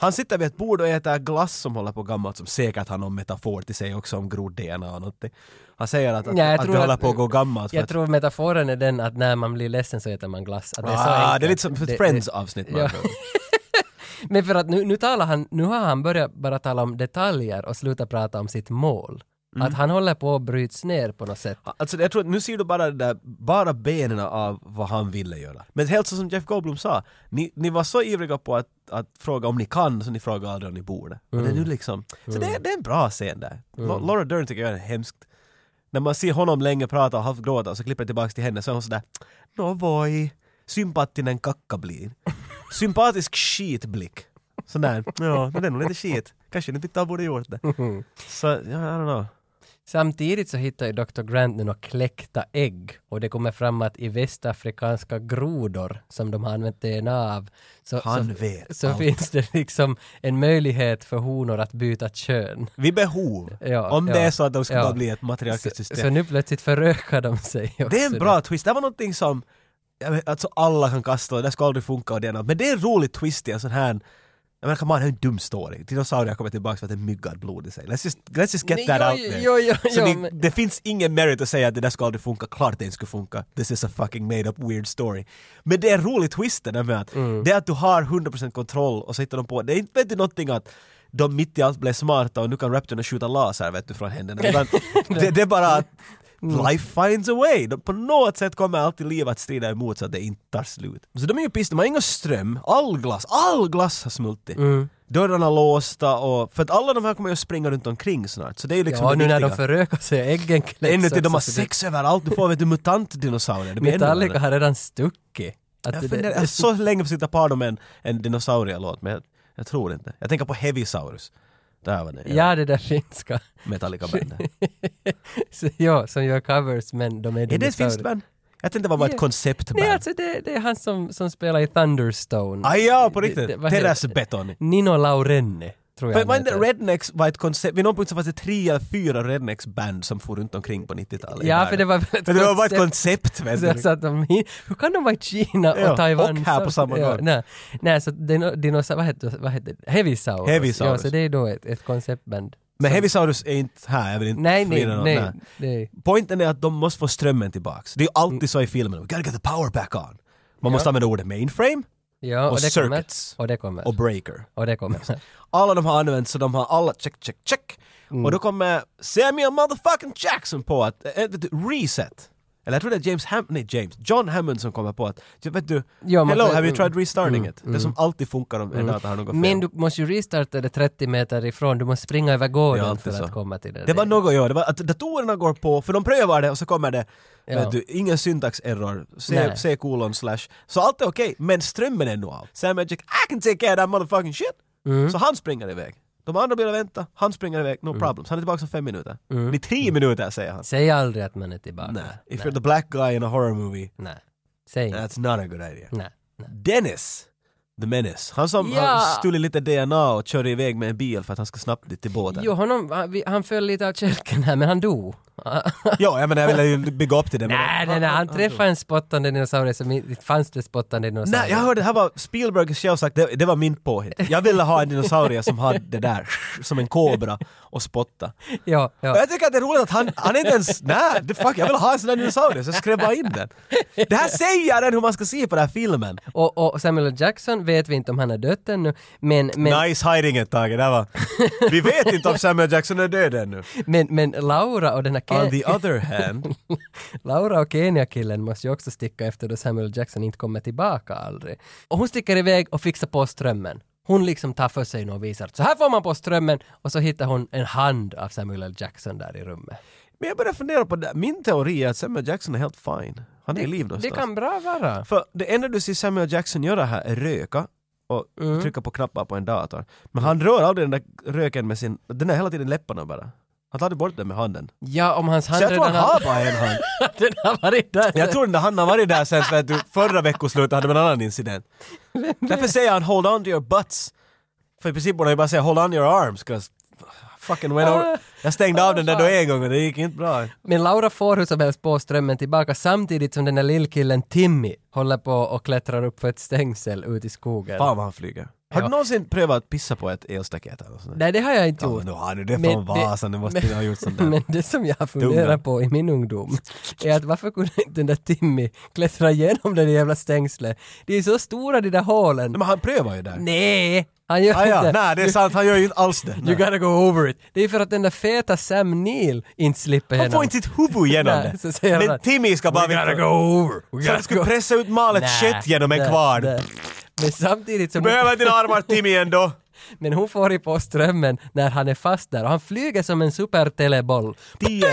S1: Han sitter vid ett bord och äter glass som håller på gammalt som säkert har någon metafor till sig också om grod-DNA och någonting. Han säger att, att,
S2: Nej, jag
S1: att
S2: tror
S1: det håller
S2: att-
S1: på att gå gammalt. för
S2: Jag
S1: att-
S2: tror metaforen är den att när man blir ledsen så äter man glass. Att det, är så
S1: ah, det är
S2: enkelt.
S1: lite som
S2: Det-
S1: ett
S2: det-
S1: Friends-avsnitt. man
S2: Ja.
S1: tror.
S2: Men för att nu, nu talar han, nu har han börjat bara tala om detaljer och sluta prata om sitt mål.
S1: Mm.
S2: Att han håller på att bryts ner på något sätt.
S1: Alltså jag tror att nu ser du bara, det där, bara benen av vad han ville göra. Men helt så som Jeff Goldblum sa, ni, ni var så ivriga på att, att fråga om ni kan så ni frågade aldrig om ni borde. Och det är nu liksom, så det, är- det är en bra scen där. Lo- Laura Dern tycker jag är hemskt. När man ser honom länge prata och halvt gråta och så klipper det tillbaks till henne så är hon sådär Novoi, sympatinen kakkablin. Sympatisk skitblick. Sån där, ja, men det är nog lite skit. Kanske ni inte borde gjort det. Så, ja, I don't know.
S2: Samtidigt så hittar ju Dr. Grant nu några kläckta ägg och det kommer fram att i västafrikanska grodor som de har använt DNA av så,
S1: Han
S2: så,
S1: vet
S2: så
S1: allt.
S2: finns det liksom en möjlighet för honor att byta kön.
S1: Vid behov.
S2: Ja,
S1: Om det
S2: ja,
S1: är så att de ska
S2: ja.
S1: bara bli alltså ett matriarkiskt
S2: Så,
S1: system.
S2: så nu plötsligt förökar de sig också.
S1: det är en bra twist. Det var någonting som jag vet, alltså alla kan kasta och det ska aldrig funka och det är något. Men det är en rolig twist i en sån här jag menar, come on, det är en dum story. Dinosaurier kommer tillbaka för att det är myggad blod i sig. Let's just, let's just get
S2: Nej,
S1: that
S2: jo,
S1: out there.
S2: jo, jo, (laughs) jo,
S1: så det,
S2: men-
S1: det finns ingen merit att säga att det där ska aldrig funka. Klart det inte skulle funka. This is a fucking made up weird story. Men det är en rolig twist det där med att
S2: Mm.
S1: det är att du har 100% kontroll och så hittar de på det. är inte vet du, någonting att de mitt i allt blev smarta och nu kan raptorna skjuta laser vet du från händerna. Utan
S2: (laughs)
S1: det, det är bara att
S2: Mm.
S1: life finds a way. De, på något sätt kommer alltid livet att strida emot så att det inte tar slut. Så de är ju pissade, de har ingen ström, all glass, all glass har smultit.
S2: Mm.
S1: Dörrarna låsta och... För att alla de här kommer ju att springa runt omkring snart. Så det är ju liksom
S2: ja,
S1: det
S2: nu när de
S1: viktiga.
S2: förökar sig, äggen kläcks
S1: Ännu till de
S2: också,
S1: har
S2: så det-
S1: sex överallt, du får vet du mutantdinosaurier. Det blir ännu
S2: Metallica
S1: värre.
S2: har redan stuckit. Att
S1: Jag
S2: det-
S1: funderar- jag har så länge försökt ta par dem en, en dinosaurielåt men jag, jag tror inte. Jag tänker på Heavisaurus. Där var det.
S2: Ja, det där finska. (laughs)
S1: Metallica-bandet.
S2: Så, ja, som gör covers men de är
S1: Är det ett
S2: dinosaurier.
S1: finskt band? Jag tänkte det var bara
S2: Ja.
S1: ett konceptband.
S2: Nej, alltså det, det är han som, som spelar i Thunderstone.
S1: Ah, ja, på
S2: Det- det-
S1: riktigt!
S2: vad heter-
S1: Terrassbeton.
S2: Nino Laurenne, tror jag
S1: Men
S2: han
S1: men
S2: heter.
S1: Rednecks var ett koncept, vid någon punkt så fanns det tre eller fyra Rednecks-band som for runt omkring på 90-talet. i
S2: Ja,
S1: världen.
S2: för det var väl ett
S1: Men det var bara ett
S2: koncept.
S1: koncept vet
S2: Så,
S1: du.
S2: så att de, hur kan de vara i Kina och
S1: Ja,
S2: Taiwan?
S1: och här på samma
S2: ja,
S1: gång.
S2: Nej, nej så dino, dinosaur, vad heter, vad heter det? Heavisaurus.
S1: Heavisaurus.
S2: Ja, så det är då ett, ett konceptband.
S1: Men
S2: Som-
S1: Heavisaurus är inte här, jag vill inte
S2: Nej, nej,
S1: förvirra någon.
S2: nej. nej.
S1: Poängen är att de måste få strömmen tillbaks. Det är ju
S2: Mm.
S1: alltid så i filmen, we gotta get the power back on. Man måste använda ordet mainframe
S2: Ja, och,
S1: Och
S2: det kommer.
S1: circuits.
S2: Och det kommer.
S1: och breaker.
S2: och det kommer.
S1: Alla de har använt så de har alla check, check, check.
S2: Mm.
S1: Och då kommer Samuel motherfucking Jackson på att, äh, vet du, reset. Eller jag tror det är James Ham, nej James, John Hammond som kommer på att, "Ja, vet du,
S2: Ja, man-
S1: hello, have
S2: mm,
S1: you tried restarting it? Det som alltid funkar om en dator har något fel.
S2: Men du måste ju restarta det 30 meter ifrån, du måste springa över
S1: Ja,
S2: gården
S1: alltid
S2: för att
S1: så.
S2: komma till det.
S1: Det var något, ja, det var att datorerna går på, för de prövar det och så kommer det,
S2: Ja.
S1: vet du, ingen syntaxerror, C,
S2: Nej.
S1: C kolon slash, så allt är okej, men strömmen är nu av. Sam Magic, I can take care of that motherfucking shit!
S2: Mm.
S1: Så han springer iväg. De andra blir och vänta, han springer iväg, no problems. Han är tillbaka om fem minuter.
S2: Mm.
S1: Det är tio minuter säger han.
S2: Säg aldrig att man är tillbaka.
S1: Nej. If you're the black guy in a horror movie,
S2: Nej. Säg inte.
S1: that's not a good idea.
S2: Nej.
S1: Dennis! The Menace. Han som
S2: Ja.
S1: har stulit lite DNA och körde iväg med en bil för att han ska snabbt dit till båten.
S2: Jo, honom, han, vi- han föll lite av kälken här, men han dog.
S1: (laughs) Ja, jag menar jag ville ju bygga upp till det. men-
S2: nej, nej, nej, han träffade en spottande dinosaurie som inte fanns det spottande dinosaurier.
S1: Nej, jag hörde, det här var Spielberg själv sagt, det, det var min påhitt. Jag ville ha en dinosaurie som hade det där, som en kobra, och spotta.
S2: Ja,
S1: Och
S2: ja.
S1: jag tycker att det är roligt att han, han är inte ens, nej, det fuck, jag vill ha en sån där dinosaurie, så jag skrev bara in den. Det här säger den hur man ska se på den här filmen.
S2: Och, och Samuel L. Jackson vet vi inte om han är dött ännu, men, men,
S1: Nice hiding ett Tage, det här var... Vi vet inte om Samuel Jackson är död ännu.
S2: men, men Laura och den här
S1: On
S2: Ke-
S1: the other hand,
S2: Laura och Kenya-killen måste ju också sticka efter då Samuel Jackson inte kommer tillbaka aldrig. Och hon sticker iväg och fixar på strömmen. Hon liksom tar för sig och visar att så här får man på strömmen och så hittar hon en hand av Samuel L. Jackson där i rummet.
S1: Men jag börjar fundera på det. Min teori är att Samuel Jackson är helt fine. Han är i liv
S2: Det
S1: någonstans.
S2: kan bra vara.
S1: För det enda du ser Samuel Jackson göra här är röka och
S2: Mm.
S1: trycka på knappar på en dator. Men han rör aldrig den där röken med sin... Den är hela tiden läpparna bara. Han tar aldrig bort den med handen.
S2: Ja, om hans hand
S1: Så jag tror
S2: redan
S1: han har bara en hand.
S2: (laughs) den har varit där.
S1: Jag tror den där handen har varit där sen för att du förra veckoslutet hade vi en annan incident. Därför säger han “Hold on to your butts”. För i princip borde han ju bara säga “Hold on to your arms” 'cause fucking went over. Jag stängde av den där då en gång och det gick inte bra.
S2: Men Laura får hur som helst på strömmen tillbaka samtidigt som den där lillkillen Timmy håller på och klättrar upp för ett stängsel ut i skogen.
S1: Fan vad han flyger. Har du
S2: Ja.
S1: någonsin prövat att pissa på ett elstaket eller något sånt där?
S2: Nej, det har jag inte
S1: Ja,
S2: gjort.
S1: men då har du det
S2: Men
S1: från
S2: det-
S1: Vasan, du måste
S2: men-
S1: ju ha gjort sånt där.
S2: (laughs) Men det som jag har
S1: Tunga.
S2: funderat på i min ungdom är att varför kunde inte den där Timmy klättra igenom det där jävla stängslet? Det är så stora de där hålen.
S1: Nej, men han prövar ju där.
S2: Nej, han gör
S1: Ah, ja,
S2: inte.
S1: nej det är sant, han gör ju inte alls det.
S2: You
S1: Nej.
S2: gotta go over it. Det är för att den där feta Sam Neill inte slipper
S1: Han får
S2: igenom.
S1: inte sitt huvud igenom
S2: Nej,
S1: det.
S2: så säger
S1: Men
S2: han,
S1: Timmy ska bara...
S2: We gotta go over. We
S1: Så
S2: gotta
S1: han skulle
S2: go-
S1: pressa ut malet
S2: Nej,
S1: kött genom en
S2: nej,
S1: kvarn.
S2: nej. Men samtidigt som...
S1: Behöver inte dina armar Timmy ändå?
S2: Men hon får i på strömmen när han är fast där och han flyger som en superteleboll.
S1: 10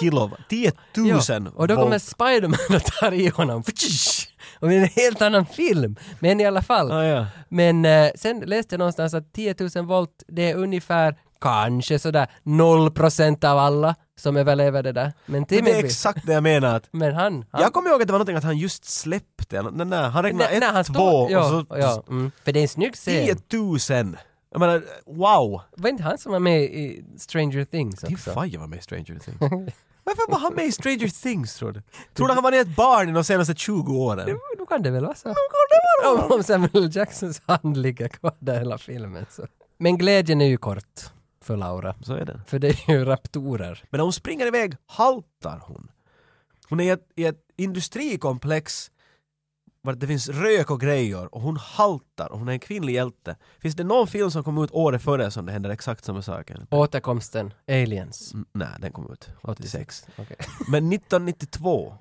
S1: kilo, 10
S2: Ja,
S1: 000
S2: Och då kommer
S1: volt.
S2: Spiderman och tar i honom. Ftsch! Och det är en helt annan film. Men i alla fall.
S1: Ah, ja.
S2: Men eh, sen läste jag någonstans att 10 000 volt, det är ungefär kanske sådär 0 procent av alla som överlever det där. Men Timmy
S1: Men det är
S2: blir-
S1: exakt det jag menar. Att
S2: Men han... han
S1: jag kommer ihåg att det var någonting att han just släppte. Nej, nej, han räknade
S2: Nej, nej, han
S1: ett,
S2: står-
S1: två
S2: ja,
S1: och så
S2: ja, mm. För det är en snygg scen.
S1: 10 000. Jag menar, wow!
S2: Var inte han som var med i Stranger Things
S1: Din
S2: också?
S1: fajer var med i Stranger Things. Varför var han med i Stranger Things tror du? Tror du han var ett barn i de senaste 20 åren?
S2: Då kan det väl vara så. Om- Om Samuel Jacksons hand ligger kvar där hela filmen så. Men glädjen är ju kort för Laura.
S1: Så är det.
S2: För det är ju raptorer.
S1: Men när hon springer iväg haltar hon. Hon är i ett, i ett industrikomplex där det finns rök och grejer och hon haltar och hon är en kvinnlig hjälte. Finns det någon film som kom ut året före som det händer exakt samma saker?
S2: Återkomsten, Aliens.
S1: Mm, Nej, den kom ut 86.
S2: Okej.
S1: Men 1992,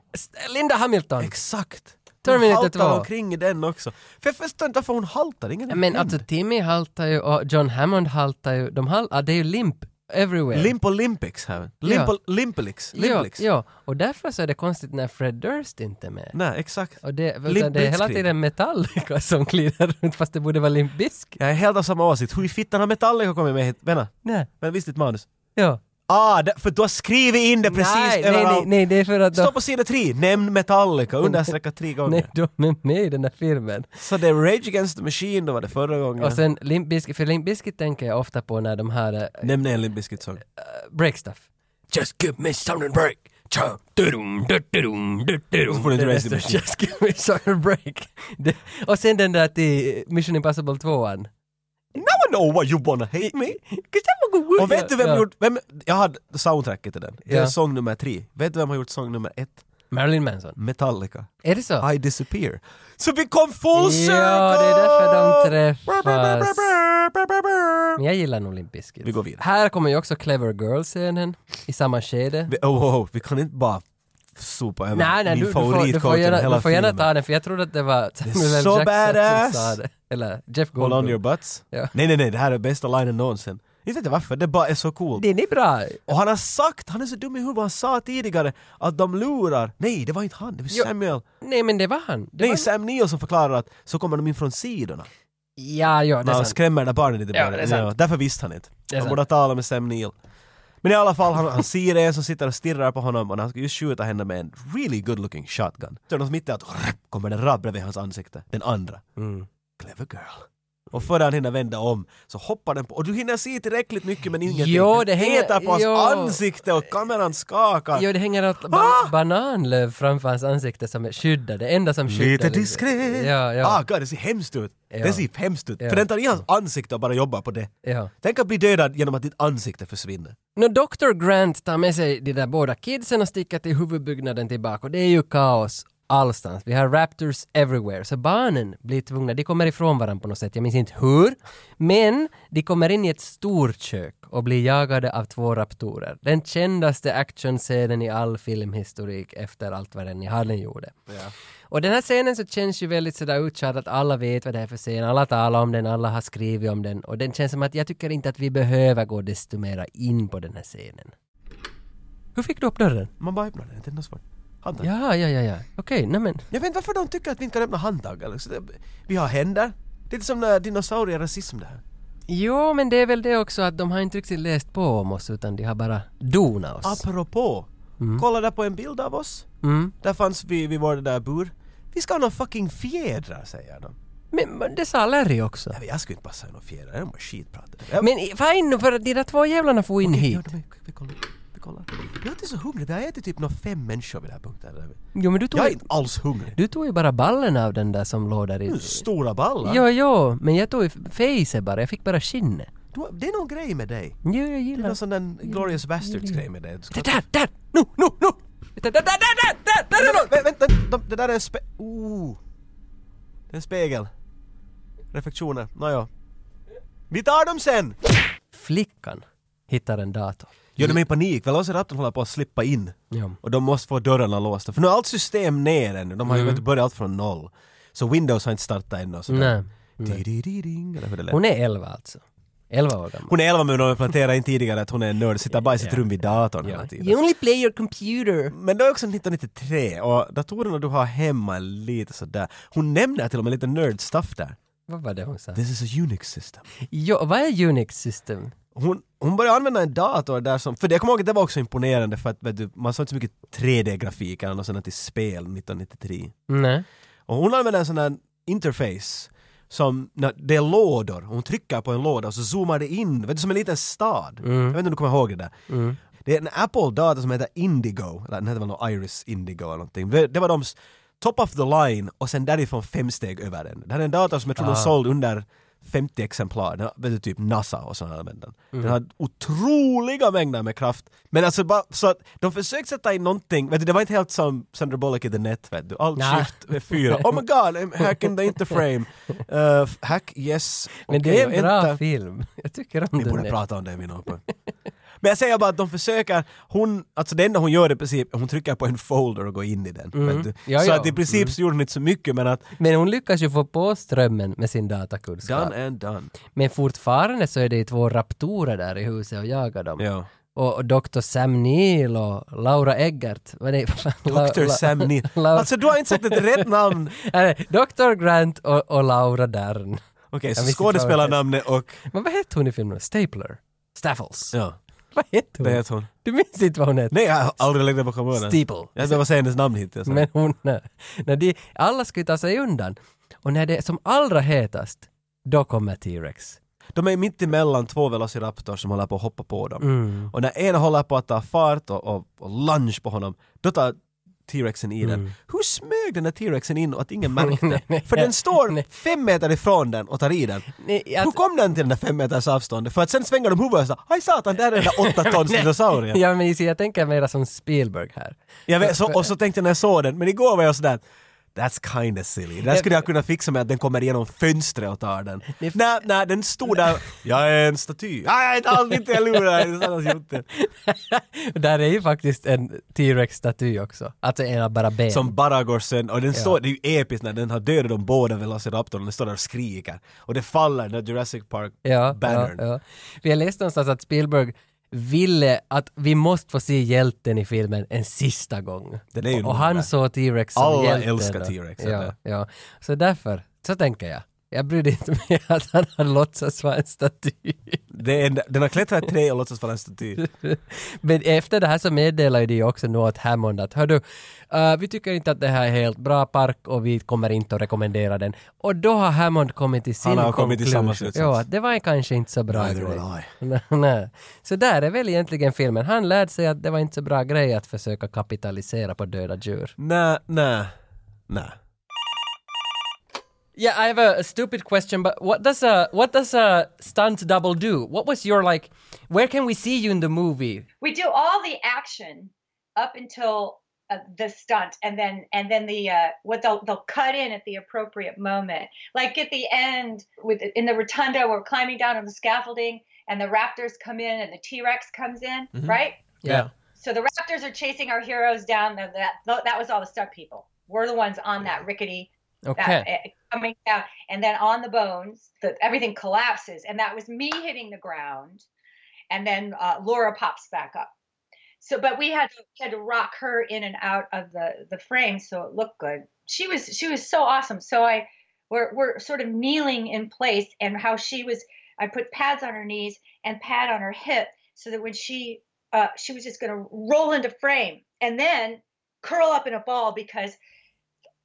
S2: Linda Hamilton!
S1: exakt!
S2: Terminator
S1: hon haltar
S2: 2.
S1: omkring i den också. För jag förstår inte varför hon haltar, ingen är
S2: Men
S1: blind.
S2: alltså Timmy haltar ju och John Hammond haltar ju. De hal- ah, det är ju limp everywhere.
S1: Limp Olympics här. Limp,
S2: Ja.
S1: Limpelix.
S2: ja,
S1: Limpelix.
S2: ja, och därför så är det konstigt när Fred Durst inte är med.
S1: Nej, exakt.
S2: Och det,
S1: Limp
S2: utan det är hela
S1: Bizkit.
S2: tiden Metallica som (laughs) glider runt fast det borde vara Limp Bizkit.
S1: Jag är helt av samma åsikt. Hur i fittan har Metallica kommit med hit? Vänta,
S2: Nej,
S1: men visst ditt manus?
S2: ja.
S1: Ah, där- för du har skrivit in det precis
S2: nej, nej, nej,
S1: överallt.
S2: nej, det är för att de,
S1: Stå på sida 3, nämn Metallica, understreckat tre gånger.
S2: (laughs) nej, de är med i den där filmen.
S1: Så det är Rage Against the Machine, då var det förra gången.
S2: Och sen Limp Bizkit, för Limp Bizkit tänker jag ofta på när de här eh,
S1: Nämn en Limp Bizkit-sång.
S2: break stuff. Just give me something to break. Cha, dudum, dudum, dudum.
S1: Så får du inte raise the machine.
S2: Just give me something to break. Det, och sen den där till Mission Impossible 2an.
S1: Now I know why you wanna hate me! Och vet du vem
S2: ja.
S1: gjort... Vem, jag hade soundtracket till den. Det är
S2: Ja.
S1: sång nummer tre. Vet du vem har gjort sång nummer ett?
S2: Marilyn Manson.
S1: Metallica.
S2: Är det så?
S1: I disappear. Så vi kom full circle!
S2: Ja, det är därför de träffas. Men jag gillar nog Limp Bizkit.
S1: Vi går vidare.
S2: Här kommer ju också Clever Girl-scenen i samma skede.
S1: Vi, oh, oh, oh, vi kan inte bara sopa över
S2: Nej, nej,
S1: min
S2: du, du, får, du,
S1: favoritcoach
S2: får
S1: genom
S2: gärna,
S1: hela
S2: du får gärna
S1: filmen.
S2: ta den, för jag trodde att det var Samuel L.
S1: så
S2: Jackson
S1: badass.
S2: som sa det. Eller Jeff
S1: Hold on your
S2: Goldblum.
S1: butts.
S2: Ja.
S1: Nej, nej, nej, det här är bästa linen någonsin. Inte vet jag varför, det bara är så cool.
S2: Den är bra.
S1: Och han har sagt, han är så dum i huvudet, han sa tidigare att de lurar. Nej, det var inte han, det var
S2: Jo,
S1: Samuel.
S2: Nej, men det var han. Det
S1: Nej,
S2: var...
S1: Sam Neill som förklarar att så kommer de in från sidorna.
S2: Ja, ja, det
S1: När
S2: är
S1: han
S2: sant.
S1: skrämmer det där barnet lite
S2: Ja,
S1: bara.
S2: det är sant.
S1: därför visste han inte.
S2: Det är
S1: Han
S2: sant.
S1: borde ha talat med Sam Neill. Men i alla fall, han, han ser en som sitter och stirrar på honom och när han ska just skjuta henne med en really good looking shotgun. Så är det något mitt i att kommer den rakt bredvid hans ansikte, den andra.
S2: Mm.
S1: Clever girl. Och före han hinner vända om så hoppar den på och du hinner se tillräckligt mycket men ingenting.
S2: Jo,
S1: Den
S2: det hänger-
S1: petar på hans
S2: jo.
S1: ansikte och kameran skakar.
S2: Jo, det hänger ett ba-
S1: Ah!
S2: bananlöv framför hans ansikte som är skyddad. Det enda som skyddar.
S1: Lite
S2: liksom.
S1: diskret.
S2: Ja, ja,
S1: Ah, God, det ser hemskt ut.
S2: Ja.
S1: Det ser hemskt ut.
S2: Ja.
S1: För den tar i hans ansikte och bara jobbar på det.
S2: ja.
S1: Tänk att bli dödad genom att ditt ansikte försvinner.
S2: Nå, Dr. Grant tar med sig de där båda kidsen och sticker till huvudbyggnaden tillbaka och det är ju kaos. allstans. Vi har raptors everywhere. Så barnen blir tvungna, de kommer ifrån varandra på något sätt, jag minns inte hur. Men de kommer in i ett storkök och blir jagade av två raptorer. Den kändaste actionscenen i all filmhistorik efter allt vad den i Harlem gjorde. Och den här scenen så känns ju väldigt sådär uttjatad att alla vet vad det är för scen, alla talar om den, alla har skrivit om den och den känns som att jag tycker inte att vi behöver gå desto mera in på den här scenen. Hur fick du upp dörren?
S1: Man bara öppnar den, det är något svårt. Handtag.
S2: Ja, ja, ja, ja. Okej, nej men.
S1: Jag vet inte varför de tycker att vi inte kan öppna handtag. Alex. Det- Vi har händer. Det är lite som när dinosaurier rasism det här.
S2: Jo, men det är väl det också att de har inte riktigt läst på om oss utan de har bara donat oss.
S1: Apropå. Kolla där på en bild av oss.
S2: Mm.
S1: Där fanns vi vid vår där bur. Vi ska ha någon fucking fjädrar säger de.
S2: Men men det sa Larry också.
S1: Nej, men jag skulle inte passa i någon fjädrar, de var skitpratade. Jag-
S2: Men i- fine nu för att de där två jävlarna får in
S1: Ja,
S2: hit.
S1: de är- vi kollar. Vi kollar. Jag är inte så hungrig, vi har ätit typ någon fem människor vid den här punkten.
S2: Jo, men du tog,
S1: Jag är inte alls hungrig.
S2: du tog ju bara ballen av den där som låg där i...
S1: Du är stora ballar.
S2: Jo, jo, men jag tog ju face bara, jag fick bara skinnet.
S1: Du, det är någon grej med dig.
S2: Jo, jag
S1: Det är
S2: gillar...
S1: någon sån där Glorious Bastards grej med dig. Du ska-
S2: Det där, där! Nu, nu, nu! Det där, där, där, där, där, där, där, där!
S1: Vä- Vänta, de- det där är en spe... Ooh. Det är en spegel. Reflektioner, nåja. Vi tar dem sen!
S2: Flickan hittar en dator.
S1: Gör de är i panik, Velociraptorn håller på att slippa in.
S2: Ja.
S1: Och de måste få dörrarna låsta. För nu är allt system ner ännu, de har ju inte börjat allt från noll. Så Windows har inte startat ännu och sådär.
S2: Nej.
S1: Di-di-di-ding, Eller hur det lät.
S2: Hon är 11 alltså. 11 år gammal.
S1: Hon är 11 men de planterade in tidigare att hon är en nörd, sitter bara i sitt rum vid datorn hela tiden.
S2: only play your computer.
S1: Men det är också 1993 och datorerna du har hemma är lite sådär. Hon nämner till och med lite nerd stuff där.
S2: Vad var det hon sa?
S1: This is a Unix system.
S2: Jo, vad är Unix system?
S1: Hon, hon började använda en dator där som, för det jag kommer ihåg att det var också imponerande för att vet du, man såg inte så mycket 3D-grafik eller något sånt i spel 1993.
S2: Nej.
S1: Och hon använder en sån här interface som, när det är lådor, hon trycker på en låda och så zoomar det in, vet du, som en liten stad. Jag vet inte om du kommer ihåg det där. Det är en Apple-dator som heter Indigo, eller den heter väl någon Iris Indigo eller någonting. Det, det var de s- top of the line och sen därifrån fem steg över den. Det här är en dator som jag tror de sålde under 50 exemplar, den, har- vet du, typ NASA och sådana använder den. Den har otroliga mängder med kraft. Men alltså bara så att de försökte sätta in någonting, vet du, det var inte helt som Sandra Bullock i The Net vet du. Allt
S2: Nej.
S1: skift med fyra. Oh my god, I'm hacking the interframe. Uh, hack, yes.
S2: Men
S1: Okej,
S2: det är en
S1: och
S2: bra
S1: enter.
S2: film. (laughs) Jag tycker om
S1: Vi borde
S2: den.
S1: prata om det vid någon punkt. Men jag säger bara att de försöker, hon, alltså det enda hon gör i princip, hon trycker på en folder och går in i den. Vet du?
S2: Mm. Ja,
S1: så
S2: ja. Mm.
S1: att i princip så gjorde hon inte så mycket men att
S2: Men hon lyckas ju få på strömmen med sin datakunskap.
S1: done and done.
S2: Men fortfarande så är det ju två raptorer där i huset och jagar dem.
S1: Ja.
S2: Och, och Dr. Sam Neill och Laura Eggert. Vad (laughs) är
S1: Dr. Sam
S2: (laughs)
S1: Neill.
S2: Laura-
S1: Alltså du har inte sagt ett rätt namn.
S2: Nej, Dr. Grant och, och Laura Dern.
S1: Okej,
S2: visste
S1: så
S2: inte vad det
S1: skådespelarnamnet och...
S2: Men vad hette hon i filmen? Stapler? Staffles?
S1: Ja,
S2: Vad hette hon?
S1: det heter hon.
S2: Du minns inte vad hon hette?
S1: Nej, jag har aldrig lagt det bakom öronen.
S2: Steeple.
S1: Jag behöver säga hennes namn hittills.
S2: Men hon... När de, alla ska ju ta sig undan. Och när det är som allra hetast, då kommer T-Rex.
S1: De är mitt emellan två velociraptors som håller på att hoppa på dem.
S2: Mm.
S1: Och när en håller på att ta fart och, och, och lunge på honom, då tar T-rexen i den. Hur smög den där T-rexen in och att ingen märkte? För den står fem meter ifrån den och tar i den.
S2: Nej,
S1: Hur
S2: att,
S1: kom den till den där fem meters avståndet? För att sen svänger de huvudet och sa ”Aj satan, där är den där åtta tons dinosaurien”.
S2: ja, men (laughs) jag tänker mera som Spielberg här.
S1: Jag vet, så, och så tänkte jag när jag såg den, men igår var jag sådär That's kinda silly. Det här skulle jag kunna fixa med att den kommer igenom fönstret och tar den. Nej, nej, den stod där. Jag är en staty. Nej, jag är inte alls inte, jag lurar. Det är så annars gjort det.
S2: Där är ju faktiskt en T-Rex-staty också. Alltså en av bara ben.
S1: Som bara går sönder. Och den står, det är ju episkt när den har dödat de båda Velociraptorn. Den står där och skriker. Och det faller, den där Jurassic Park
S2: ja, ja,
S1: bannern.
S2: ja. Vi har läst någonstans att Spielberg ville att vi måste få se hjälten i filmen en sista gång.
S1: Den är ju
S2: och, och
S1: nog
S2: han
S1: där.
S2: såg T-Rex som
S1: Alla
S2: hjälten.
S1: älskar
S2: då.
S1: T-Rex,
S2: Ja,
S1: eller?
S2: ja. Så därför, så tänker jag. Jag brydde inte mig (laughs) att han hade låtsats vara en staty.
S1: Det är en, den har klättrat i tre och låtsas vara
S4: (laughs)
S1: en staty.
S2: Men efter det här så meddelar ju de ju också nu åt Hammond att hördu, eh, vi tycker inte att det här är helt bra park och vi kommer inte att rekommendera den. Och då har Hammond kommit till sin
S1: Han har kommit till samma
S2: conclusion.
S1: slutsats.
S2: Ja, att det var kanske inte så bra
S1: Neither
S2: grej.
S1: will I.
S2: (laughs) Nej. Så där är väl egentligen filmen. Han lärde sig att det var inte så bra grej att försöka kapitalisera på döda djur.
S1: Nä, nä, nä.
S2: Yeah, I have a, a stupid question, but what does a what does a stunt double do? What was your like? Where can we see you in the movie?
S3: We do all the action up until uh, uh, the stunt and then and then the uh, what they'll they'll cut in at the appropriate moment like at the end with in the rotunda we're climbing down on the scaffolding and the raptors come in and the t-rex comes in
S1: Mhm.
S3: right
S2: Yeah.
S3: so the raptors are chasing our heroes down the, that that was all the stunt people we're the ones on that rickety that,
S2: Okay.
S3: uh, coming down and then on the bones the, everything collapses and that was me hitting the ground and then uh, laura pops back up so but we had to, had to rock her in and out of the the frame so it looked good she was she was so awesome so i we're, we're sort of kneeling in place and how she was i put pads on her knees and pad on her hip so that when she uh, she was just going to roll into frame and then curl up in a ball because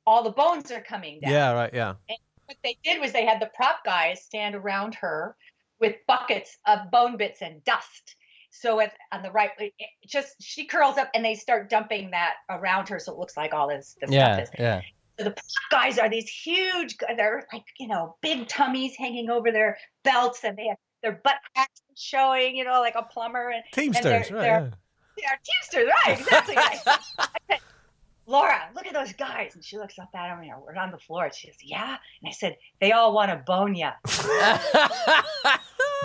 S3: all the bones are coming down
S4: Yeah, right, yeah.
S3: what they did was they had the prop guys stand around her with buckets of bone bits and dust. So if on the right, it just she curls up and they start dumping that around her, so it looks like all this, this
S2: Yeah.
S3: stuff is.
S2: Yeah.
S3: So the prop guys are these huge, they're like you know big tummies hanging over their belts, and they have their butt cracks showing, you know, like a plumber, and
S4: Teamsters, right. yeah.
S3: they're- yeah, Teamsters, right? Exactly. Right. I said, Laura, look at those guys. And she looks up at him and we're on the floor. And she goes, Yeah. And I said, They all want to bone ya.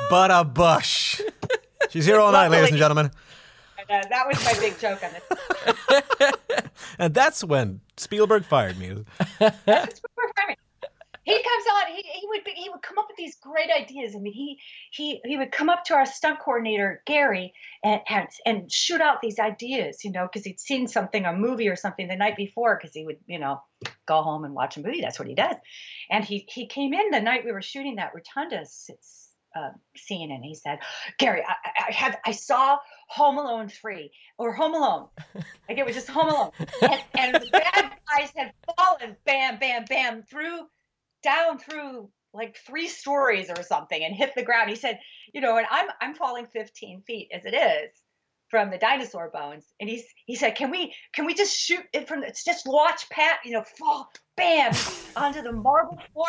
S4: But a bush. She's here all night, ladies and
S3: Luckily-
S4: gentlemen.
S3: And, uh, that was my big joke on this.
S4: And that's when Spielberg fired
S1: (laughs)
S4: me.
S3: That's what we're having. He comes on. He, he would be, he would come up with these great ideas. I mean, he he he would come up to our stunt coordinator Gary and and, and shoot out these ideas, you know, because he'd seen something, a movie or something the night before, because he would you know go home and watch a movie. That's what he does. And he he came in the night we were shooting that rotunda s- s- uh, scene, and he said, Gary, I, I- I have I saw Home Alone three or Home Alone. Like it was just Home Alone. And, and the bad guys had fallen, bam, bam, bam, through, down through like three stories or something and hit the ground. He said, you know, and I'm I'm falling 15 feet as it is from the dinosaur bones. And he's he said, can we can we just shoot it from? It's just watch Pat, you know, fall, bam, onto the marble floor.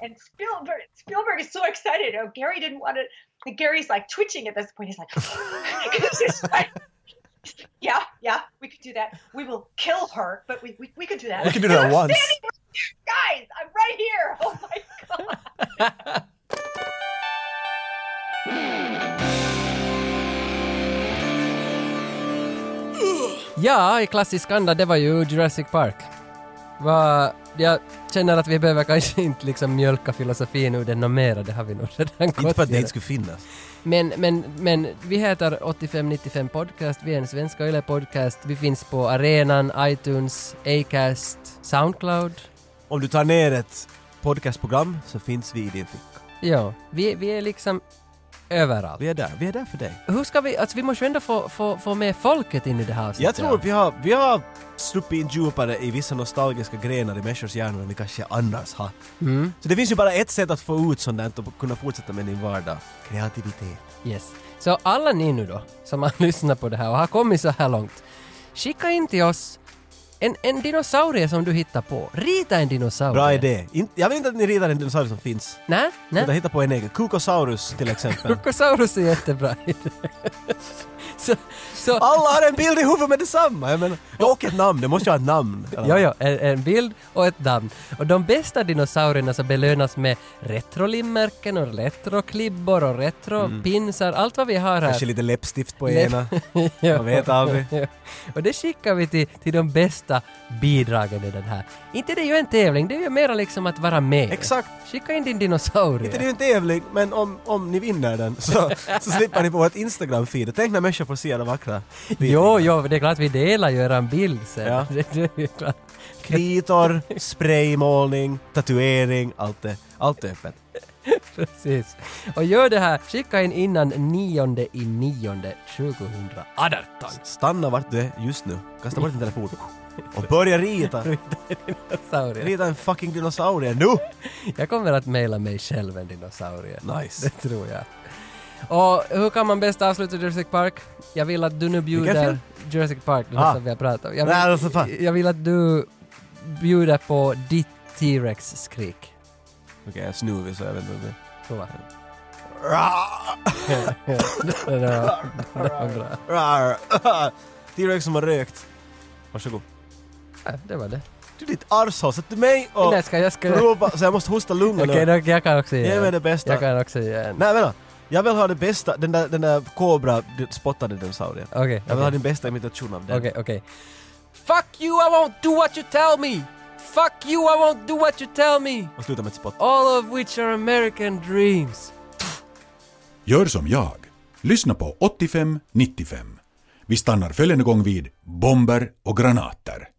S3: And, and Spielberg Spielberg is so excited. Oh, Gary didn't want to. And Gary's like twitching at this point. He's like, (laughs) he's just like yeah, yeah, we could do that. We will kill her, but we we, we could do that.
S4: We can
S3: (laughs)
S4: do that
S3: I'm
S4: once.
S3: standing right here, guys. I'm right here. Oh my god.
S2: Ja, i klassisk anda, det var ju Jurassic Park. Va, jag känner att vi behöver kanske (laughs) inte liksom mjölka filosofin ur den något mera, det har vi nog redan gått
S1: Inte för att det
S2: igenom.
S1: inte skulle finnas.
S2: Men, men, men vi heter 8595 Podcast, vi är en svenska yle podcast. Vi finns på arenan, iTunes, Acast, Soundcloud.
S1: Om du tar ner ett podcastprogram så finns vi i din ficka.
S2: Ja, vi, vi är liksom överallt.
S1: Vi är där, vi är där för dig.
S2: Hur ska vi, alltså vi måste ju ändå få, få, få med folket in i det här
S1: Jag
S2: avsnittet.
S1: tror vi har, vi har sluppit in djupare i vissa nostalgiska grenar i människors hjärnor än vi kanske annars har. Så det finns ju bara ett sätt att få ut sånt där och kunna fortsätta med din vardag. Kreativitet.
S2: Yes. Så alla ni nu då, som har (laughs) lyssnat på det här och har kommit så här långt, skicka in till oss en, en dinosaurie som du hittar på. Rita en dinosaurie.
S1: Bra idé. In, jag vill inte att ni ritar en dinosaurie som finns.
S2: Nej,
S1: Utan
S2: nej.
S1: hitta på en egen. Äh? (laughs) Kukosaurus till exempel.
S2: Krokosaurus är jättebra idé. (laughs) så, så,
S1: Alla har en bild i huvudet med detsamma! Jag menar, och ett namn, det måste ju ha ett namn.
S2: Ja, ja, en, en bild och ett namn. Och de bästa dinosaurierna så belönas med retrolimmärken och retroklibbor och retropinsar, allt vad vi har här.
S1: Kanske lite läppstift på ena.
S2: (laughs) Ja.
S1: Man vet aldrig.
S2: (laughs) Ja. Och det skickar vi till, till de bästa bidragen i den här. Inte det är ju en tävling, det är ju mera liksom att vara med.
S1: Exakt.
S2: Skicka in din
S1: Inte
S2: dinosaurie.
S1: det är ju en tävling, men om, om ni vinner den så, så slipper ni på vårt Instagram-feed. Tänk när människor får se de vackra
S2: Jo, jo, det är klart vi delar ju eran bild sen.
S1: Ja.
S2: (laughs) Det, det är ju klart.
S1: Kritor, spraymålning, tatuering, allt det. Allt är öppet.
S2: Precis. Och gör det här, skicka in innan 9 i 9 2018.
S1: Stanna vart du är just nu. Kasta bort din telefon. Och börja rita.
S2: Dinosaurie.
S1: Rita en fucking dinosaurie nu!
S2: Jag kommer att mejla mig själv en dinosaurie.
S1: Nice.
S2: Det tror jag. Och hur kan man bäst avsluta Jurassic Park? Jag vill att du nu bjuder...
S1: film?
S2: Jurassic Park, det
S1: Ah.
S2: ah. som vi har pratat om. Jag vill,
S1: Nej, alltså fan.
S2: jag vill att du bjuder på ditt T-Rex-skrik.
S1: Okej, jag är snuvig så jag vet inte. om det-
S2: Prova.
S1: Rar,
S2: Det var- det var bra.
S1: (laughs) rar. T-Rex som har rökt. Varsågod.
S2: Nej, det var det.
S1: Du ditt arshål, sätt du mig och
S2: Nej, ska jag ska... Okej,
S1: ropa så jag måste hosta lungan.
S2: okay,
S1: nu.
S2: jag kan också ge
S1: Ge
S2: en.
S1: mig det bästa.
S2: Jag kan också ge en.
S1: Nej vänta, jag vill ha det bästa, den där, den där kobra du spottade dinosaurien.
S2: Okej,
S1: Jag vill ha
S2: okej.
S1: din bästa imitation av den.
S2: Okej, okej. Fuck you, I won't do what you tell me! Fuck you, I won't do what you tell me!
S1: Och sluta med ett spott.
S2: All of which are American dreams.
S5: Gör som jag. Lyssna på 85-95. Vi stannar följande gång vid bomber och granater.